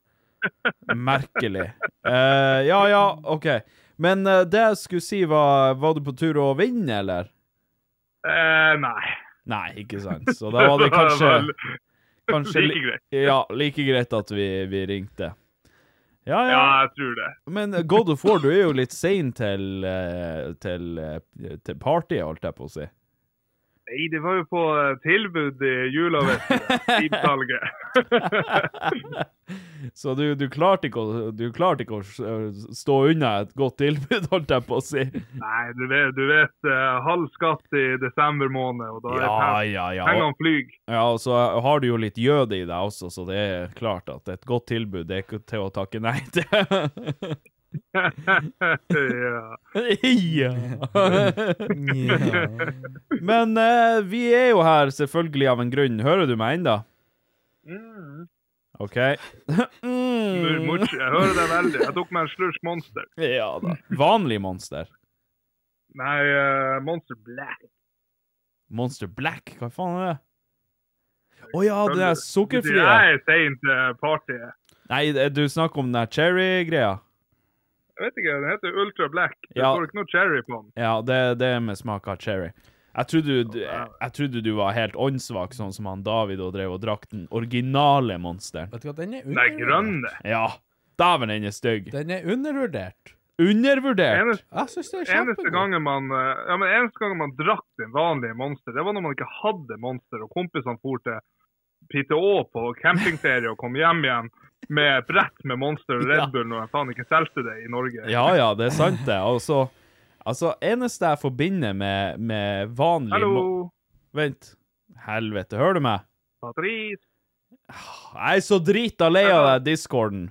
[SPEAKER 3] Merkelig. Eh, ja, ja, OK. Men eh, det jeg skulle si, var Var du på tur å vinne, eller?
[SPEAKER 8] Eh, nei.
[SPEAKER 3] Nei, ikke sant. Så da var det kanskje,
[SPEAKER 8] vel
[SPEAKER 3] kanskje
[SPEAKER 8] like greit.
[SPEAKER 3] Ja, like greit at vi, vi ringte. Ja,
[SPEAKER 8] Ja,
[SPEAKER 3] ja.
[SPEAKER 8] jeg tror det.
[SPEAKER 3] Men God of War, du er jo eh, litt sein til, eh, til, eh, til partyet, holdt jeg på å si.
[SPEAKER 8] Nei, det var jo på eh, tilbud i jula, vet du. Skipsalget.
[SPEAKER 3] Så du, du, klarte ikke å, du klarte ikke å s- stå unna et godt tilbud, holdt jeg på å si.
[SPEAKER 8] Nei, du vet, du vet eh, halv skatt i desember måned, og da er
[SPEAKER 3] Ja,
[SPEAKER 8] pe-
[SPEAKER 3] ja, ja.
[SPEAKER 8] pengene flyg.
[SPEAKER 3] Ja, og så har du jo litt jøde i deg også, så det er klart at et godt tilbud det er ikke til å takke nei til.
[SPEAKER 8] ja.
[SPEAKER 3] ja. Men eh, vi er jo her selvfølgelig av en grunn. Hører du meg ennå?
[SPEAKER 8] Mm.
[SPEAKER 3] OK. Mm.
[SPEAKER 8] Murmurs, jeg hører deg veldig. Jeg tok meg en slursk monster.
[SPEAKER 3] Ja da. Vanlig monster.
[SPEAKER 8] Nei, eh, monster black.
[SPEAKER 3] Monster Black, hva faen er det? Å ja, det er sukkerfrie.
[SPEAKER 8] Jeg er sein til partyet.
[SPEAKER 3] Nei, du snakker om den der cherry-greia.
[SPEAKER 8] Jeg vet ikke, den heter Ultra Black. Det
[SPEAKER 3] Ja.
[SPEAKER 8] står ikke noe cherry på den.
[SPEAKER 3] Ja, det, det er med smak av cherry. Jeg trodde, du, jeg, jeg trodde du var helt åndssvak, sånn som han David og drev og drakk den originale monsteren.
[SPEAKER 4] Vet du hva, den
[SPEAKER 3] Mm.
[SPEAKER 4] er
[SPEAKER 8] Den er grønn.
[SPEAKER 4] undervurdert.
[SPEAKER 8] det.
[SPEAKER 3] Ja. Dæven, den er stygg.
[SPEAKER 4] Den er undervurdert.
[SPEAKER 3] Undervurdert.
[SPEAKER 8] Eneste,
[SPEAKER 4] Jeg syns den er
[SPEAKER 8] eneste,
[SPEAKER 4] kjempegod.
[SPEAKER 8] gangen man, eh, ja, men eneste gangen man drakk den vanlige monster, det var når man ikke hadde monster, og kompisene for til PTÅ på campingferie og kom hjem igjen med et brett med monster og
[SPEAKER 3] Ja.
[SPEAKER 8] Red Bull når jeg faen ikke solgte det i Norge.
[SPEAKER 3] Ja ja, det er sant, det. Altså, altså eneste jeg forbinder med, med vanlig mo-
[SPEAKER 8] Hallo,
[SPEAKER 3] Vent. Helvete, hører du meg?
[SPEAKER 8] Patrice.
[SPEAKER 3] Jeg er så drita lei av deg, discorden.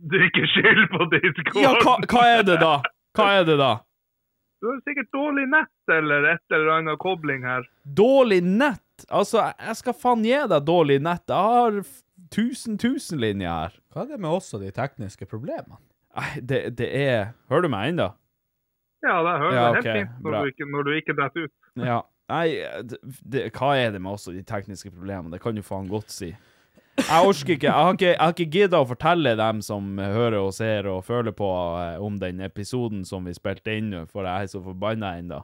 [SPEAKER 8] Du er ikke skyld på Discord.
[SPEAKER 3] Ja, hva, hva er det, da? Hva er det, da?
[SPEAKER 8] Du har sikkert dårlig nett eller et eller annet kobling her.
[SPEAKER 3] Dårlig nett? Altså, jeg- jeg skal faen gi deg dårlig nett. Jeg har f- tusen, tusen linjer her.
[SPEAKER 4] Hva er det med oss og de tekniske problemene?
[SPEAKER 3] Nei, det, det er Hører du meg ennå?
[SPEAKER 8] Ja, det hører
[SPEAKER 3] Ja,
[SPEAKER 8] jeg
[SPEAKER 3] ok,
[SPEAKER 8] helt fint når
[SPEAKER 3] bra.
[SPEAKER 8] du, ikke, når du ikke detter ut.
[SPEAKER 3] Ja. Nei, det, det, hva er det med også de tekniske problemene? Det kan du faen godt si. Jeg orker ikke. Jeg har ikke, jeg har ikke gidda å fortelle dem som hører og ser og føler på eh, om den episoden som vi spilte inn, nå, for jeg er så forbanna ennå.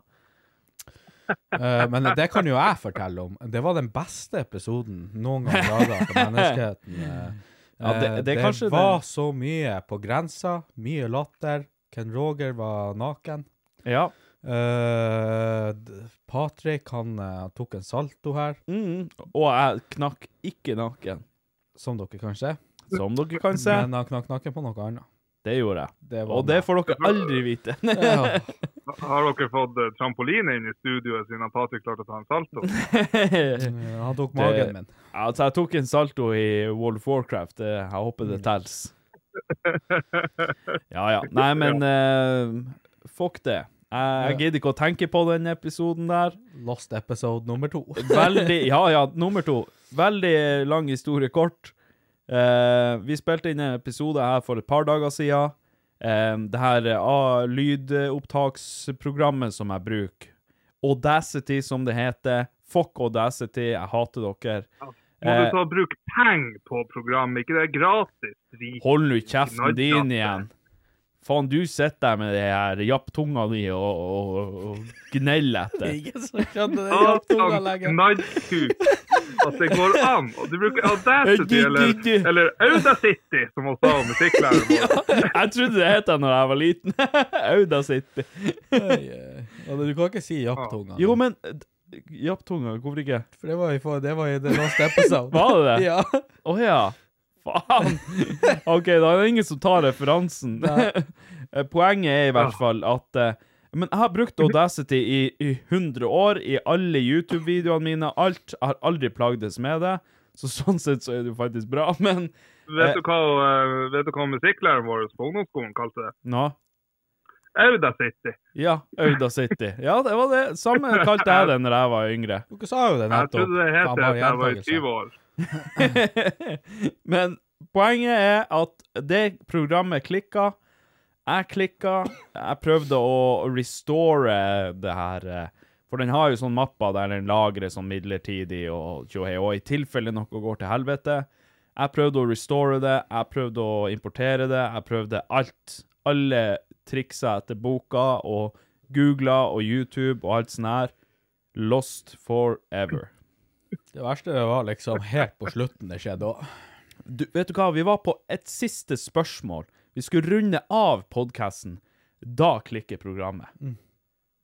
[SPEAKER 4] Eh, men det kan jo jeg fortelle om. Det var den beste episoden noen gang laga for menneskeheten. eh.
[SPEAKER 3] Ja, det-
[SPEAKER 4] Eh,
[SPEAKER 3] det er kanskje
[SPEAKER 4] var
[SPEAKER 3] det-
[SPEAKER 4] så mye på grensa, mye latter. Ken Roger var naken.
[SPEAKER 3] Ja.
[SPEAKER 4] Eh, d- Patrick han eh, tok en salto her,
[SPEAKER 3] Mm. Og jeg knakk ikke nakken,
[SPEAKER 4] som dere kan se.
[SPEAKER 3] som dere kan se.
[SPEAKER 4] Men han knakk nakken på noe annet.
[SPEAKER 3] Det gjorde jeg.
[SPEAKER 4] Det var
[SPEAKER 3] Og det
[SPEAKER 4] meg.
[SPEAKER 3] får dere aldri vite.
[SPEAKER 4] Ja.
[SPEAKER 8] Har dere fått eh, trampoline inn i studioet siden Patrick klarte å ta en salto?
[SPEAKER 4] Eh, Han tok magen min.
[SPEAKER 3] altså, jeg tok en salto i World of Warcraft. Det, jeg håper det telles. Ja, ja. Nei, men eh, fuck det. Jeg, jeg gidder ikke å tenke på den episoden der.
[SPEAKER 4] Lost episode nummer to.
[SPEAKER 3] Veldig Ja, ja, nummer to. Veldig lang historie kort. Eh, vi spilte inn en episode her for et par dager siden. Eh, det her eh, ah, lydopptaksprogrammet som jeg bruker. Audacity, som det heter. Fuck Audacity, jeg hater dere.
[SPEAKER 8] Må du
[SPEAKER 3] Eh,
[SPEAKER 8] ta bruk penger på programmet, ikke det er gratis. drit.
[SPEAKER 3] Hold nå kjeften
[SPEAKER 8] Gnagg,
[SPEAKER 3] din
[SPEAKER 8] da.
[SPEAKER 3] igjen. Faen, du sitter der med det her japptunga di og, og, og- og gneller etter.
[SPEAKER 4] Ingen som skjønte det. Hjalp tunga
[SPEAKER 8] Satan
[SPEAKER 4] lenge.
[SPEAKER 8] knaddkuk. At det går an. Og du bruker Audacity
[SPEAKER 3] Eh, du-
[SPEAKER 8] eller,
[SPEAKER 3] du- du.
[SPEAKER 8] eller Audacity, som hun sa om musikklæreren vår.
[SPEAKER 3] Jeg trodde det het det når jeg var liten. Audacity.
[SPEAKER 4] Oi, oi. eh, Og Du kan ikke si japptunga.
[SPEAKER 3] Jo, men d- Japptunga, hvorfor ikke?
[SPEAKER 4] For det var i, for, det var i the lost episode.
[SPEAKER 3] Var det det?
[SPEAKER 4] Ja.
[SPEAKER 3] Å ja. Faen. OK, da er det ingen som tar referansen. Eh, Poenget er i hvert fall at eh, Men jeg har brukt Audacity i, i 100 år i alle YouTube-videoene mine. Alt. Jeg har aldri plagdes med det. Så sånn sett så er det jo faktisk bra, men
[SPEAKER 8] Vet du hva, eh, vet du hva musikklæreren vår på ungdomsskolen kalte det?
[SPEAKER 3] Nå.
[SPEAKER 8] Audacity.
[SPEAKER 3] Ja, Audacity. Ja, det var det. Samme kalte jeg det når jeg var yngre.
[SPEAKER 4] Dere sa jo det
[SPEAKER 8] Jeg
[SPEAKER 4] nettopp.
[SPEAKER 8] trodde det het
[SPEAKER 4] Faen,
[SPEAKER 8] det
[SPEAKER 4] bare
[SPEAKER 8] da jeg var i
[SPEAKER 4] gjentagelse.
[SPEAKER 8] 20 år.
[SPEAKER 3] Men poenget er at det programmet klikka. Jeg klikka. Jeg prøvde å restore det her. eh, For den har jo sånn mappa der den lagrer sånn midlertidig og tjohei, og i tilfelle noe går til helvete. Jeg prøvde å restore det, jeg prøvde å importere det, jeg prøvde alt. Alle triksa etter boka og googla og YouTube og alt sånn her. Lost forever.
[SPEAKER 4] Det verste var liksom helt på slutten det skjedde òg.
[SPEAKER 3] du, vet du hva, vi var på et siste spørsmål. Vi skulle runde av podkasten. Da klikker programmet.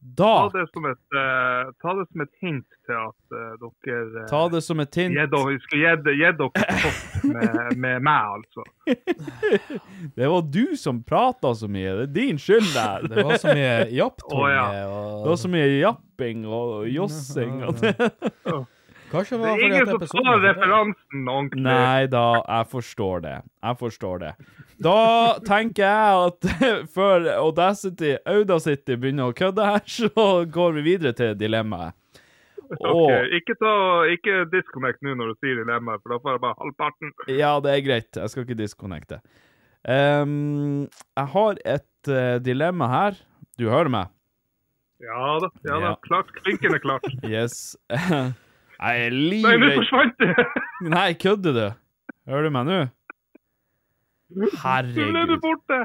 [SPEAKER 3] Da
[SPEAKER 8] Ta det som et, eh, ta det som et hint til at eh, dere eh,
[SPEAKER 3] Ta det som et hint.
[SPEAKER 8] gi dere- skulle gi de- gi dere topp med, med meg, altså.
[SPEAKER 3] Det var du som prata så mye. Det er din skyld, der.
[SPEAKER 4] Det var så mye japptunge
[SPEAKER 8] Å,
[SPEAKER 3] Det var så mye japping og jossing. Og
[SPEAKER 4] Kanskje det
[SPEAKER 8] Det
[SPEAKER 4] var
[SPEAKER 8] er
[SPEAKER 4] fordi
[SPEAKER 8] ingen
[SPEAKER 4] at
[SPEAKER 8] som
[SPEAKER 4] episoden altså?
[SPEAKER 8] tar
[SPEAKER 4] var så bra.
[SPEAKER 8] referansen ordentlig.
[SPEAKER 3] Nei da, jeg forstår det. Jeg forstår det. Da tenker jeg at før Audacity, Audacity begynner å kødde her, så går vi videre til dilemmaet. Og
[SPEAKER 8] Ok, Ikke, ta, ikke disconnect nå når du sier dilemmaet, for da får jeg bare halvparten.
[SPEAKER 3] Ja, det er greit. Jeg skal ikke disconnecte. Ehm, jeg har et eh, dilemma her. Du hører meg?
[SPEAKER 8] Ja da, ja da.
[SPEAKER 3] Ja.
[SPEAKER 8] Klart. Klinken er klart.
[SPEAKER 3] Yes. jeg er
[SPEAKER 8] Nei, nå
[SPEAKER 3] livredd
[SPEAKER 8] forsvant det!
[SPEAKER 3] Nei, kødder du? Hører du meg nå?
[SPEAKER 8] Du ble
[SPEAKER 3] Herregud.
[SPEAKER 8] du borte!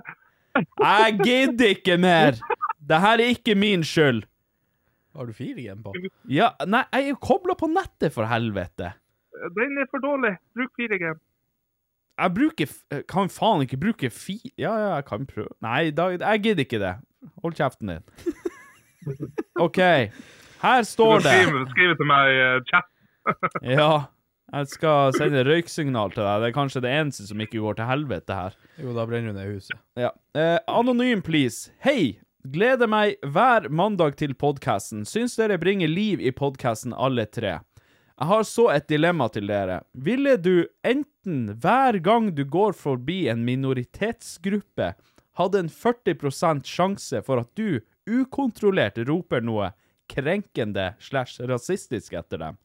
[SPEAKER 3] Jeg gidder ikke mer! Det her er ikke min skyld.
[SPEAKER 4] Har du 4G på?
[SPEAKER 3] Ja, nei, jeg er jo kobla på nettet, for helvete.
[SPEAKER 8] Den er for dårlig. Bruk 4G.
[SPEAKER 3] Jeg bruker f- eh, Kan faen ikke bruke fi... Ja, ja, jeg kan prøve Nei, da, jeg gidder ikke det. Hold kjeften din. OK. Her står det
[SPEAKER 8] Skriv, skriv til meg i eh, chat.
[SPEAKER 3] Ja. Jeg skal sende røyksignal til deg. Det er kanskje det eneste som ikke går til helvete her.
[SPEAKER 4] Jo, da brenner du ned huset.
[SPEAKER 3] Ja. Eh, anonym, please. Hei! Gleder meg hver mandag til podkasten. Syns dere bringer liv i podkasten, alle tre. Jeg har så et dilemma til dere. Ville du enten hver gang du går forbi en minoritetsgruppe, hadde en 40 sjanse for at du ukontrollert roper noe krenkende slash rasistisk etter dem?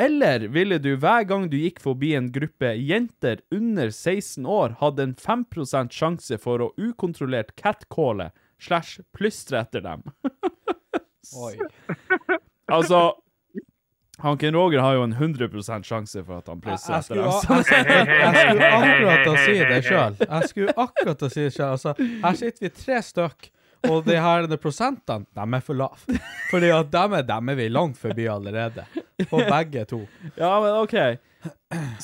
[SPEAKER 3] Eller ville du hver gang du gikk forbi en gruppe jenter under 16 år, hadde en 5 sjanse for å ukontrollert catcalle slash plystre etter dem?
[SPEAKER 4] Oi.
[SPEAKER 3] altså Hanken Roger har jo en 100 sjanse for at han
[SPEAKER 4] Jeg,
[SPEAKER 3] plystrer etter
[SPEAKER 4] jeg, skulle,
[SPEAKER 3] dem.
[SPEAKER 4] jeg,
[SPEAKER 3] så-
[SPEAKER 4] skulle- jeg skulle akkurat til å si det sjøl. Jeg skulle akkurat til å si det sjøl. Altså, her sitter vi tre stykk, og de her de prosentene, de er for lave. Fordi at dem er, dem er vi langt forbi allerede. På begge to.
[SPEAKER 3] Ja, men OK.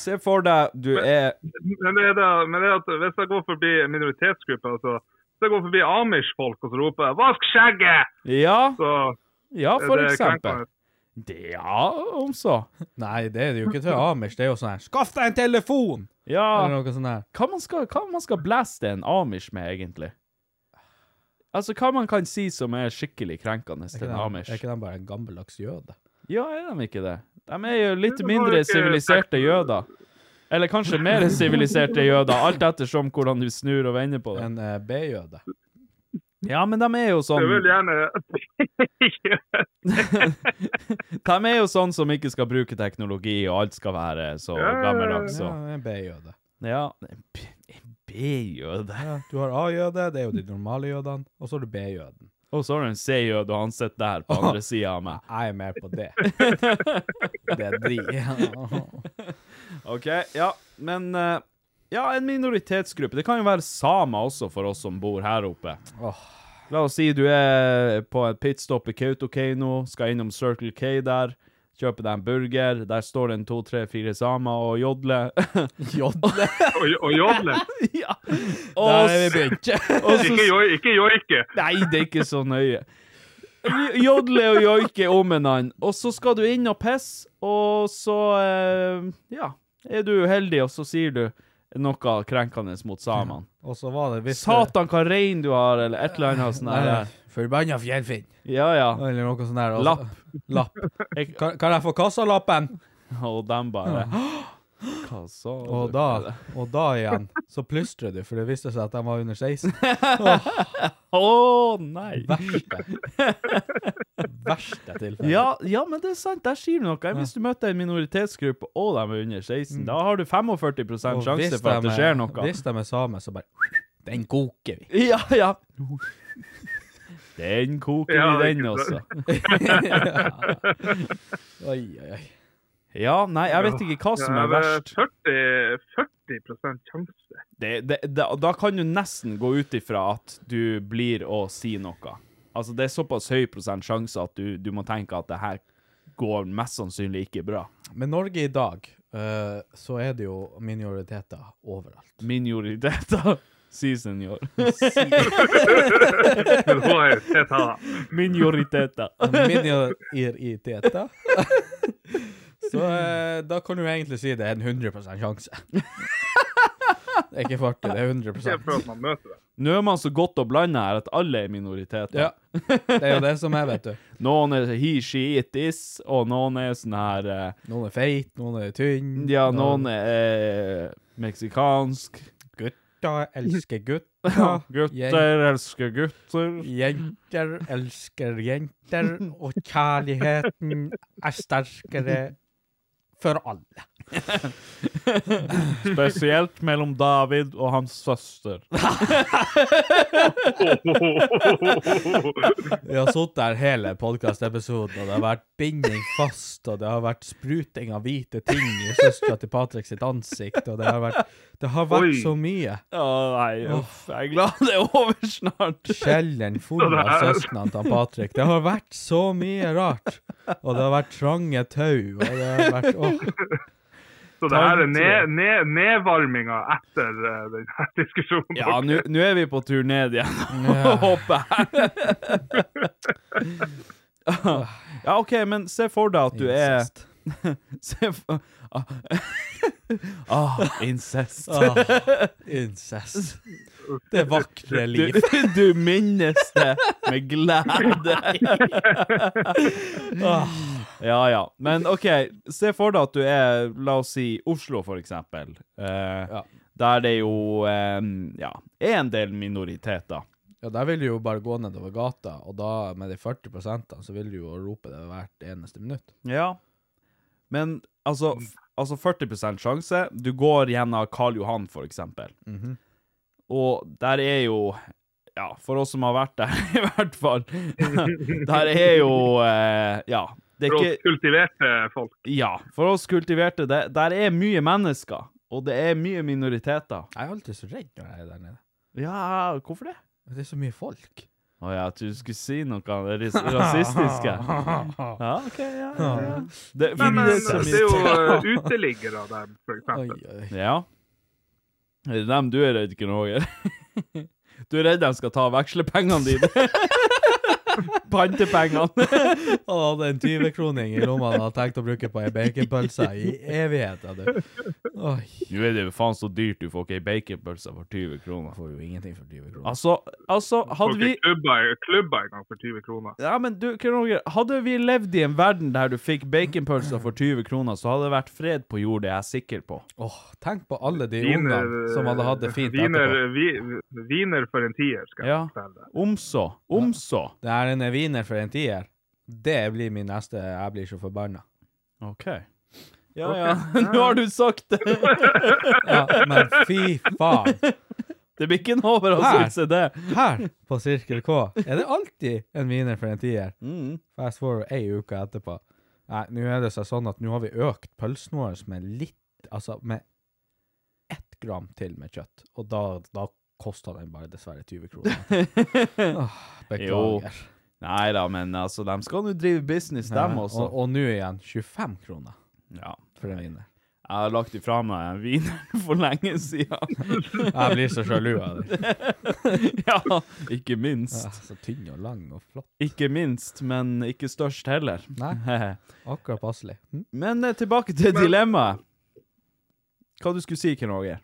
[SPEAKER 3] Se for deg du er
[SPEAKER 8] Men det er da, men det er at hvis jeg går forbi minoritetsgrupper, altså hvis jeg går forbi Amish-folk og så roper jeg 'vask skjegget',
[SPEAKER 3] Ja,
[SPEAKER 8] så
[SPEAKER 3] ja for
[SPEAKER 8] det er
[SPEAKER 3] eksempel.
[SPEAKER 8] krenkende.
[SPEAKER 3] Det, ja, om så.
[SPEAKER 4] Nei, det er det jo ikke til Amish. Det er jo sånn her Skaff deg en telefon! Eller
[SPEAKER 3] Ja.
[SPEAKER 4] noe sånt her.
[SPEAKER 3] Hva man skal, hva man skal blaste en amish med, egentlig? Altså, hva man kan si som er skikkelig krenkende
[SPEAKER 4] Er
[SPEAKER 3] til
[SPEAKER 4] ikke
[SPEAKER 3] en
[SPEAKER 4] dem-
[SPEAKER 3] amish?
[SPEAKER 4] Er ikke de bare en gammeldags jøde?
[SPEAKER 3] Ja, er de ikke det? De er jo
[SPEAKER 8] Men
[SPEAKER 3] litt
[SPEAKER 8] de har
[SPEAKER 3] mindre
[SPEAKER 8] ikke
[SPEAKER 3] siviliserte
[SPEAKER 8] sex.
[SPEAKER 3] jøder. Eller kanskje mer siviliserte jøder, alt ettersom hvordan du snur og vender på det.
[SPEAKER 4] En eh, B-jøde?
[SPEAKER 3] Ja, men de er jo sånn
[SPEAKER 8] jeg vil gjerne
[SPEAKER 3] De er jo sånn som ikke skal bruke teknologi, og alt skal være så
[SPEAKER 8] Ja, ja, ja,
[SPEAKER 3] gammeldags.
[SPEAKER 4] Ja,
[SPEAKER 3] og-
[SPEAKER 4] en B-jøde.
[SPEAKER 3] Ja, en B- en B-jøde.
[SPEAKER 4] Ja, du har A-jøde, det er jo de normale jødene, og så har du B-jøden.
[SPEAKER 3] Og så har du en C-jøde, og han sitter der på andre sida av meg.
[SPEAKER 4] Jeg er mer på det. Det er de.
[SPEAKER 3] OK, ja, men eh, Ja, en minoritetsgruppe. Det kan jo være samer også, for oss som bor her oppe. La oss si du er på et pitstop i Kautokeino, skal innom Circle K der, kjøper deg en burger, der står det en to, tre, fire samer og jodler. Jodler?
[SPEAKER 8] og, og jodle.
[SPEAKER 3] ja. Og,
[SPEAKER 4] er vi
[SPEAKER 3] begynt. og
[SPEAKER 8] Ikke
[SPEAKER 3] så,
[SPEAKER 8] jo- Ikke joike.
[SPEAKER 3] nei, det er ikke så nøye. Jodle og joike om en annen, og så skal du inn og pisse, og så eh, Ja, er du uheldig, og så sier du noe krenkende mot samene.
[SPEAKER 4] Og så var det visst
[SPEAKER 3] Satan, hva rein du har, eller et eller annet sånt.
[SPEAKER 4] Nei,
[SPEAKER 3] der.
[SPEAKER 4] Forbanna fjellfinn.
[SPEAKER 3] Ja, ja.
[SPEAKER 4] Eller noe sånt der. og så-
[SPEAKER 3] Lapp.
[SPEAKER 4] Lapp.
[SPEAKER 3] Jeg-
[SPEAKER 4] Kan, kan jeg få kassalappen?
[SPEAKER 3] Og dem bare Hva sa du?
[SPEAKER 4] Og da, og da igjen, så plystrer du, for det viste seg at de var under 16. Åh,
[SPEAKER 3] Å, nei!
[SPEAKER 4] verste. Verste tilfelle.
[SPEAKER 3] Ja, ja, men det er sant. Der sier du noe. Hvis du møter en minoritetsgruppe, og de er under 16, da har du 45
[SPEAKER 4] Mm. Og
[SPEAKER 3] sjanse
[SPEAKER 4] hvis
[SPEAKER 3] for at
[SPEAKER 4] de
[SPEAKER 3] det
[SPEAKER 4] er-
[SPEAKER 3] skjer noe.
[SPEAKER 4] Hvis de er samer, så bare Den koker vi.
[SPEAKER 3] Ja, ja. Den koker
[SPEAKER 8] Ja,
[SPEAKER 3] i
[SPEAKER 8] det er
[SPEAKER 3] den
[SPEAKER 8] ikke
[SPEAKER 3] også.
[SPEAKER 4] Oi, oi, oi.
[SPEAKER 3] Ja, nei, jeg vet ikke hva som
[SPEAKER 8] Ja,
[SPEAKER 3] er
[SPEAKER 8] men
[SPEAKER 3] verst.
[SPEAKER 8] 40, 40 sjanse.
[SPEAKER 3] Det, det, da- da kan du nesten gå ut ifra at du blir å si noe. Altså, det er såpass høy prosent sjanse at du, du må tenke at det her går mest sannsynlig ikke bra.
[SPEAKER 4] Med Norge i dag, eh, så er det jo minoriteter overalt.
[SPEAKER 3] Minoriteter. Si senior.
[SPEAKER 8] Men hun er jo teta.
[SPEAKER 3] Minoriteta.
[SPEAKER 4] Minoriteta. Så eh, da kan du egentlig si det er en 100 sjanse. Det er ikke 40, det er 100
[SPEAKER 8] Ikke før at man møter det.
[SPEAKER 3] Nå er man så godt og blanda her at alle er minoriteter.
[SPEAKER 4] Ja. Det er jo det som er, vet du.
[SPEAKER 3] Noen er he, she, it, is, og noen er sånn her eh,
[SPEAKER 4] Noen er feit, noen er tynn.
[SPEAKER 3] Ja, noen er eh, meksikansk.
[SPEAKER 4] Gutter elsker
[SPEAKER 3] Ja,
[SPEAKER 4] gutter.
[SPEAKER 3] gutter elsker gutter.
[SPEAKER 4] Jenter elsker jenter, og kjærligheten er sterkere for alle.
[SPEAKER 3] Spesielt mellom David og hans søster.
[SPEAKER 4] Vi har sittet her hele podkastepisoden, og det har vært binding fast, og det har vært spruting av hvite ting i søstera til Patrick sitt ansikt, og det har vært, det har vært
[SPEAKER 8] Oi.
[SPEAKER 4] så mye.
[SPEAKER 3] Å nei, uff, jeg er glad det er over snart.
[SPEAKER 4] Kjelleren full av søsknene til han Patrick. Det har vært så mye rart. Og det har vært trange tau, og det har vært åh.
[SPEAKER 8] Så det her er ned, ned, nedvarminga etter eh, den her diskusjonen.
[SPEAKER 3] Ja, nå nå er vi på tur ned igjen,
[SPEAKER 4] Ja.
[SPEAKER 3] håper jeg. Ja, OK, men se for deg at du er
[SPEAKER 4] Incest.
[SPEAKER 3] Se for Ah, ah, incest.
[SPEAKER 4] Åh, incest. Det vakre
[SPEAKER 3] Du,
[SPEAKER 4] liv.
[SPEAKER 3] du minnes det med glede.
[SPEAKER 4] Åh.
[SPEAKER 3] Ja, ja. Men OK, se for deg at du er, la oss si, Oslo, for eksempel. Eh,
[SPEAKER 4] Ja.
[SPEAKER 3] Der det jo eh, ja, er en del minoriteter.
[SPEAKER 4] Ja, der vil du jo bare gå nedover gata, og da med de 40 prosentene, så vil du jo rope det hvert eneste minutt.
[SPEAKER 3] Ja. Men altså, f- altså 40 sjanse. Du går gjennom Karl Johan, for eksempel.
[SPEAKER 4] Mhm.
[SPEAKER 3] Og der er jo Ja, for oss som har vært der, i hvert fall. Der er jo eh, Ja. Det er
[SPEAKER 8] For
[SPEAKER 3] ikke
[SPEAKER 8] oss kultiverte folk.
[SPEAKER 3] Ja, for oss kultiverte, det, der er mye mennesker, og det er mye minoriteter.
[SPEAKER 4] Jeg er alltid så redd når jeg er der nede.
[SPEAKER 3] Ja, hvorfor det?
[SPEAKER 4] Det er så mye folk.
[SPEAKER 3] Å ja, at du skulle si noe av det ras- rasistiske. Ja, OK, ja, ja. ja. Det,
[SPEAKER 8] Nei, men
[SPEAKER 3] er så mye-
[SPEAKER 8] det er jo eh, uteliggere der, for
[SPEAKER 4] Oi,
[SPEAKER 8] eksempel.
[SPEAKER 4] oi.
[SPEAKER 3] Ja. Er det dem du er redd, Gunn Roger? Du er redd de skal ta vekslepengene dine? Pantepengene.
[SPEAKER 4] Han hadde en 20-kroning i lomma han hadde tenkt å bruke på ei baconpølse i evigheter, du. Oi.
[SPEAKER 3] Nå er det jo faen så dyrt, du får ikke ei baconpølse for 20 kroner.
[SPEAKER 4] Får jo ingenting for 20 kroner.
[SPEAKER 3] Altså, altså, hadde
[SPEAKER 8] Folk
[SPEAKER 3] vi
[SPEAKER 8] i klubber, klubber en gang for 20 kroner.
[SPEAKER 3] Ja, men du, Ken Roger, hadde vi levd i en verden der du fikk baconpølser for 20 kroner, så hadde det vært fred på jord, det er jeg sikker på.
[SPEAKER 4] Åh, tenk på alle de
[SPEAKER 8] Viner-
[SPEAKER 4] ungene som hadde hatt det fint
[SPEAKER 8] viner,
[SPEAKER 4] etterpå.
[SPEAKER 8] eh, vi, viner for en tier, skal
[SPEAKER 3] Ja.
[SPEAKER 8] jeg fortelle deg.
[SPEAKER 3] Om så, om så.
[SPEAKER 4] Det er en wiener for en tier. Det blir min neste Jeg blir så forbanna.
[SPEAKER 3] OK. Ja, ja, nå har du sagt det.
[SPEAKER 4] Ja, men fy faen.
[SPEAKER 3] Det blir ikke en overraskelse, det.
[SPEAKER 4] Her på Sirkel K er det alltid en wiener for en tier.
[SPEAKER 3] Mm.
[SPEAKER 4] Fast forward ei uke etterpå. Nei, nå er det så sånn at nå har vi økt pølsen vår med litt Altså med ett gram til med kjøtt, og da, da kosta den bare dessverre 20 kroner. Åh,
[SPEAKER 3] Jo,
[SPEAKER 4] beklager.
[SPEAKER 3] Nei da, men altså, de skal nå drive business, dem
[SPEAKER 4] Nei,
[SPEAKER 3] også.
[SPEAKER 4] Eh, Og, og nå igjen 25 kroner
[SPEAKER 3] Ja.
[SPEAKER 4] for en wiener.
[SPEAKER 3] Jeg har lagt ifra meg en wiener for lenge siden.
[SPEAKER 4] Jeg blir så sjalu av det.
[SPEAKER 3] Ja, ikke minst.
[SPEAKER 4] Ah, Så tynn og lang og flott.
[SPEAKER 3] Ikke minst, men ikke størst heller.
[SPEAKER 4] Nei. Akkurat passelig. Hm?
[SPEAKER 3] Men eh, tilbake til dilemmaet. Hva du skulle si, Ken Roger?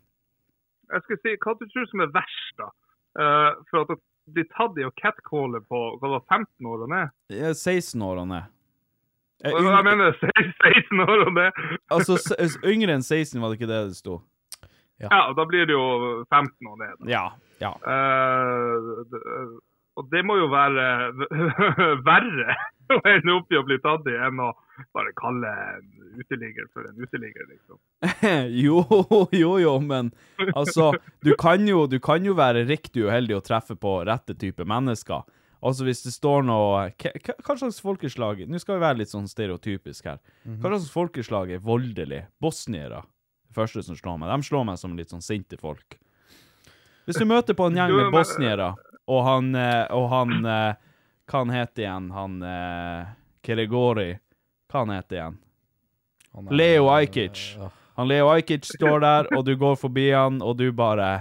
[SPEAKER 8] Jeg skal si, hva du tror som er verst, da? Eh, for at de tatt i og catcaller på hva var 15 år han er?
[SPEAKER 3] Jeg er 16 Eh, år han er. Eh,
[SPEAKER 8] Og
[SPEAKER 3] yng-
[SPEAKER 8] Jeg mener 16 år han er!
[SPEAKER 3] altså, s- s- yngre enn 16 var det ikke det det sto?
[SPEAKER 8] Ja, og da blir det jo 15 år ned. da.
[SPEAKER 3] Ja. ja.
[SPEAKER 8] Eh, d- eh, og det må jo være verre å ende opp i å bli tatt i enn å bare kalle en uteligger for en uteligger, liksom.
[SPEAKER 3] jo, jo, jo, men altså du kan jo, du kan jo være riktig uheldig og treffe på rette type mennesker. Altså Hvis det står noe Hva hva- hva slags folkeslag Nå skal vi være litt sånn stereotypisk her. Hva slags folkeslag er voldelig? Bosniere. Det første som slår meg. De slår meg som litt sånn sinte folk. Hvis du møter på en gjeng
[SPEAKER 8] Jo,
[SPEAKER 3] med
[SPEAKER 8] men-
[SPEAKER 3] bosniere, og han eh, Og han eh, Hva han heter igjen? Han eh, Keregori. Hva han heter igjen?
[SPEAKER 4] Han er-
[SPEAKER 3] Leo Ajkic.
[SPEAKER 4] Åh.
[SPEAKER 3] Han Leo Ajkic står der, og du går forbi han, og du bare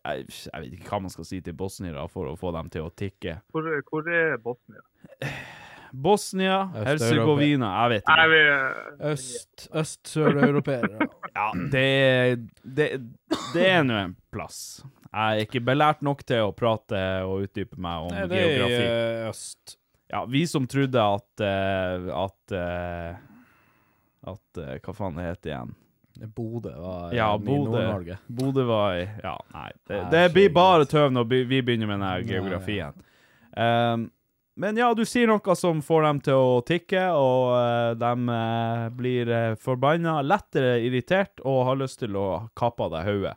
[SPEAKER 3] jeg, jeg vet ikke hva man skal si til bosniere for å få dem til å tikke.
[SPEAKER 8] Hvor, hvor er Bosnia?
[SPEAKER 3] Bosnia, Herzegovina Jeg vet
[SPEAKER 8] Nei,
[SPEAKER 3] ikke.
[SPEAKER 8] vi
[SPEAKER 4] Øst, øst-sør-europeere.
[SPEAKER 3] Ja, det, det, det er nå en plass. Jeg er ikke belært nok til å prate og utdype meg om
[SPEAKER 4] Nei, det er i
[SPEAKER 3] geografi.
[SPEAKER 4] eh, øst.
[SPEAKER 3] Ja, vi som trodde at eh, At eh, At eh, Hva faen det heter igjen?
[SPEAKER 4] Bodø var
[SPEAKER 3] Ja,
[SPEAKER 4] eh, i
[SPEAKER 3] Bodø.
[SPEAKER 4] Nord-Norge.
[SPEAKER 3] Bodø var i Ja, nei. Det,
[SPEAKER 4] Nei,
[SPEAKER 3] det blir
[SPEAKER 4] skjønner.
[SPEAKER 3] bare tøv når vi vi begynner med denne
[SPEAKER 4] Nei, ja.
[SPEAKER 3] geografien. Ehm, men ja, du sier noe som får dem til å tikke, og eh, de eh, blir uh, forbanna, lettere irritert og har lyst til å kappe av deg hodet.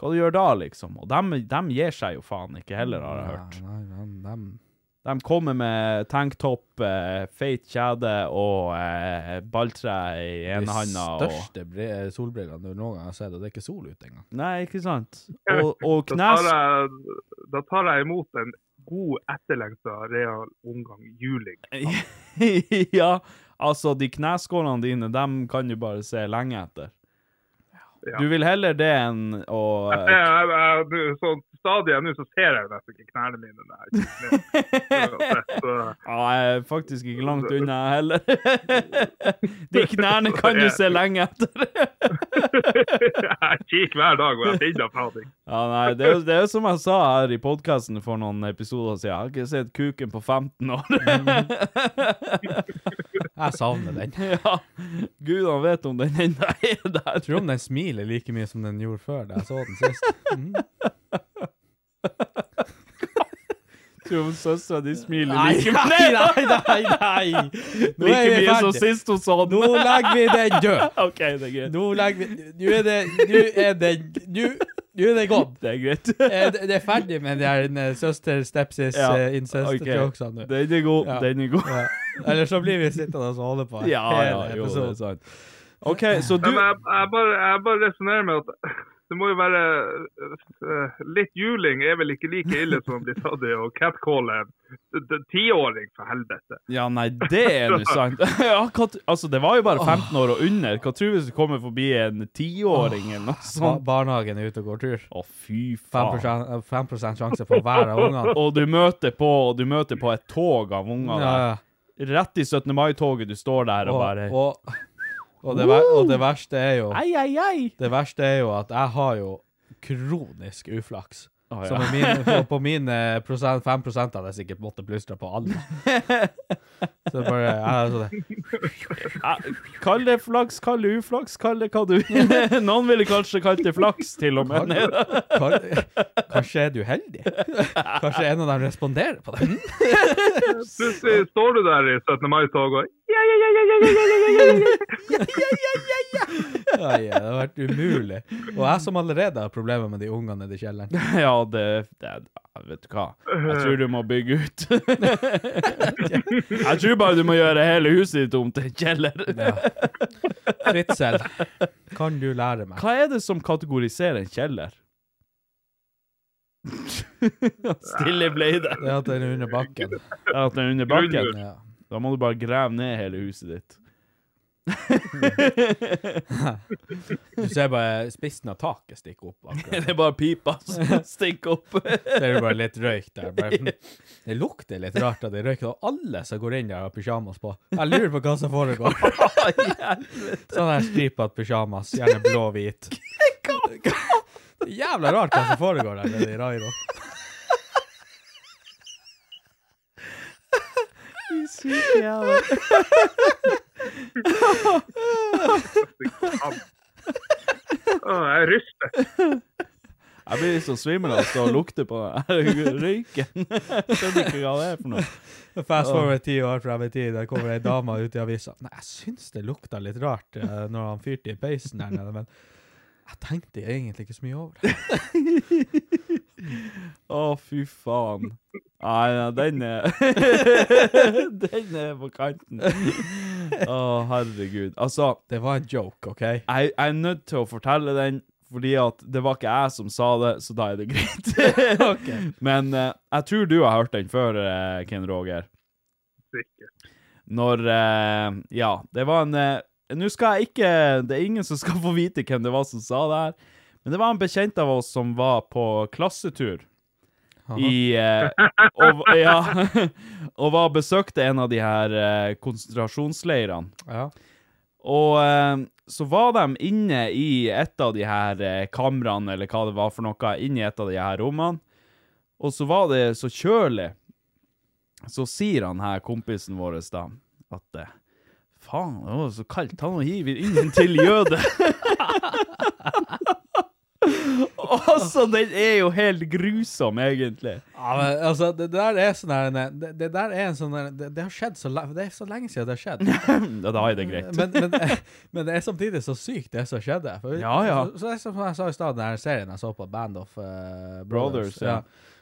[SPEAKER 3] Hva du gjør da, liksom? Og dem, dem gir seg jo faen ikke heller, har jeg hørt.
[SPEAKER 4] Nei, nei, nei, dem-
[SPEAKER 3] De kommer med tanktopp, eh, feit kjede og eh, balltre i ene handa.
[SPEAKER 4] De
[SPEAKER 3] Og...
[SPEAKER 4] største bre- solbrillene du noen gang har sett, og det er ikke sol ute engang.
[SPEAKER 3] Nei, ikke sant? Og,
[SPEAKER 8] da,
[SPEAKER 3] og
[SPEAKER 8] tar
[SPEAKER 3] knes...
[SPEAKER 8] jeg, da tar jeg imot en god etterlengta real omgang juling.
[SPEAKER 3] ja, altså, de kneskålene dine, dem kan du bare se lenge etter.
[SPEAKER 8] Ja.
[SPEAKER 3] Du vil heller det enn å
[SPEAKER 8] Jeg- jeg- jeg- nå- Så stadig nå så ser jeg jo nesten ikke knærne mine. Nei. Så-
[SPEAKER 3] Ja, jeg er faktisk ikke langt unna heller. De knærne kan du se lenge etter.
[SPEAKER 8] Jeg kikker hver dag og jeg finner faen ikke.
[SPEAKER 3] Ja, nei, det er, jo- det er jo som jeg sa her i podkasten for noen episoder siden. Jeg har ikke sett kuken på 15 år.
[SPEAKER 4] Jeg savner den.
[SPEAKER 3] ja. Gud, han vet om den ennå er der.
[SPEAKER 4] Tror du om den smiler like mye som den gjorde før da jeg så den sist? Mm.
[SPEAKER 3] Tror om søstera di smiler
[SPEAKER 4] Nei,
[SPEAKER 3] like
[SPEAKER 4] nei,
[SPEAKER 3] mye.
[SPEAKER 4] nei, nei. Nå er
[SPEAKER 3] Like
[SPEAKER 4] vi
[SPEAKER 3] mye som
[SPEAKER 4] ferdig.
[SPEAKER 3] sist hun så den.
[SPEAKER 4] Nå legger vi den død.
[SPEAKER 3] OK, det er greit.
[SPEAKER 4] Nå legger vi Nå er det Nå er det Nå, nå er det gått.
[SPEAKER 3] Det er greit.
[SPEAKER 4] Eh, Det det er ferdig med de her eh, søster, stepsis,
[SPEAKER 3] Ja,
[SPEAKER 4] eh, incest
[SPEAKER 3] ok.
[SPEAKER 4] jokesene nå.
[SPEAKER 3] Den er god.
[SPEAKER 4] Ja.
[SPEAKER 3] Den er god.
[SPEAKER 4] Ja. Eller så blir vi sittende og holde på.
[SPEAKER 3] Ja,
[SPEAKER 4] hele
[SPEAKER 3] ja, jo, det
[SPEAKER 4] episoden.
[SPEAKER 3] er sant. OK, så du
[SPEAKER 8] Men jeg, jeg bare, jeg bare resonnerer med at det må jo være eh, Litt juling er vel ikke like ille som å bli tatt i å catcalle en t- tiåring, for helvete.
[SPEAKER 3] Ja, nei, det er nå sant. ja, hva, t- altså, det var jo bare 15 år og under. Hva tror du hvis det kommer forbi en tiåring eller noe
[SPEAKER 4] Ba-
[SPEAKER 3] sånt?
[SPEAKER 4] Barnehagen er ute og går tur.
[SPEAKER 3] Å, fy
[SPEAKER 4] 5
[SPEAKER 3] faen.
[SPEAKER 4] eh, 5 sjanse for hver av ungene.
[SPEAKER 3] Og du møter på, og du møter på et tog av unger
[SPEAKER 4] Ja, ja.
[SPEAKER 3] der. Rett i 17. mai-toget du står der og bare
[SPEAKER 4] Og, og, og, det, ver og det verste er jo
[SPEAKER 3] Ei, ei, ei!
[SPEAKER 4] Det verste er jo at jeg har jo kronisk uflaks.
[SPEAKER 3] Å, ja.
[SPEAKER 4] Som er mine, på, på mine prosent, 5 hadde jeg sikkert måttet plystre på alle. Så bare, jeg, har sånn det.
[SPEAKER 3] Ja, Kall det flaks, kall det uflaks, kall det hva du vil. Noen ville kanskje kalt det flaks, til og med. Nei, da.
[SPEAKER 4] Kan- Kanskje er du heldig? Kanskje en av dem responderer på det?
[SPEAKER 8] Plutselig står du der i 17. mai-toget og ja, ja, ja, ja, ja, ja, ja, ja, ja, ja.
[SPEAKER 4] Oi, det har vært umulig. Og jeg som allerede har problemer med de ungene nede i kjelleren.
[SPEAKER 3] Ja, det, det ja, Vet du hva? Jeg tror du må bygge ut. Jeg tror bare du må gjøre hele huset ditt om til en kjeller.
[SPEAKER 4] Ja. Fritzel, kan du lære meg?
[SPEAKER 3] Hva er det som kategoriserer en kjeller? Stille ble det.
[SPEAKER 4] Det at den er under bakken.
[SPEAKER 3] Ja, At den er under bakken.
[SPEAKER 4] Ja.
[SPEAKER 3] Da må du bare grave ned hele huset ditt.
[SPEAKER 4] Du ser bare spissen av taket stikke opp. akkurat.
[SPEAKER 3] Det er bare pipa som stikker opp.
[SPEAKER 4] ser du bare litt røyk der. Bare. sånn- Det lukter litt rart av det røyken, og alle som går inn der har pysjamas på. Jeg lurer på hva som foregår. Sånn her stripete pysjamas, gjerne blå-hvit. Jævla rart hva som foregår der nede i Rairo.
[SPEAKER 8] Å, Jeg ryster.
[SPEAKER 3] Jeg blir litt så svimmel av å stå og lukte på den røyken. Skjønner ikke hva det er for noe.
[SPEAKER 4] Fast forward ti år frem i tid, der kommer ei dame ut i avisa. Nei, jeg syns det lukta litt rart eh, når han fyrte i peisen der nede, men jeg tenkte egentlig ikke så mye over det.
[SPEAKER 3] Å, fy faen. Nei, ja, den er Den er på kanten. Å, herregud. Altså,
[SPEAKER 4] Det var en joke, OK?
[SPEAKER 3] jeg, jeg er nødt til å fortelle den, fordi at det var ikke jeg som sa det, så da er det greit. Men eh, jeg tror du har hørt den før, eh, Ken Roger.
[SPEAKER 8] Sikkert.
[SPEAKER 3] Når eh, Ja, det var en eh, Nå skal jeg ikke Det er ingen som skal få vite hvem det var som sa det her, Men det var en bekjent av oss som var på klassetur i eh, og, Ja. Og var og besøkte en av de her eh, konsentrasjonsleirene.
[SPEAKER 4] Ja.
[SPEAKER 3] Og eh, så var de inne i et av de her eh, kamrene, eller hva det var for noe, inne i et av de her rommene. Og så var det så kjølig. Så sier han her, kompisen vår, da, at eh, Faen, det var så kaldt. Han og hiver ingen til jøde. altså, den er jo helt grusom, egentlig.
[SPEAKER 4] Ja, men altså, det der er sånn her det, det der er en sånn her det, det har skjedd så lenge Det er så lenge siden det har skjedd.
[SPEAKER 3] Ja, da er det greit.
[SPEAKER 4] Men, men, men det er samtidig så sykt, det som skjedde. For,
[SPEAKER 3] Ja, ja.
[SPEAKER 4] Så, så det er som jeg sa i stad, den her serien jeg så på, Band of eh, Brothers,
[SPEAKER 3] Brothers, ja.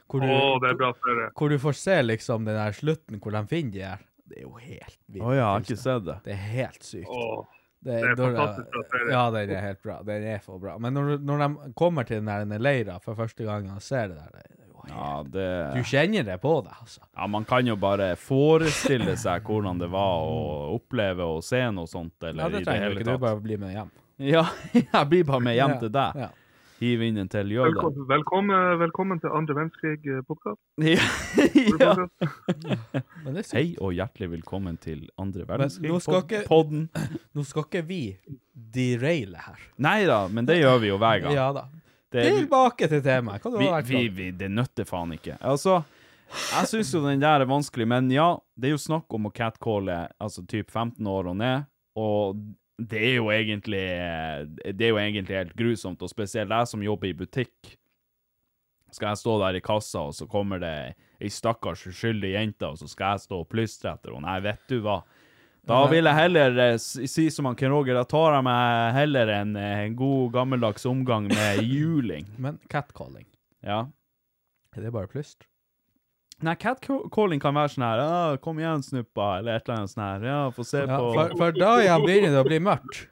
[SPEAKER 4] Hvor, du,
[SPEAKER 8] Å, det er bra serie.
[SPEAKER 4] hvor du får se liksom den her slutten, hvor de finner de her. Det er jo helt vilt.
[SPEAKER 3] Å ja, jeg har ikke sett det.
[SPEAKER 4] Det er helt sykt.
[SPEAKER 8] Åh.
[SPEAKER 4] Det,
[SPEAKER 8] er
[SPEAKER 4] når-
[SPEAKER 8] fantastisk bra serie.
[SPEAKER 4] Ja, den er helt bra. Den er for bra. Men når, når de kommer til den her den leira for første gang og ser det der, det er jo helt,
[SPEAKER 3] Ja, det
[SPEAKER 4] du kjenner det på deg, altså.
[SPEAKER 3] Ja, man kan jo bare forestille seg hvordan det var å oppleve og se noe sånt, eller
[SPEAKER 4] Ja, det trenger
[SPEAKER 3] i
[SPEAKER 4] du
[SPEAKER 3] det hele
[SPEAKER 4] ikke. Du
[SPEAKER 3] tatt.
[SPEAKER 4] bare blir med hjem.
[SPEAKER 3] Ja, jeg blir bare med hjem til deg.
[SPEAKER 4] Ja.
[SPEAKER 3] Hiv inn en til jøde.
[SPEAKER 8] Velkommen, velkommen, velkommen til andre verdenskrig-podkast.
[SPEAKER 3] Ja. ja.
[SPEAKER 4] Men det er sykt.
[SPEAKER 3] Hei og hjertelig velkommen til andre
[SPEAKER 4] nå skal ikke-
[SPEAKER 3] verdenskrig-podden.
[SPEAKER 4] Nå skal ikke vi deraile her.
[SPEAKER 3] Nei da, men det gjør vi jo hver gang.
[SPEAKER 4] Ja da.
[SPEAKER 3] Det,
[SPEAKER 4] Tilbake til temaet. Hva du
[SPEAKER 3] vi,
[SPEAKER 4] har vært
[SPEAKER 3] vi,
[SPEAKER 4] på?
[SPEAKER 3] vi, det nøtter faen ikke. Altså, jeg syns jo den der er vanskelig, men ja, det er jo snakk om å catcalle altså typ 15 år og ned, og det er jo egentlig Det er jo egentlig helt grusomt, og spesielt jeg som jobber i butikk. Skal jeg stå der i kassa, og så kommer det ei stakkars uskyldig jente, og så skal jeg stå og plystre etter henne. Nei, vet du hva. Da vil jeg heller eh, si si som han Ken Roger, da tar jeg meg heller en, eh, en god, gammeldags omgang med juling.
[SPEAKER 4] Men catcalling,
[SPEAKER 3] Ja.
[SPEAKER 4] er det bare plystr?
[SPEAKER 3] Nei, catcalling kan være sånn her «Ah, 'Kom igjen, snuppa', eller et eller annet sånn her. Ja, få se
[SPEAKER 4] Ja,
[SPEAKER 3] på
[SPEAKER 4] for, for da igjen begynner det å bli mørkt.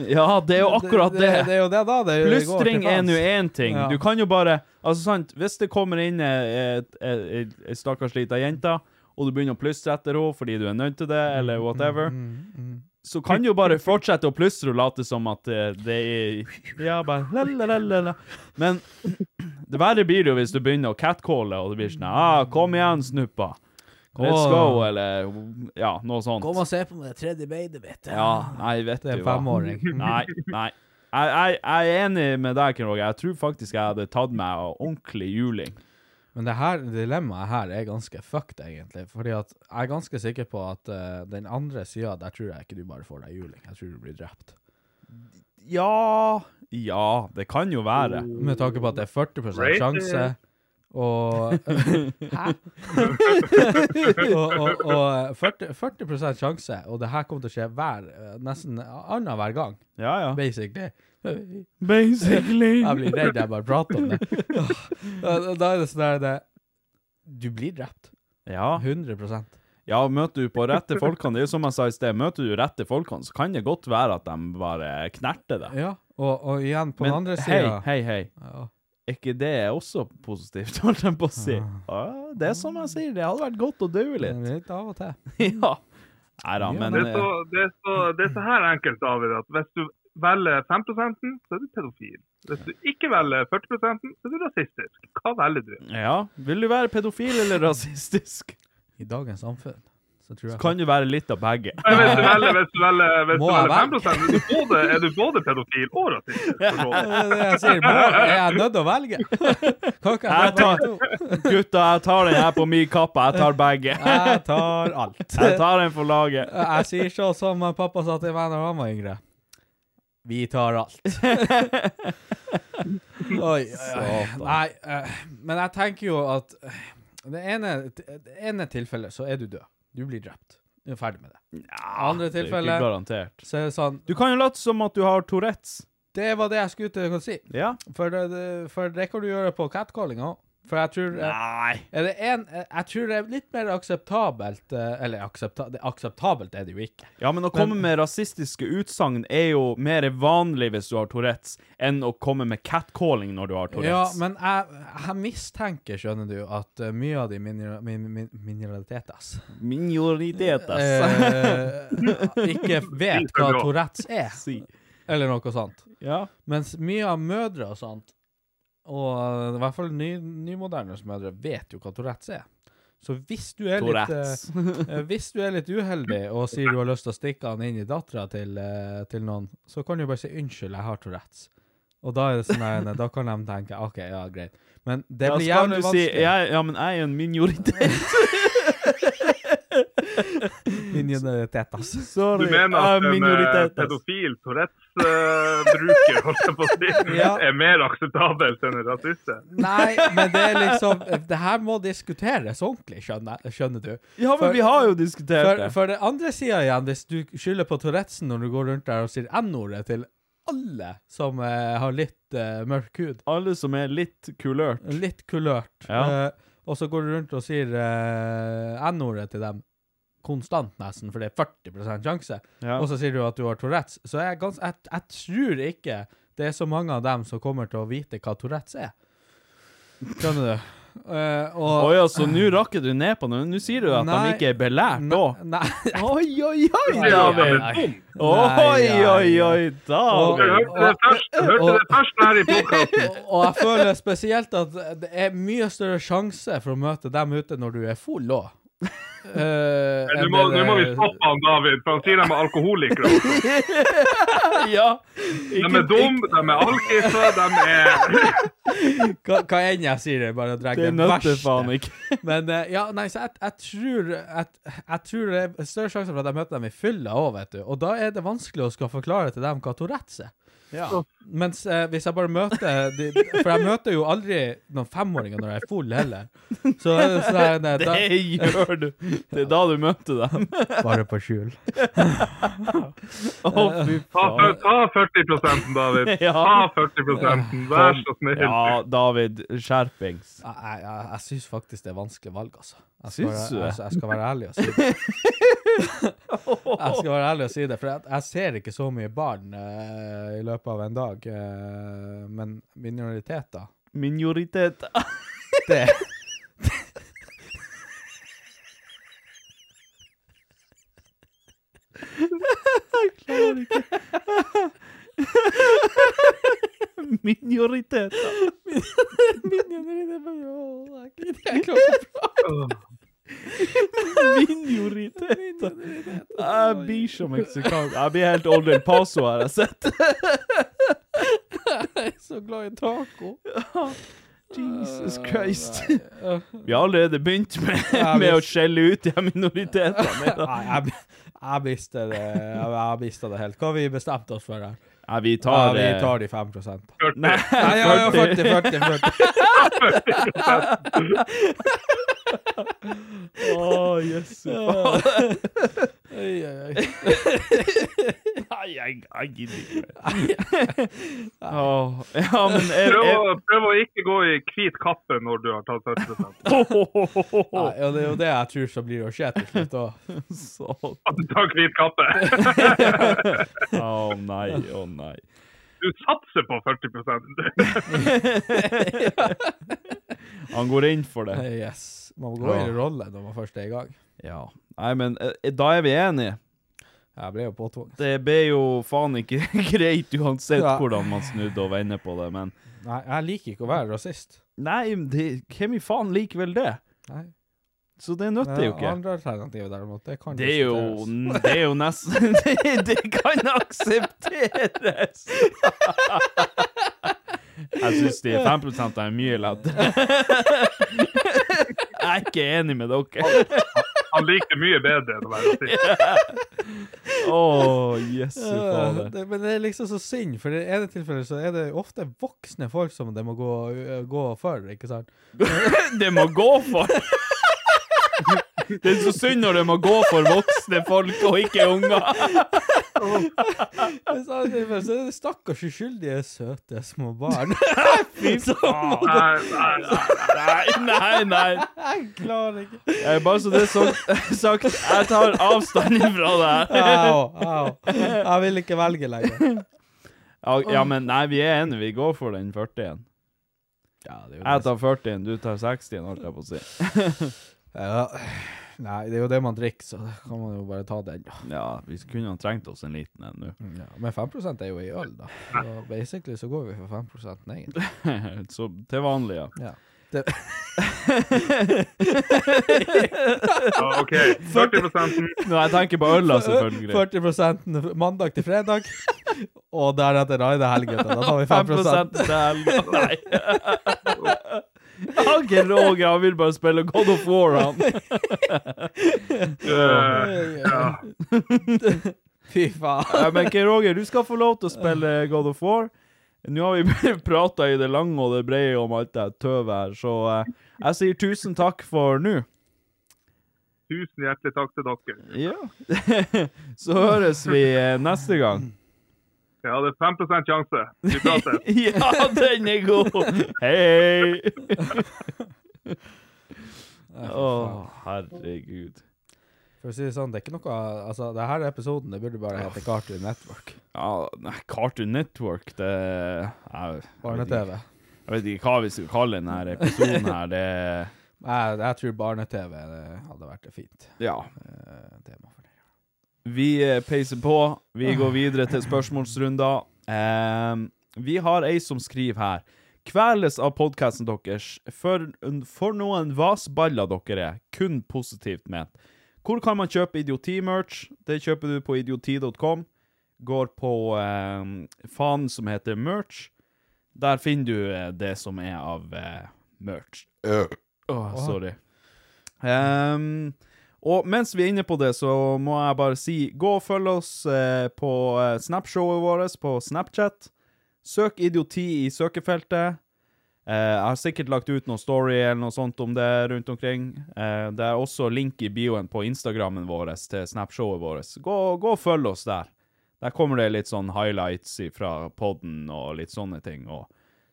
[SPEAKER 3] Ja, det er jo akkurat det.
[SPEAKER 4] Det, det er jo det da. Det går til
[SPEAKER 3] Plystring er
[SPEAKER 4] faens.
[SPEAKER 3] nå én ting.
[SPEAKER 4] Ja.
[SPEAKER 3] Du kan jo bare Altså, sant, hvis det kommer inn ei et, et, et, et stakkars lita jente, og du begynner å plystre etter henne fordi du er nødt til det, eller
[SPEAKER 4] Mm,
[SPEAKER 3] whatever, så kan du jo bare fortsette å plystre og late som at eh, det er Ja, bare la, la, la, la, la. Men det verre blir det jo hvis du begynner å catcalle, og det blir sånn ah, 'Kom igjen, snuppa'. Let's
[SPEAKER 4] Åh.
[SPEAKER 3] go, eller ja, noe sånt.
[SPEAKER 4] Kom og se på meg, det tredje beinet mitt.
[SPEAKER 3] Ja, nei, vet du hva.
[SPEAKER 4] Det er en femåring.
[SPEAKER 3] Nei, nei. Jeg, jeg, jeg er enig med deg, Ken Roger. Jeg tror faktisk jeg hadde tatt meg av ordentlig juling.
[SPEAKER 4] Men det her dilemmaet her er ganske fucked, egentlig. Fordi at jeg er ganske sikker på at eh, den andre sida, der tror jeg ikke du bare får deg juling. Jeg tror du blir drept.
[SPEAKER 3] Ja Ja, det kan jo være.
[SPEAKER 4] Med tanke på at det er 40
[SPEAKER 8] Right.
[SPEAKER 4] sjanse, og Hæ? og, og, og eh, 40, 40 sjanse, og det her kommer til å skje hver, eh, nesten annenhver gang,
[SPEAKER 3] Ja, ja.
[SPEAKER 4] basically. Jeg
[SPEAKER 3] Basically.
[SPEAKER 4] blir redd jeg bare prater om det. Da- Da er det sånn der det Du blir drept.
[SPEAKER 3] Ja.
[SPEAKER 4] 100
[SPEAKER 3] ja, møter du på rette folkene Det er jo som jeg sa i sted, møter du rette folkene, så kan det godt være at de bare knerter deg.
[SPEAKER 4] Ja, og, og igjen, på den andre
[SPEAKER 3] hei,
[SPEAKER 4] sida
[SPEAKER 3] hei, hei.
[SPEAKER 4] Ja.
[SPEAKER 3] Er ikke det også positivt, holdt jeg på å si?
[SPEAKER 4] Ah.
[SPEAKER 3] Ja, det er som jeg sier, det hadde vært godt å dø litt.
[SPEAKER 4] Litt av og til.
[SPEAKER 3] Ja. Nei da, men
[SPEAKER 8] Det er, så, det, er så, det er så her enkelt, David, at hvis du velger 5 så er du pedofil. Hvis du ikke velger 40 så er du rasistisk. Hva velger du?
[SPEAKER 3] eh, Ja. Vil du være pedofil eller rasistisk?
[SPEAKER 4] I dagens samfunn så tror jeg
[SPEAKER 3] Så kan du være litt av begge.
[SPEAKER 8] Nei, hvis du velger, hvis du velger, hvis du
[SPEAKER 4] Må jeg
[SPEAKER 8] velger 5 er du, både, er du både pedofil og rasistisk. for så
[SPEAKER 4] Det
[SPEAKER 8] vidt.
[SPEAKER 4] er det jeg sier. Må, er jeg nødt til å velge? Kan ikke
[SPEAKER 3] Jeg
[SPEAKER 4] jeg ta
[SPEAKER 3] tar-
[SPEAKER 4] begge to?
[SPEAKER 3] Gutta, jeg tar den her på min kappe. Jeg tar begge.
[SPEAKER 4] Jeg tar alt.
[SPEAKER 3] Jeg tar den for laget.
[SPEAKER 4] Jeg sier sånn som pappa sa til meg da han var yngre. Vi tar alt. Oi, oi, oi. Nei, eh, men jeg tenker jo at eh, det ene, det ene tilfellet så er du død. Du blir drept. Du er ferdig med det.
[SPEAKER 3] Det er jo
[SPEAKER 4] Andre
[SPEAKER 3] ikke
[SPEAKER 4] tilfellet
[SPEAKER 3] garantert.
[SPEAKER 4] så er det sånn
[SPEAKER 3] Du kan jo late som at du har Tourettes.
[SPEAKER 4] Det var det jeg skulle til å si.
[SPEAKER 3] Ja.
[SPEAKER 4] For eh, det, det, for det kan du gjøre på catcalling òg. For jeg tror eh,
[SPEAKER 3] Nei.
[SPEAKER 4] Er det en, eh, jeg tror det er litt mer akseptabelt eh, Eller aksepta, det, akseptabelt er det jo ikke.
[SPEAKER 3] Ja, men å komme med rasistiske utsagn er jo mer vanlig hvis du har Tourettes, enn å komme med catcalling når du har Tourettes.
[SPEAKER 4] Ja, men jeg, jeg mistenker, skjønner du, at eh, mye av de minera- min, min, mineralitetas
[SPEAKER 3] Minoritetas.
[SPEAKER 4] eh, ikke vet hva Tourettes er.
[SPEAKER 3] Si.
[SPEAKER 4] Eller noe sånt.
[SPEAKER 3] Ja.
[SPEAKER 4] Mens mye av mødre og sånt, og eh, i hvert fall ny, nymodernes mødre, vet jo hva Tourettes er. Så hvis du er litt
[SPEAKER 3] Tourettes.
[SPEAKER 4] eh, eh, Hvis du er litt uheldig og sier du har lyst til å stikke han inn i dattera til, eh, til noen, så kan du bare si 'unnskyld, jeg har Tourettes'. Og da er det sånn her, da kan de tenke 'OK, ja, greit'. Men det
[SPEAKER 3] Da skal
[SPEAKER 4] blir jævlig
[SPEAKER 3] du
[SPEAKER 4] vanskelig.
[SPEAKER 3] Si, jeg, ja, men jeg er jo en minoritet.
[SPEAKER 4] Minoritet, ass.
[SPEAKER 3] Sorry,
[SPEAKER 8] Du mener
[SPEAKER 3] jeg
[SPEAKER 8] at
[SPEAKER 3] er
[SPEAKER 8] en eh,
[SPEAKER 3] minoritet. ass.
[SPEAKER 8] pedofil Tourettes-bruker holdt jeg på å si,
[SPEAKER 4] Ja.
[SPEAKER 8] er mer akseptabelt enn en rasiste?
[SPEAKER 4] Nei, men det er liksom Det her må diskuteres ordentlig, skjønner, skjønner du.
[SPEAKER 3] Ja, men
[SPEAKER 4] For-
[SPEAKER 3] vi har jo diskutert
[SPEAKER 4] For,
[SPEAKER 3] det.
[SPEAKER 4] for det andre sida igjen, hvis du skylder på Tourettesen når du går rundt der og sier N-ordet til alle som eh, har litt eh, mørk hud,
[SPEAKER 3] Alle som er litt kulørt.
[SPEAKER 4] litt kulørt,
[SPEAKER 3] Ja.
[SPEAKER 4] eh, og så går du rundt og sier eh, N-ordet til dem konstant, nesten, for det er 40 sjanse,
[SPEAKER 3] Ja.
[SPEAKER 4] og så sier du at du har Tourettes, så jeg, er gans, jeg, jeg tror ikke det er så mange av dem som kommer til å vite hva Tourettes er. Skjønner du? Eh, og,
[SPEAKER 3] Oi, altså, nå rakker du ned på det. Nå sier du at
[SPEAKER 4] Nei.
[SPEAKER 3] de ikke er belært
[SPEAKER 4] Nei,
[SPEAKER 3] òg.
[SPEAKER 4] Nei.
[SPEAKER 3] Oi, oi, oi,
[SPEAKER 8] Nei,
[SPEAKER 3] ja
[SPEAKER 8] nei,
[SPEAKER 3] vel.
[SPEAKER 8] nei.
[SPEAKER 3] Oi, oi, oi, da
[SPEAKER 4] Og-
[SPEAKER 8] Du
[SPEAKER 3] vel.
[SPEAKER 8] hørte det først, du hørte det først her i podkasten.
[SPEAKER 4] Og- Og jeg føler spesielt at det er mye større sjanse for å møte dem ute når du er full òg. Eh,
[SPEAKER 8] Nå
[SPEAKER 4] enn
[SPEAKER 8] må,
[SPEAKER 4] det-
[SPEAKER 8] nå må vi stoppe han, David, for han sier de er alkoholikere.
[SPEAKER 3] Ja.
[SPEAKER 8] De er dumme, de er alkiser, de er
[SPEAKER 4] Hva, hva enn jeg sier, jeg bare drar
[SPEAKER 3] Det
[SPEAKER 4] det
[SPEAKER 3] nøtter
[SPEAKER 4] verste.
[SPEAKER 3] faen ikke.
[SPEAKER 4] Men eh, ja, nei, så jeg, jeg, tror, jeg, jeg tror det er større sjanse for at jeg møter dem i fylla òg, vet du. Og da er det vanskelig å skal forklare til dem hva Tourettes er. Mens eh, hvis jeg bare møter de, For jeg møter jo aldri noen femåringer når jeg er full, heller. Så, er det sånn, eh, da,
[SPEAKER 3] Det gjør du. Det er da du møter dem.
[SPEAKER 4] Bare på skjul.
[SPEAKER 3] Å, fy
[SPEAKER 8] Ta,
[SPEAKER 3] faen.
[SPEAKER 8] ta 40 David. Ta 40 Vær så snill.
[SPEAKER 3] Ja, David. Skjerpings.
[SPEAKER 4] Jeg, jeg, jeg, jeg syns faktisk det er vanskelig valg, altså. Jeg skal,
[SPEAKER 3] Syns du
[SPEAKER 4] være,
[SPEAKER 3] det?
[SPEAKER 4] jeg, jeg skal være ærlig og si det. Jeg skal være ærlig og si det, for jeg, jeg ser ikke så mye barn eh, i løpet av en dag. eh, men minoriteter
[SPEAKER 3] Minoritet.
[SPEAKER 4] Det
[SPEAKER 3] Minoritet.
[SPEAKER 4] Jeg klarer ikke å
[SPEAKER 3] Minoritet. Jeg blir så meksikansk. Jeg blir helt Old El Paso her, altså. jeg sitter.
[SPEAKER 4] Jeg er så glad i taco.
[SPEAKER 3] Jesus Christ.
[SPEAKER 4] Nei,
[SPEAKER 3] Vi har allerede begynt med,
[SPEAKER 4] Ja,
[SPEAKER 3] med å
[SPEAKER 4] visst.
[SPEAKER 3] skjelle ut de her minoritetene.
[SPEAKER 4] jeg, jeg mista det Jeg, jeg mistet det helt. Hva har vi bestemt oss for her?
[SPEAKER 3] Nei, vi
[SPEAKER 4] Ja,
[SPEAKER 3] tar,
[SPEAKER 4] vi
[SPEAKER 3] eh,
[SPEAKER 4] tar de 5 Nei,
[SPEAKER 3] Nei,
[SPEAKER 4] ja, ja, 40, 40, 40.
[SPEAKER 3] Å, jesu faen.
[SPEAKER 4] Oi, oi, oi.
[SPEAKER 3] Nei, jeg, jeg gidder ikke mer. Åh, Ja, men er,
[SPEAKER 8] Prøv,
[SPEAKER 3] er,
[SPEAKER 8] å- prøv å ikke gå i hvit kappe når du har tatt 40
[SPEAKER 4] Nei, og det er jo det jeg tror som blir å skje til slutt òg.
[SPEAKER 3] Så-
[SPEAKER 8] At du tar hvit kappe.
[SPEAKER 3] Å nei, å nei.
[SPEAKER 8] Du satser på 40
[SPEAKER 3] Han går inn for det.
[SPEAKER 4] Yes. Man må gå i rolle når man først er i gang.
[SPEAKER 3] Ja. Nei, men eh, da er vi enige.
[SPEAKER 4] Jeg ble jo påtvunget.
[SPEAKER 3] Det ble jo faen ikke greit uansett
[SPEAKER 4] Ja.
[SPEAKER 3] hvordan man snudde og vender på det, men
[SPEAKER 4] Nei, jeg liker ikke å være rasist.
[SPEAKER 3] Nei, men det, hvem i faen liker vel det?
[SPEAKER 4] Nei.
[SPEAKER 3] Så det nytter jo ikke.
[SPEAKER 4] Andre alternativet, derimot, det kan
[SPEAKER 3] Det er jo,
[SPEAKER 4] diskuteres.
[SPEAKER 3] det er jo nesten det, det kan aksepteres! Jeg syns de 5 er mye lettere. Jeg er ikke enig med dere.
[SPEAKER 8] Han liker mye bedre enn å være rasist.
[SPEAKER 3] Å, jesu
[SPEAKER 4] Ja,
[SPEAKER 3] fader.
[SPEAKER 4] det, men det er liksom så synd, for i det ene tilfellet så er det ofte voksne folk som det må gå, gå for, ikke sant?
[SPEAKER 3] Det må gå for Det er så synd når det må gå for voksne folk og ikke unger.
[SPEAKER 4] Mens i andre tilfellet så er det stakkars uskyldige, søte små barn.
[SPEAKER 3] Fy faen.
[SPEAKER 8] Nei, nei, nei.
[SPEAKER 3] Nei, nei, nei.
[SPEAKER 4] Jeg klarer ikke.
[SPEAKER 3] Eh, Bare så det er sagt- sagt, jeg tar avstand ifra det her.
[SPEAKER 4] Au, au. Jeg vil ikke velge lenger.
[SPEAKER 3] Ja, ja, men nei, vi er enige. Vi går for den 40-en.
[SPEAKER 4] Ja, det
[SPEAKER 3] Jeg tar 40-en, du tar 60-en, holdt jeg på å si.
[SPEAKER 4] Ja. Nei, det er jo det man drikker, så da kan man jo bare ta den.
[SPEAKER 3] Ja, vi kunne ha trengt oss en liten en nå.
[SPEAKER 4] Ja, men 5 er jo i øl, da. Så basically så går vi for 5 ned.
[SPEAKER 3] Så til vanlig, ja.
[SPEAKER 4] Ja. Det,
[SPEAKER 8] Ja, OK. 40
[SPEAKER 3] Når jeg tenker på øla, selvfølgelig.
[SPEAKER 4] 40 mandag til fredag, og deretter raide helgen. Da tar vi 5
[SPEAKER 3] til helga. Nei. Jeg har ikke Roger, han vil bare spille God of War, han.
[SPEAKER 8] eh, ja.
[SPEAKER 4] Fy faen.
[SPEAKER 3] Nei, Men ikke Roger, du skal få lov til å spille God of War. Nå har vi prata i det lange og det brede om alt det her tøvet her, så eh, jeg sier tusen takk for nå.
[SPEAKER 8] Tusen hjertelig takk til dere.
[SPEAKER 3] Ja. Så høres vi eh, neste gang.
[SPEAKER 8] Ja, det er 5 sjanse. Vi prates.
[SPEAKER 3] Ja, den er god! Hei! Å, herregud.
[SPEAKER 4] For å si det sånn, det er ikke noe Altså, det her episoden det burde bare hete Cartoon Network.
[SPEAKER 3] Ja, nei, Cartoon Network, det jeg, jeg, vet ikke,
[SPEAKER 4] Barne-TV.
[SPEAKER 3] jeg vet ikke hva vi skal kalle denne episoden her. Det
[SPEAKER 4] Jeg, jeg tror barne-TV det hadde vært et fint
[SPEAKER 3] Ja.
[SPEAKER 4] eh, tema for det.
[SPEAKER 3] Vi eh, peiser på. Vi går videre til spørsmålsrunder. Ehm, vi har ei som skriver her. Kveles av podkasten deres. For, for noen vasballer dere er. Kun positivt ment. Hvor kan man kjøpe idioti-merch? Det kjøper du på idioti.com. Går på eh, fanen som heter merch. Der finner du eh, det som er av eh, merch. Åh, sorry. Ehm, og mens vi er inne på det, så må jeg bare si gå og følg oss eh, på eh, Snapshowet vårt på Snapchat. Søk idioti i søkefeltet. Eh, jeg har sikkert lagt ut noen story eller noe sånt om det rundt omkring. Eh, det er også link i bioen på Instagrammen vår til Snapshowet vårt. Gå, gå og følg oss der. Der kommer det litt sånn highlights fra podden og litt sånne ting. Og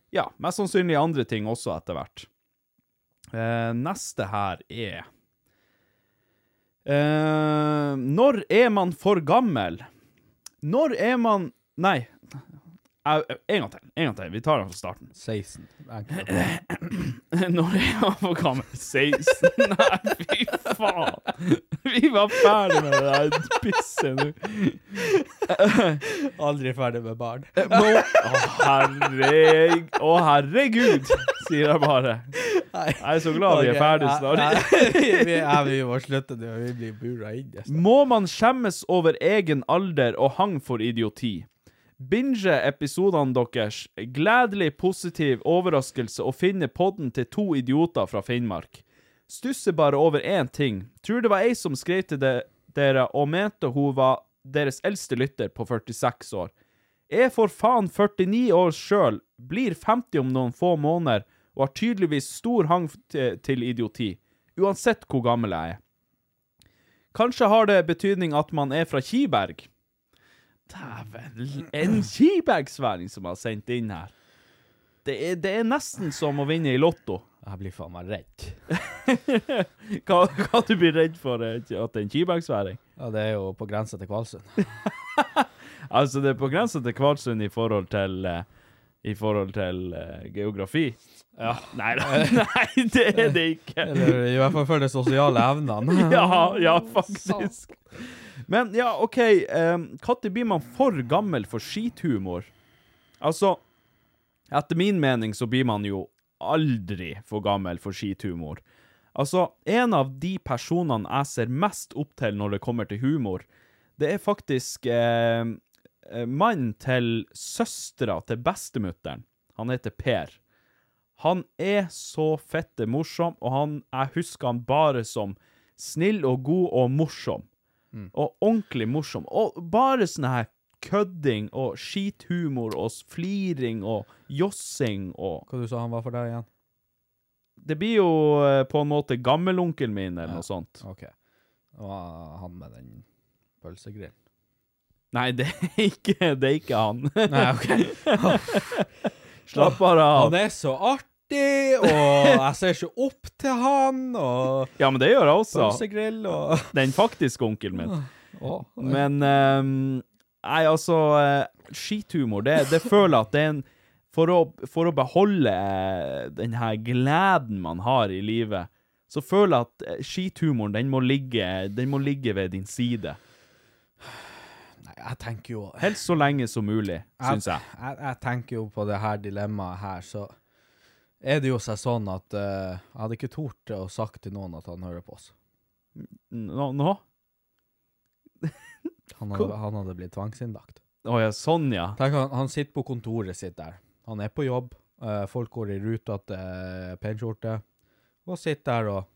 [SPEAKER 3] ja, mest sannsynlig andre ting også etter hvert. Eh, neste her er Eh, når er man for gammel? Når er man Nei. Au, au, En gang til. En gang til. Vi tar den fra starten.
[SPEAKER 4] 16. enkelt.
[SPEAKER 3] Når er man for gammel? 16? Nei, fy faen. Vi var ferdig med det der pisset nå.
[SPEAKER 4] Aldri ferdig med barn.
[SPEAKER 3] Må... Å, herreg... Å, herregud, sier jeg bare.
[SPEAKER 4] Nei.
[SPEAKER 3] Jeg er så glad vi er ferdig snart.
[SPEAKER 4] vi, ja, vi må slutte nå. Vi blir bura inn. nesten.
[SPEAKER 3] Må man skjemmes over egen alder og hang for idioti? Binge episodene deres. Gledelig positiv overraskelse å finne podden til to idioter fra Finnmark. Stusser bare over én ting. Tror det var ei som skrev til de dere og mente hun var deres eldste lytter på 46 år. Er for faen 49 år sjøl, blir 50 om noen få måneder og har tydeligvis stor hang til til idioti, uansett hvor gammel jeg er. Kanskje har det betydning at man er fra Kiberg? Dæven, en kibergsværing som har sendt inn her. Det er, det er nesten som å vinne i Lotto.
[SPEAKER 4] Jeg blir faen meg redd.
[SPEAKER 3] Hva, hva du blir redd for eh, at det er en kibergsværing?
[SPEAKER 4] Ja, det er jo på grensa til Kvalsund.
[SPEAKER 3] Altså, det er på grensa til Kvalsund i forhold til eh, I forhold til eh, geografi. Ja. Nei da. Nei, det er det ikke.
[SPEAKER 4] Eller i hvert fall for de sosiale evnene.
[SPEAKER 3] Ja, ja, faktisk. Men ja, OK. Når blir man for gammel for skithumor? Altså, etter min mening så blir man jo aldri for gammel for skithumor. Altså, en av de personene jeg ser mest opp til når det kommer til humor, det er faktisk eh, eh, mannen til søstera til bestemutteren. Han heter Per. Han er så fette morsom, og han, jeg husker han bare som snill og god og morsom. Og ordentlig morsom. Og bare sånn her kødding og skithumor og s- fliring og jossing og
[SPEAKER 4] Hva du sa han var for deg igjen?
[SPEAKER 3] Det blir jo eh, på en måte gammelonkelen min eller noe sånt.
[SPEAKER 4] OK. Det var han med den pølsegrillen.
[SPEAKER 3] Nei, det er ikke, det er ikke han.
[SPEAKER 4] Nei, OK.
[SPEAKER 3] Slapp bare av.
[SPEAKER 4] Han er så artig, og jeg ser ikke opp til han, og
[SPEAKER 3] Ja, men det gjør jeg også.
[SPEAKER 4] pølsegrill og
[SPEAKER 3] Den faktiske onkelen min.
[SPEAKER 4] Å,
[SPEAKER 3] Men ehm, Nei, altså eh, Skithumor, det, det føler jeg at det er en for å, for å beholde eh, den her gleden man har i livet, så føler jeg at eh, skithumoren, den må ligge, den må ligge ved din side.
[SPEAKER 4] Nei, jeg tenker jo
[SPEAKER 3] Helst så lenge som mulig, syns jeg.
[SPEAKER 4] Jeg, jeg tenker jo på det her dilemmaet her, så er det jo seg sånn at eh, jeg hadde ikke tort å sagt til noen at han hører på oss.
[SPEAKER 3] Nå? nå?
[SPEAKER 4] Han hadde, han hadde blitt tvangsinnlagt.
[SPEAKER 3] Å ja, sånn ja.
[SPEAKER 4] Tenk, han, han sitter på kontoret sitt der. Han er på jobb. eh, folk går i ruta til eh, penskjorte. Og sitter der og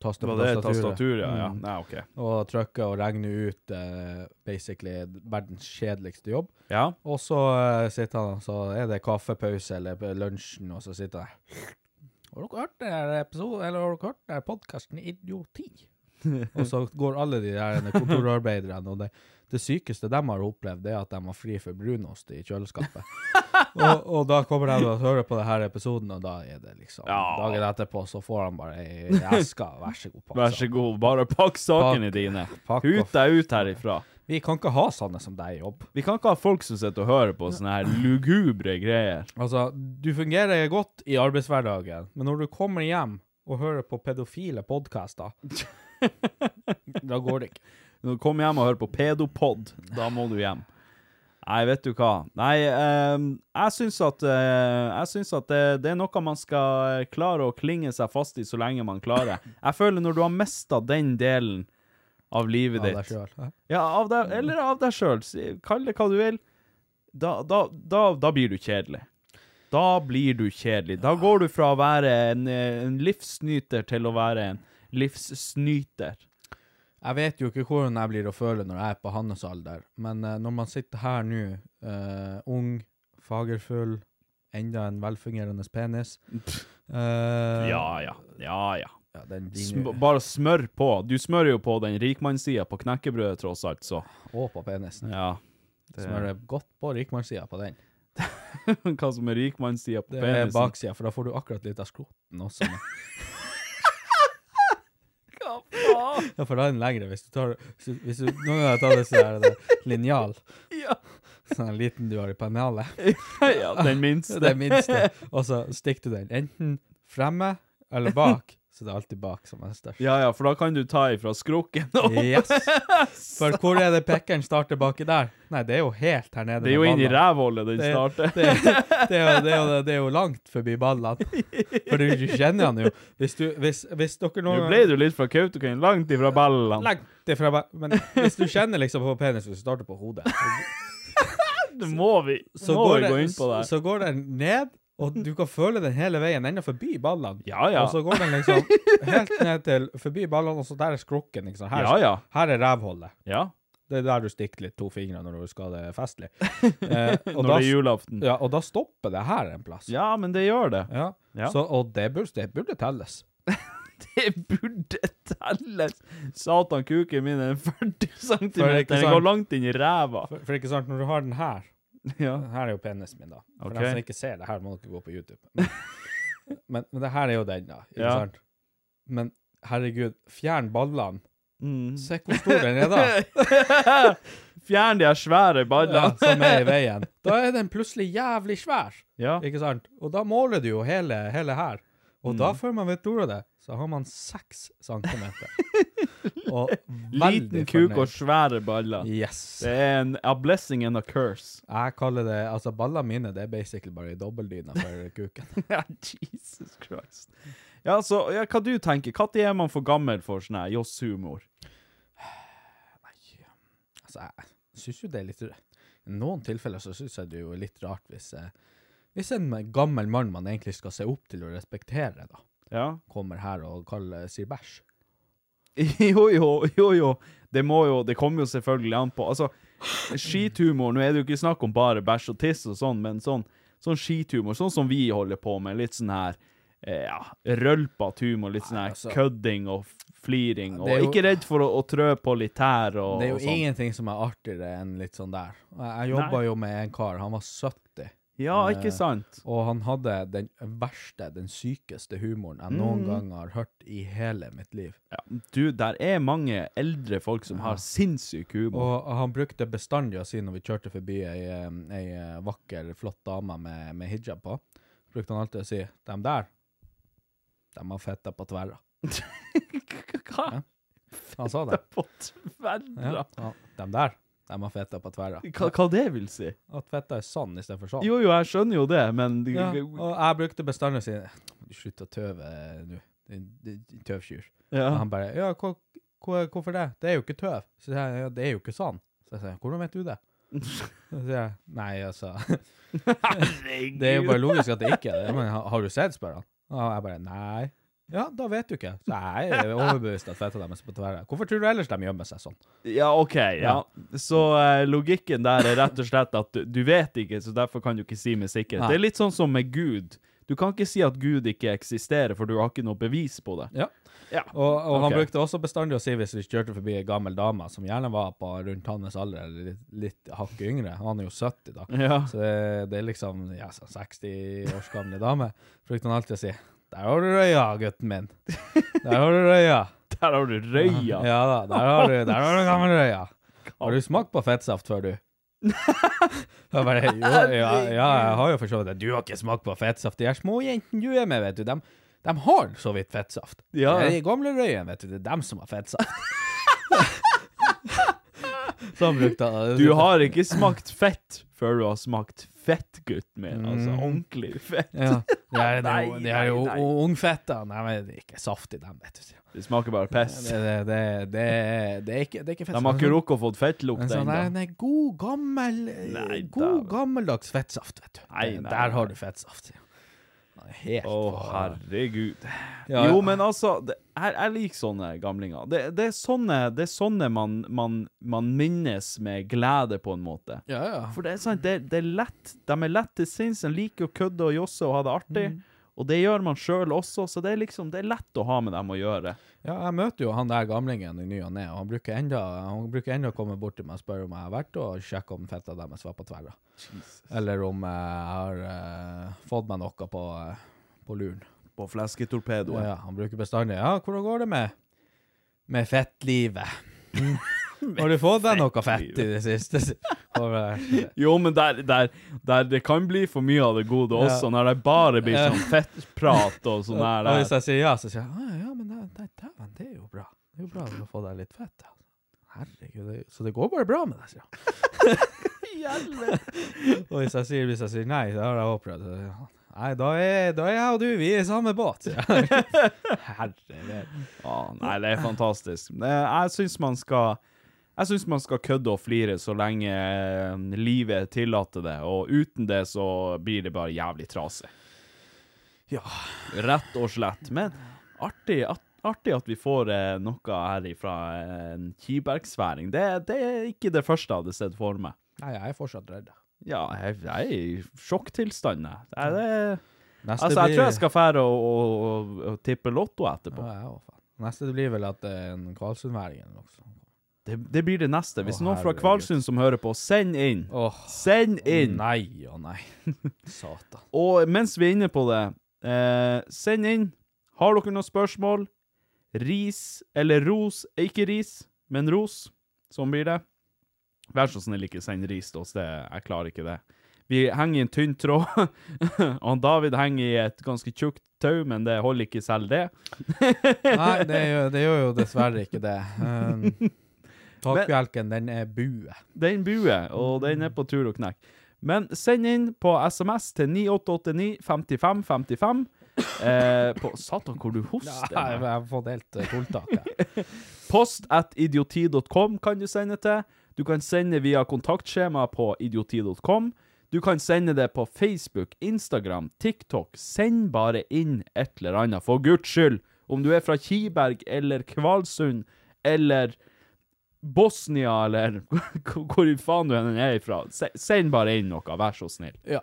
[SPEAKER 4] Taster på
[SPEAKER 3] Var det
[SPEAKER 4] tastaturet.
[SPEAKER 3] tastatur, ja? ja.
[SPEAKER 4] Mm.
[SPEAKER 3] Nei, OK.
[SPEAKER 4] Og trykker og regner ut eh, basically verdens kjedeligste jobb.
[SPEAKER 3] Ja.
[SPEAKER 4] Og så eh, sitter han, og så er det kaffepause eller på lunsjen, og så sitter han der. Har dere hørt den her episoden, eller har dere hørt den her podkasten Idioti? og så går alle de der kontorarbeiderne, og det, det sykeste de har opplevd, det er at de har fri for brunost i kjøleskapet. og, og da kommer de og hører på denne episoden, og da er det liksom
[SPEAKER 3] Ja.
[SPEAKER 4] Dagen etterpå så får han bare ei eske, vær så god,
[SPEAKER 3] Vær så god, bare Altså. pakk sakene
[SPEAKER 4] Pakk-
[SPEAKER 3] dine.
[SPEAKER 4] pakk
[SPEAKER 3] Hut
[SPEAKER 4] off.
[SPEAKER 3] deg ut herifra.
[SPEAKER 4] Vi kan ikke ha sånne som deg i jobb.
[SPEAKER 3] Vi kan ikke ha folk som sitter og hører på sånne her lugubre greier.
[SPEAKER 4] Altså, du fungerer godt i arbeidshverdagen, men når du kommer hjem og hører på pedofile podkaster, da går det ikke.
[SPEAKER 3] Når du kommer hjem og hører på Pedopod, da må du hjem. Nei, vet du hva. Nei, ehm, jeg syns at, eh, jeg syns at det, det er noe man skal eh, klare å klinge seg fast i så lenge man klarer. Jeg føler når du har mista den delen av livet
[SPEAKER 4] Ja, det er
[SPEAKER 3] ditt
[SPEAKER 4] selv. Hæ?
[SPEAKER 3] ja, av deg, Eller av deg sjøl, kall det hva du vil. Da, da, da, da blir du kjedelig. Da blir du kjedelig. Da går du fra å være en, eh, en livsnyter til å være en livssnyter.
[SPEAKER 4] Jeg vet jo ikke hvordan jeg blir å føle når jeg er på hans alder, men eh, når man sitter her nå, eh, ung, fagerfull, enda en velfungerende penis eh,
[SPEAKER 3] Ja ja. Ja ja.
[SPEAKER 4] ja, den din,
[SPEAKER 3] Sm bare smør på. Du smører jo på den rikmannssida på knekkebrødet, tross alt, så
[SPEAKER 4] Og på penisen.
[SPEAKER 3] Ja.
[SPEAKER 4] Smører godt på rikmannssida på den.
[SPEAKER 3] Hva som er rikmannssida på
[SPEAKER 4] Det er
[SPEAKER 3] penisen?
[SPEAKER 4] baksida, for da får du akkurat litt av skroten også. Ja, for da er den lengre. Hvis du tar hvis du, hvis du, Noen ganger tar du sånn her det, linjal.
[SPEAKER 3] Ja.
[SPEAKER 4] Sånn en liten du har i pennalet.
[SPEAKER 3] ja, den minste.
[SPEAKER 4] Det minste. Og så stikker du den enten fremme eller bak. Så det er alltid bak som er størst.
[SPEAKER 3] Ja ja, for da kan du ta ifra skrukken og
[SPEAKER 4] Yes! For hvor er det pekkeren starter baki der? Nei, det er jo helt her nede.
[SPEAKER 3] Det er jo
[SPEAKER 4] med
[SPEAKER 3] inn i
[SPEAKER 4] ballene.
[SPEAKER 3] rævhullet den
[SPEAKER 4] Det-
[SPEAKER 3] starter.
[SPEAKER 4] det, det, er jo, det, er jo, det er jo langt forbi ballene. For du, du kjenner han jo. Hvis, du, hvis, hvis dere
[SPEAKER 3] Nå
[SPEAKER 4] noen
[SPEAKER 3] ble du litt fra Kautokeino, langt ifra ballene.
[SPEAKER 4] Legg det fra meg. Men hvis du kjenner liksom på penis hvis du starter på hodet,
[SPEAKER 3] Det må vi
[SPEAKER 4] så,
[SPEAKER 3] må
[SPEAKER 4] går
[SPEAKER 3] vi
[SPEAKER 4] det,
[SPEAKER 3] gå inn på det.
[SPEAKER 4] så går den ned, og du kan føle den hele veien enda forbi ballene.
[SPEAKER 3] Ja ja.
[SPEAKER 4] Og så går den liksom helt ned til forbi ballene, og så der er skrukken. Ikke sant? Her,
[SPEAKER 3] Ja ja.
[SPEAKER 4] her er rævhullet.
[SPEAKER 3] ja.
[SPEAKER 4] Det er der du stikker litt to fingre når du skal ha det festlig. Eh, og,
[SPEAKER 3] Når
[SPEAKER 4] da,
[SPEAKER 3] det er julaften.
[SPEAKER 4] ja, og da stopper det her en plass.
[SPEAKER 3] Ja, men det gjør det.
[SPEAKER 4] Ja.
[SPEAKER 3] Ja.
[SPEAKER 4] Så, og det burde, det burde telles.
[SPEAKER 3] Det burde telles. Satan, kuken min er 40 cm.
[SPEAKER 4] For det er ikke
[SPEAKER 3] Den
[SPEAKER 4] sant.
[SPEAKER 3] går langt inn i ræva.
[SPEAKER 4] For, for ikke sant, når du har den her
[SPEAKER 3] Ja.
[SPEAKER 4] Her er jo penisen min, da. For
[SPEAKER 3] Ok.
[SPEAKER 4] dem som ikke ser det her, må dere gå på YouTube. Men, men, men det her er jo den, da. Ikke
[SPEAKER 3] Ja.
[SPEAKER 4] sant? Men herregud, fjern ballene.
[SPEAKER 3] Mm.
[SPEAKER 4] Se hvor stor den er, da.
[SPEAKER 3] Fjern de her svære
[SPEAKER 4] Ja,
[SPEAKER 3] ballene.
[SPEAKER 4] som er i veien. Da er den plutselig jævlig svær,
[SPEAKER 3] Ja.
[SPEAKER 4] ikke sant? Og da måler du jo hele, hele her. Og
[SPEAKER 3] Mm.
[SPEAKER 4] da, før man vet ordet av det, så har man seks centimeter. Og veldig
[SPEAKER 3] Liten kuk og
[SPEAKER 4] fornøyd.
[SPEAKER 3] svære baller.
[SPEAKER 4] Yes.
[SPEAKER 3] Det er en, a blessing and a curse.
[SPEAKER 4] Jeg kaller det Altså, ballene mine, det er basically bare dobbeldyna for kuken.
[SPEAKER 3] Ja, Jesus Christ. Ja, så ja, hva du tenker? Når er man for gammel for sånn her Joss-humor?
[SPEAKER 4] Altså, jeg syns jo det er litt I noen tilfeller så syns jeg det jo er litt rart hvis eh, Hvis en gammel mann man egentlig skal se opp til og respektere, da,
[SPEAKER 3] Ja.
[SPEAKER 4] kommer her og kaller, sier bæsj.
[SPEAKER 3] Jo, jo, jo, jo. Det må jo Det kommer jo selvfølgelig an på. Altså, skithumor Nå er det jo ikke snakk om bare bæsj og tiss og sånn, men sånn, sånn skithumor, sånn som vi holder på med, litt sånn her eh, ja, rølpete humor, litt sånn her
[SPEAKER 4] altså.
[SPEAKER 3] kødding og f- fliring, og
[SPEAKER 4] Det er jo-
[SPEAKER 3] ikke redd for å, å trø på litt tær og,
[SPEAKER 4] Det er jo
[SPEAKER 3] og sånn.
[SPEAKER 4] ingenting som er artigere enn litt sånn der. Og Jeg, jeg jobba
[SPEAKER 3] Nei.
[SPEAKER 4] jo med en kar, han var 70,
[SPEAKER 3] Ja,
[SPEAKER 4] Eh,
[SPEAKER 3] ikke sant?
[SPEAKER 4] og han hadde den verste, den sykeste humoren
[SPEAKER 3] Mm.
[SPEAKER 4] jeg noen gang har hørt i hele mitt liv.
[SPEAKER 3] Ja, du, der er mange eldre folk som har sinnssyk humor.
[SPEAKER 4] Og han brukte bestandig å si når vi kjørte forbi ei, eh, ei eh, vakker, flott dame med, med hijab på, brukte han alltid å si 'dem der, De har fitta på tverra.
[SPEAKER 3] Hva?
[SPEAKER 4] Ja, Han sa det.
[SPEAKER 3] På tverra?
[SPEAKER 4] Ja. Ja. De der, de har fitta på tverra.
[SPEAKER 3] Hva, hva det vil si?
[SPEAKER 4] At fitta er sann istedenfor sånn.
[SPEAKER 3] Jo, jo, jeg skjønner jo det, men
[SPEAKER 4] Ja, og jeg brukte bestandig å si Slutt å tøve eh, nå, din- din tøvkyr. Og
[SPEAKER 3] Ja.
[SPEAKER 4] han bare Ja, hva, hva, hvorfor det? Det er jo ikke tøv. Så sier jeg ja, det er jo ikke sånn. Så jeg sier hvordan vet du det? Så sier jeg nei, altså Det er jo bare logisk at det ikke er det. Men har har du sett, spør han. Og jeg bare nei. Ja, da vet du ikke. Så jeg er overbevist at fetta deres er på tverra. Hvorfor tror du ellers de gjemmer seg sånn?
[SPEAKER 3] Ja, OK. Ja. Så eh, logikken der er rett og slett at du, du vet ikke, så derfor kan du ikke si med sikkerhet.
[SPEAKER 4] Nei.
[SPEAKER 3] Det er litt sånn som med Gud. Du kan ikke si at Gud ikke eksisterer, for du har ikke noe bevis på det.
[SPEAKER 4] Ja.
[SPEAKER 3] Ja.
[SPEAKER 4] Og, og han
[SPEAKER 3] Ok.
[SPEAKER 4] brukte også bestandig å si hvis vi kjørte forbi ei gammel dame som gjerne var på rundt hans alder, eller litt, litt hakket yngre, han er jo 70 da,
[SPEAKER 3] Ja.
[SPEAKER 4] så det, det er liksom ja, sånn 60 års gamle dame, brukte han alltid å si Der har du røya, gutten min. Der har du røya.
[SPEAKER 3] Der har du røya.
[SPEAKER 4] Ja da, der har du, der har du gammel røya. Har du smakt på fettsaft før, du? Jeg bare, jo, ja, ja, jeg har jo for så vidt det. Du har ikke smakt på fettsaft. De her småjentene du er med, vet du, dem, dem har så vidt fettsaft.
[SPEAKER 3] Ja.
[SPEAKER 4] Det er de gamle røyene, vet du, det er dem som har fettsaft. Sånn brukte han
[SPEAKER 3] Du har ikke smakt fett før du har smakt fett, gutten min. Altså
[SPEAKER 4] Mm.
[SPEAKER 3] ordentlig fett.
[SPEAKER 4] ja. De er, de,
[SPEAKER 3] Nei,
[SPEAKER 4] de er jo
[SPEAKER 3] nei, nei.
[SPEAKER 4] ungfetta. Nei, men det er ikke saft i dem, vet du.
[SPEAKER 3] Det smaker bare piss.
[SPEAKER 4] Det, det, det, det, er- det, er, ikke, det er ikke
[SPEAKER 3] De
[SPEAKER 4] fettsaft.
[SPEAKER 3] har ikke
[SPEAKER 4] Sånn-
[SPEAKER 3] rukket å fått fettlukt
[SPEAKER 4] En sånn
[SPEAKER 3] ennå.
[SPEAKER 4] der, nei, god gammel eh,
[SPEAKER 3] Nei,
[SPEAKER 4] God
[SPEAKER 3] dæven.
[SPEAKER 4] gammeldags fettsaft, vet du.
[SPEAKER 3] Nei,
[SPEAKER 4] Der-
[SPEAKER 3] nei,
[SPEAKER 4] Der har
[SPEAKER 3] nei.
[SPEAKER 4] du fettsaft. sier han. Han er Helt
[SPEAKER 3] Å, herregud.
[SPEAKER 4] Ja,
[SPEAKER 3] Jo,
[SPEAKER 4] ja.
[SPEAKER 3] men altså, det, jeg, jeg liker sånne gamlinger. Det, det er sånne, det er sånne man, man, man minnes med glede, på en måte.
[SPEAKER 4] Ja, ja.
[SPEAKER 3] For det er sant, det, det er lett. De er lett til sinns. De liker å kødde og josse og ha det artig.
[SPEAKER 4] Mm.
[SPEAKER 3] Og det gjør man sjøl også, så det er liksom, det er lett å ha med dem å gjøre.
[SPEAKER 4] ja, jeg møter jo han der gamlingen i ny og ne, og han bruker enda Han bruker enda å komme bort til meg og spørre om jeg har vært og sjekke om fetta deres var på tverra. Eller om eh, jeg har eh, fått meg noe på, eh, på luren.
[SPEAKER 3] På flesketorpedoen.
[SPEAKER 4] Ja, han bruker bestandig Ja, hvordan går det med Med fettlivet? Har du fått deg noe fett i det siste? Og, eh,
[SPEAKER 3] Jo, men der, der, der det kan bli for mye av det gode også, når det bare blir sånn fettprat og sånn her.
[SPEAKER 4] Og
[SPEAKER 3] der.
[SPEAKER 4] hvis jeg sier ja, så sier jeg «Ah, ja, men det, det, dæven, det er jo bra. Det er jo bra å få deg litt fett. da.» Herregud, det, så det går bare bra med deg, sier han. og hvis jeg sier, hvis jeg sier nei, så har jeg opprørt. Så, sier han, nei, da er, da er jeg og du, vi er i samme båt, sier jeg. Herre min.
[SPEAKER 3] Ja, nei, det er fantastisk. Eh, Jeg syns man skal jeg synes man skal kødde og flire så lenge eh, livet tillater det, og uten det så blir det bare jævlig trasig.
[SPEAKER 4] Ja.
[SPEAKER 3] Rett og slett. Men artig at, artig at vi får eh, noe her ifra eh, en kibergsværing. Det, det er ikke det første jeg hadde sett for meg.
[SPEAKER 4] Nei, jeg er fortsatt redd.
[SPEAKER 3] Ja, jeg, jeg er i sjokktilstand, jeg. Det er det-
[SPEAKER 4] Neste
[SPEAKER 3] Altså, jeg
[SPEAKER 4] blir-
[SPEAKER 3] tror jeg skal fære og, og, og, og tippe lotto etterpå.
[SPEAKER 4] Ja, jeg også, faen. Neste blir vel at det er en Karlsundværing eller noe sånt.
[SPEAKER 3] Det, det blir det neste. Hvis
[SPEAKER 4] Å,
[SPEAKER 3] noen fra
[SPEAKER 4] herregud.
[SPEAKER 3] Kvalsund som hører på, send inn.
[SPEAKER 4] Åh,
[SPEAKER 3] Send inn.
[SPEAKER 4] nei og nei. Satan.
[SPEAKER 3] Og mens vi er inne på det, eh, send inn. Har dere noen spørsmål? Ris eller ros? Eh, Ikke ris, men ros. Sånn blir det. Vær så snill, ikke send ris til oss. Det, jeg klarer ikke det. Vi henger i en tynn tråd, og han David henger i et ganske tjukt tau, men det holder ikke selv det.
[SPEAKER 4] Nei, det gjør, det gjør jo dessverre ikke det. Um, Takbjelken, den er bue.
[SPEAKER 3] Den buer, og den er på tur å knekke. Men send inn på SMS til 9889 55 55. Eh, på Satan, hvor du hoster.
[SPEAKER 4] Jeg jeg har fått helt eh, tulltak her.
[SPEAKER 3] Post at idioti.com kan du sende til. Du kan sende via kontaktskjema på idioti.com. Du kan sende det på Facebook, Instagram, TikTok. Send bare inn et eller annet, for guds skyld! Om du er fra Kiberg eller Kvalsund eller Bosnia eller hvor hvor i faen du enn er ifra, se- send bare inn noe, vær så snill.
[SPEAKER 4] Ja,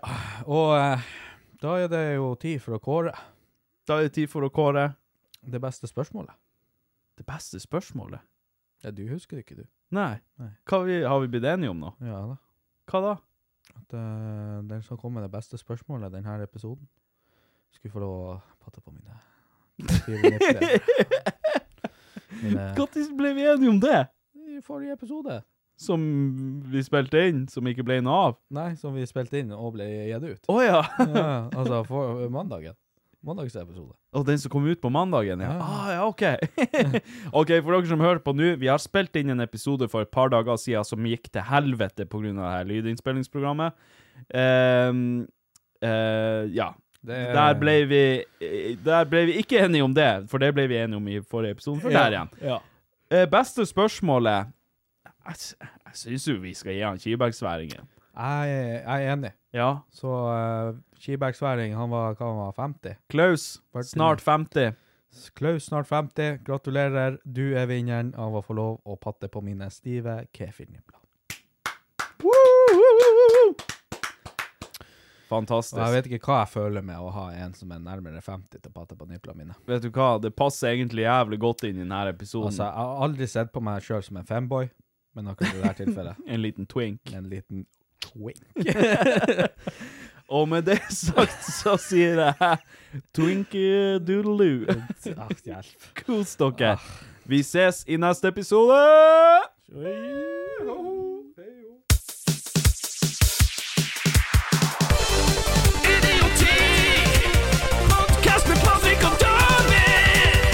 [SPEAKER 4] og eh, da er det jo tid for å kåre
[SPEAKER 3] Da er det tid for å kåre
[SPEAKER 4] det beste spørsmålet.
[SPEAKER 3] det beste spørsmålet.
[SPEAKER 4] Ja, du husker det ikke, du.
[SPEAKER 3] Nei.
[SPEAKER 4] Nei.
[SPEAKER 3] Hva vi, har vi blitt enige om nå?
[SPEAKER 4] Ja da.
[SPEAKER 3] Hva da?
[SPEAKER 4] At eh, den som kom med det beste spørsmålet i denne episoden, skulle få lov å patte på mine fire nipler. Mine,
[SPEAKER 3] Når ble vi enige om det?
[SPEAKER 4] I forrige episode.
[SPEAKER 3] som vi spilte inn, som ikke ble noe av.
[SPEAKER 4] Nei, som vi spilte inn og ble gitt ut.
[SPEAKER 3] Å ja!
[SPEAKER 4] Ja, altså, for mandagen. Mandagsepisode.
[SPEAKER 3] Og den som kom ut på mandagen, ja.
[SPEAKER 4] Ja.
[SPEAKER 3] Ah, ja, OK. ok, For dere som hører på nå, vi har spilt inn en episode for et par dager siden som gikk til helvete pga. lydinnspillingsprogrammet. Ehm, eh, ja.
[SPEAKER 4] Det-
[SPEAKER 3] Der ble, vi, eh, der ble vi ikke enige om det, for det ble vi enige om i forrige episode. For der igjen.
[SPEAKER 4] Ja.
[SPEAKER 3] Eh, beste spørsmålet Jeg, s- jeg syns jo vi skal gi han Kibergsværingen.
[SPEAKER 4] Jeg, jeg er enig.
[SPEAKER 3] Ja.
[SPEAKER 4] Så uh, Skiberg Sværing, han var, hva han var 50?
[SPEAKER 3] Klaus, snart 50.
[SPEAKER 4] Klaus, snart 50. Gratulerer. Du er vinneren av å få lov å patte på mine stive kefirnipler.
[SPEAKER 3] Woo, woo, woo, woo.
[SPEAKER 4] Og
[SPEAKER 3] Fantastisk.
[SPEAKER 4] jeg vet ikke hva jeg føler med å ha en som er nærmere 50 til å patte på niplene mine.
[SPEAKER 3] Vet du hva, det passer egentlig jævlig godt inn i denne episoden.
[SPEAKER 4] Altså, jeg har aldri sett på meg sjøl som en femboy, men akkurat i dette tilfellet
[SPEAKER 3] en liten twink.
[SPEAKER 4] en liten twink.
[SPEAKER 3] Og med det sagt så sier jeg twinky-doodaloo.
[SPEAKER 4] Ah, hjelp.
[SPEAKER 3] Kos dere.
[SPEAKER 4] Ah.
[SPEAKER 3] Vi ses i neste episode!
[SPEAKER 2] Idiotik. Podcast med Patrick og David.